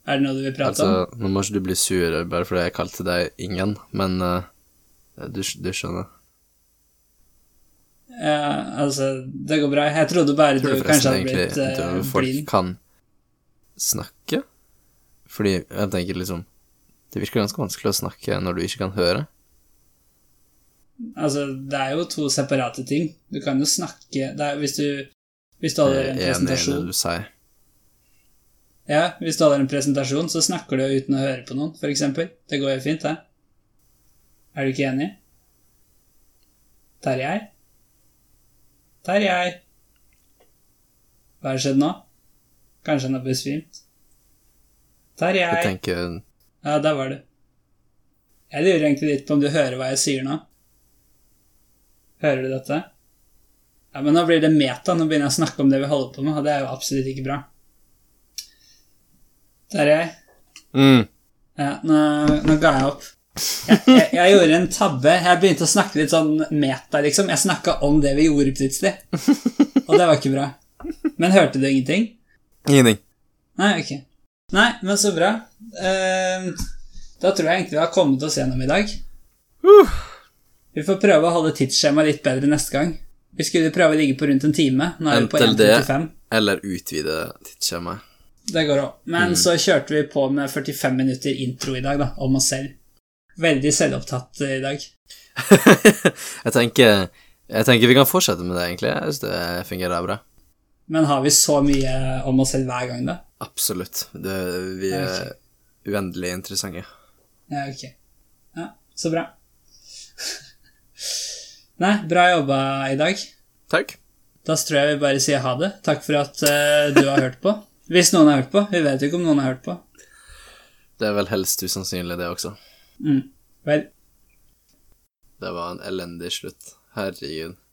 Speaker 1: Er det noe du vil prate om?
Speaker 2: Altså, nå må ikke du bli sur bare fordi jeg kalte deg ingen, men eh, du, sk- du skjønner.
Speaker 1: Ja, altså, det går bra. Jeg trodde bare
Speaker 2: Jeg
Speaker 1: du
Speaker 2: tror
Speaker 1: kanskje
Speaker 2: forresten
Speaker 1: hadde
Speaker 2: egentlig
Speaker 1: blitt eh,
Speaker 2: at folk
Speaker 1: blind.
Speaker 2: kan snakke, fordi jeg tenker liksom Det virker ganske vanskelig å snakke når du ikke kan høre.
Speaker 1: Altså, det er jo to separate ting. Du kan jo snakke det er, hvis, du, hvis du holder
Speaker 2: Jeg
Speaker 1: en
Speaker 2: er enig i det
Speaker 1: presentasjon
Speaker 2: du sier.
Speaker 1: Ja, hvis du holder en presentasjon, så snakker du jo uten å høre på noen, for eksempel. Det går jo fint, det. Er du ikke enig? Terjei? Terjei? Hva har skjedd nå? Kanskje han har besvimt?
Speaker 2: Jeg
Speaker 1: Terjei?
Speaker 2: tenker
Speaker 1: Ja, der var du. Jeg lurer egentlig litt på om du hører hva jeg sier nå. Hører du dette? Ja, men nå blir det meta. Nå begynner jeg å snakke om det vi holder på med, og det er jo absolutt ikke bra. Der er jeg.
Speaker 2: mm,
Speaker 1: Ja, nå, nå ga jeg opp. Jeg, jeg, jeg gjorde en tabbe. Jeg begynte å snakke litt sånn meta, liksom. Jeg snakka om det vi gjorde plutselig. Og det var ikke bra. Men hørte du ingenting?
Speaker 2: Ingenting.
Speaker 1: Nei, ok. Nei, men så bra. Ehm, da tror jeg egentlig vi har kommet oss gjennom i dag. Vi får prøve å holde tidsskjemaet litt bedre neste gang. Vi skulle prøve å ligge på rundt en time. Nå er vi på
Speaker 2: Inntil det.
Speaker 1: 1.35.
Speaker 2: Eller utvide tidsskjemaet.
Speaker 1: Det går òg. Men så kjørte vi på med 45 minutter intro i dag, da, om oss selv. Veldig selvopptatt eh, i dag.
Speaker 2: jeg, tenker, jeg tenker vi kan fortsette med det, egentlig. Jeg synes det fungerer bra.
Speaker 1: Men har vi så mye om oss selv hver gang, da?
Speaker 2: Absolutt. Det, vi er uendelig interessante.
Speaker 1: Ja, ok. Ja, så bra. Nei, bra jobba i dag.
Speaker 2: Takk.
Speaker 1: Da tror jeg vi bare sier ha det. Takk for at eh, du har hørt på. Hvis noen har hørt på. Vi vet jo ikke om noen har hørt på.
Speaker 2: Det er vel helst usannsynlig, det også.
Speaker 1: Mm. Vel,
Speaker 2: Det var en elendig slutt. Herregud.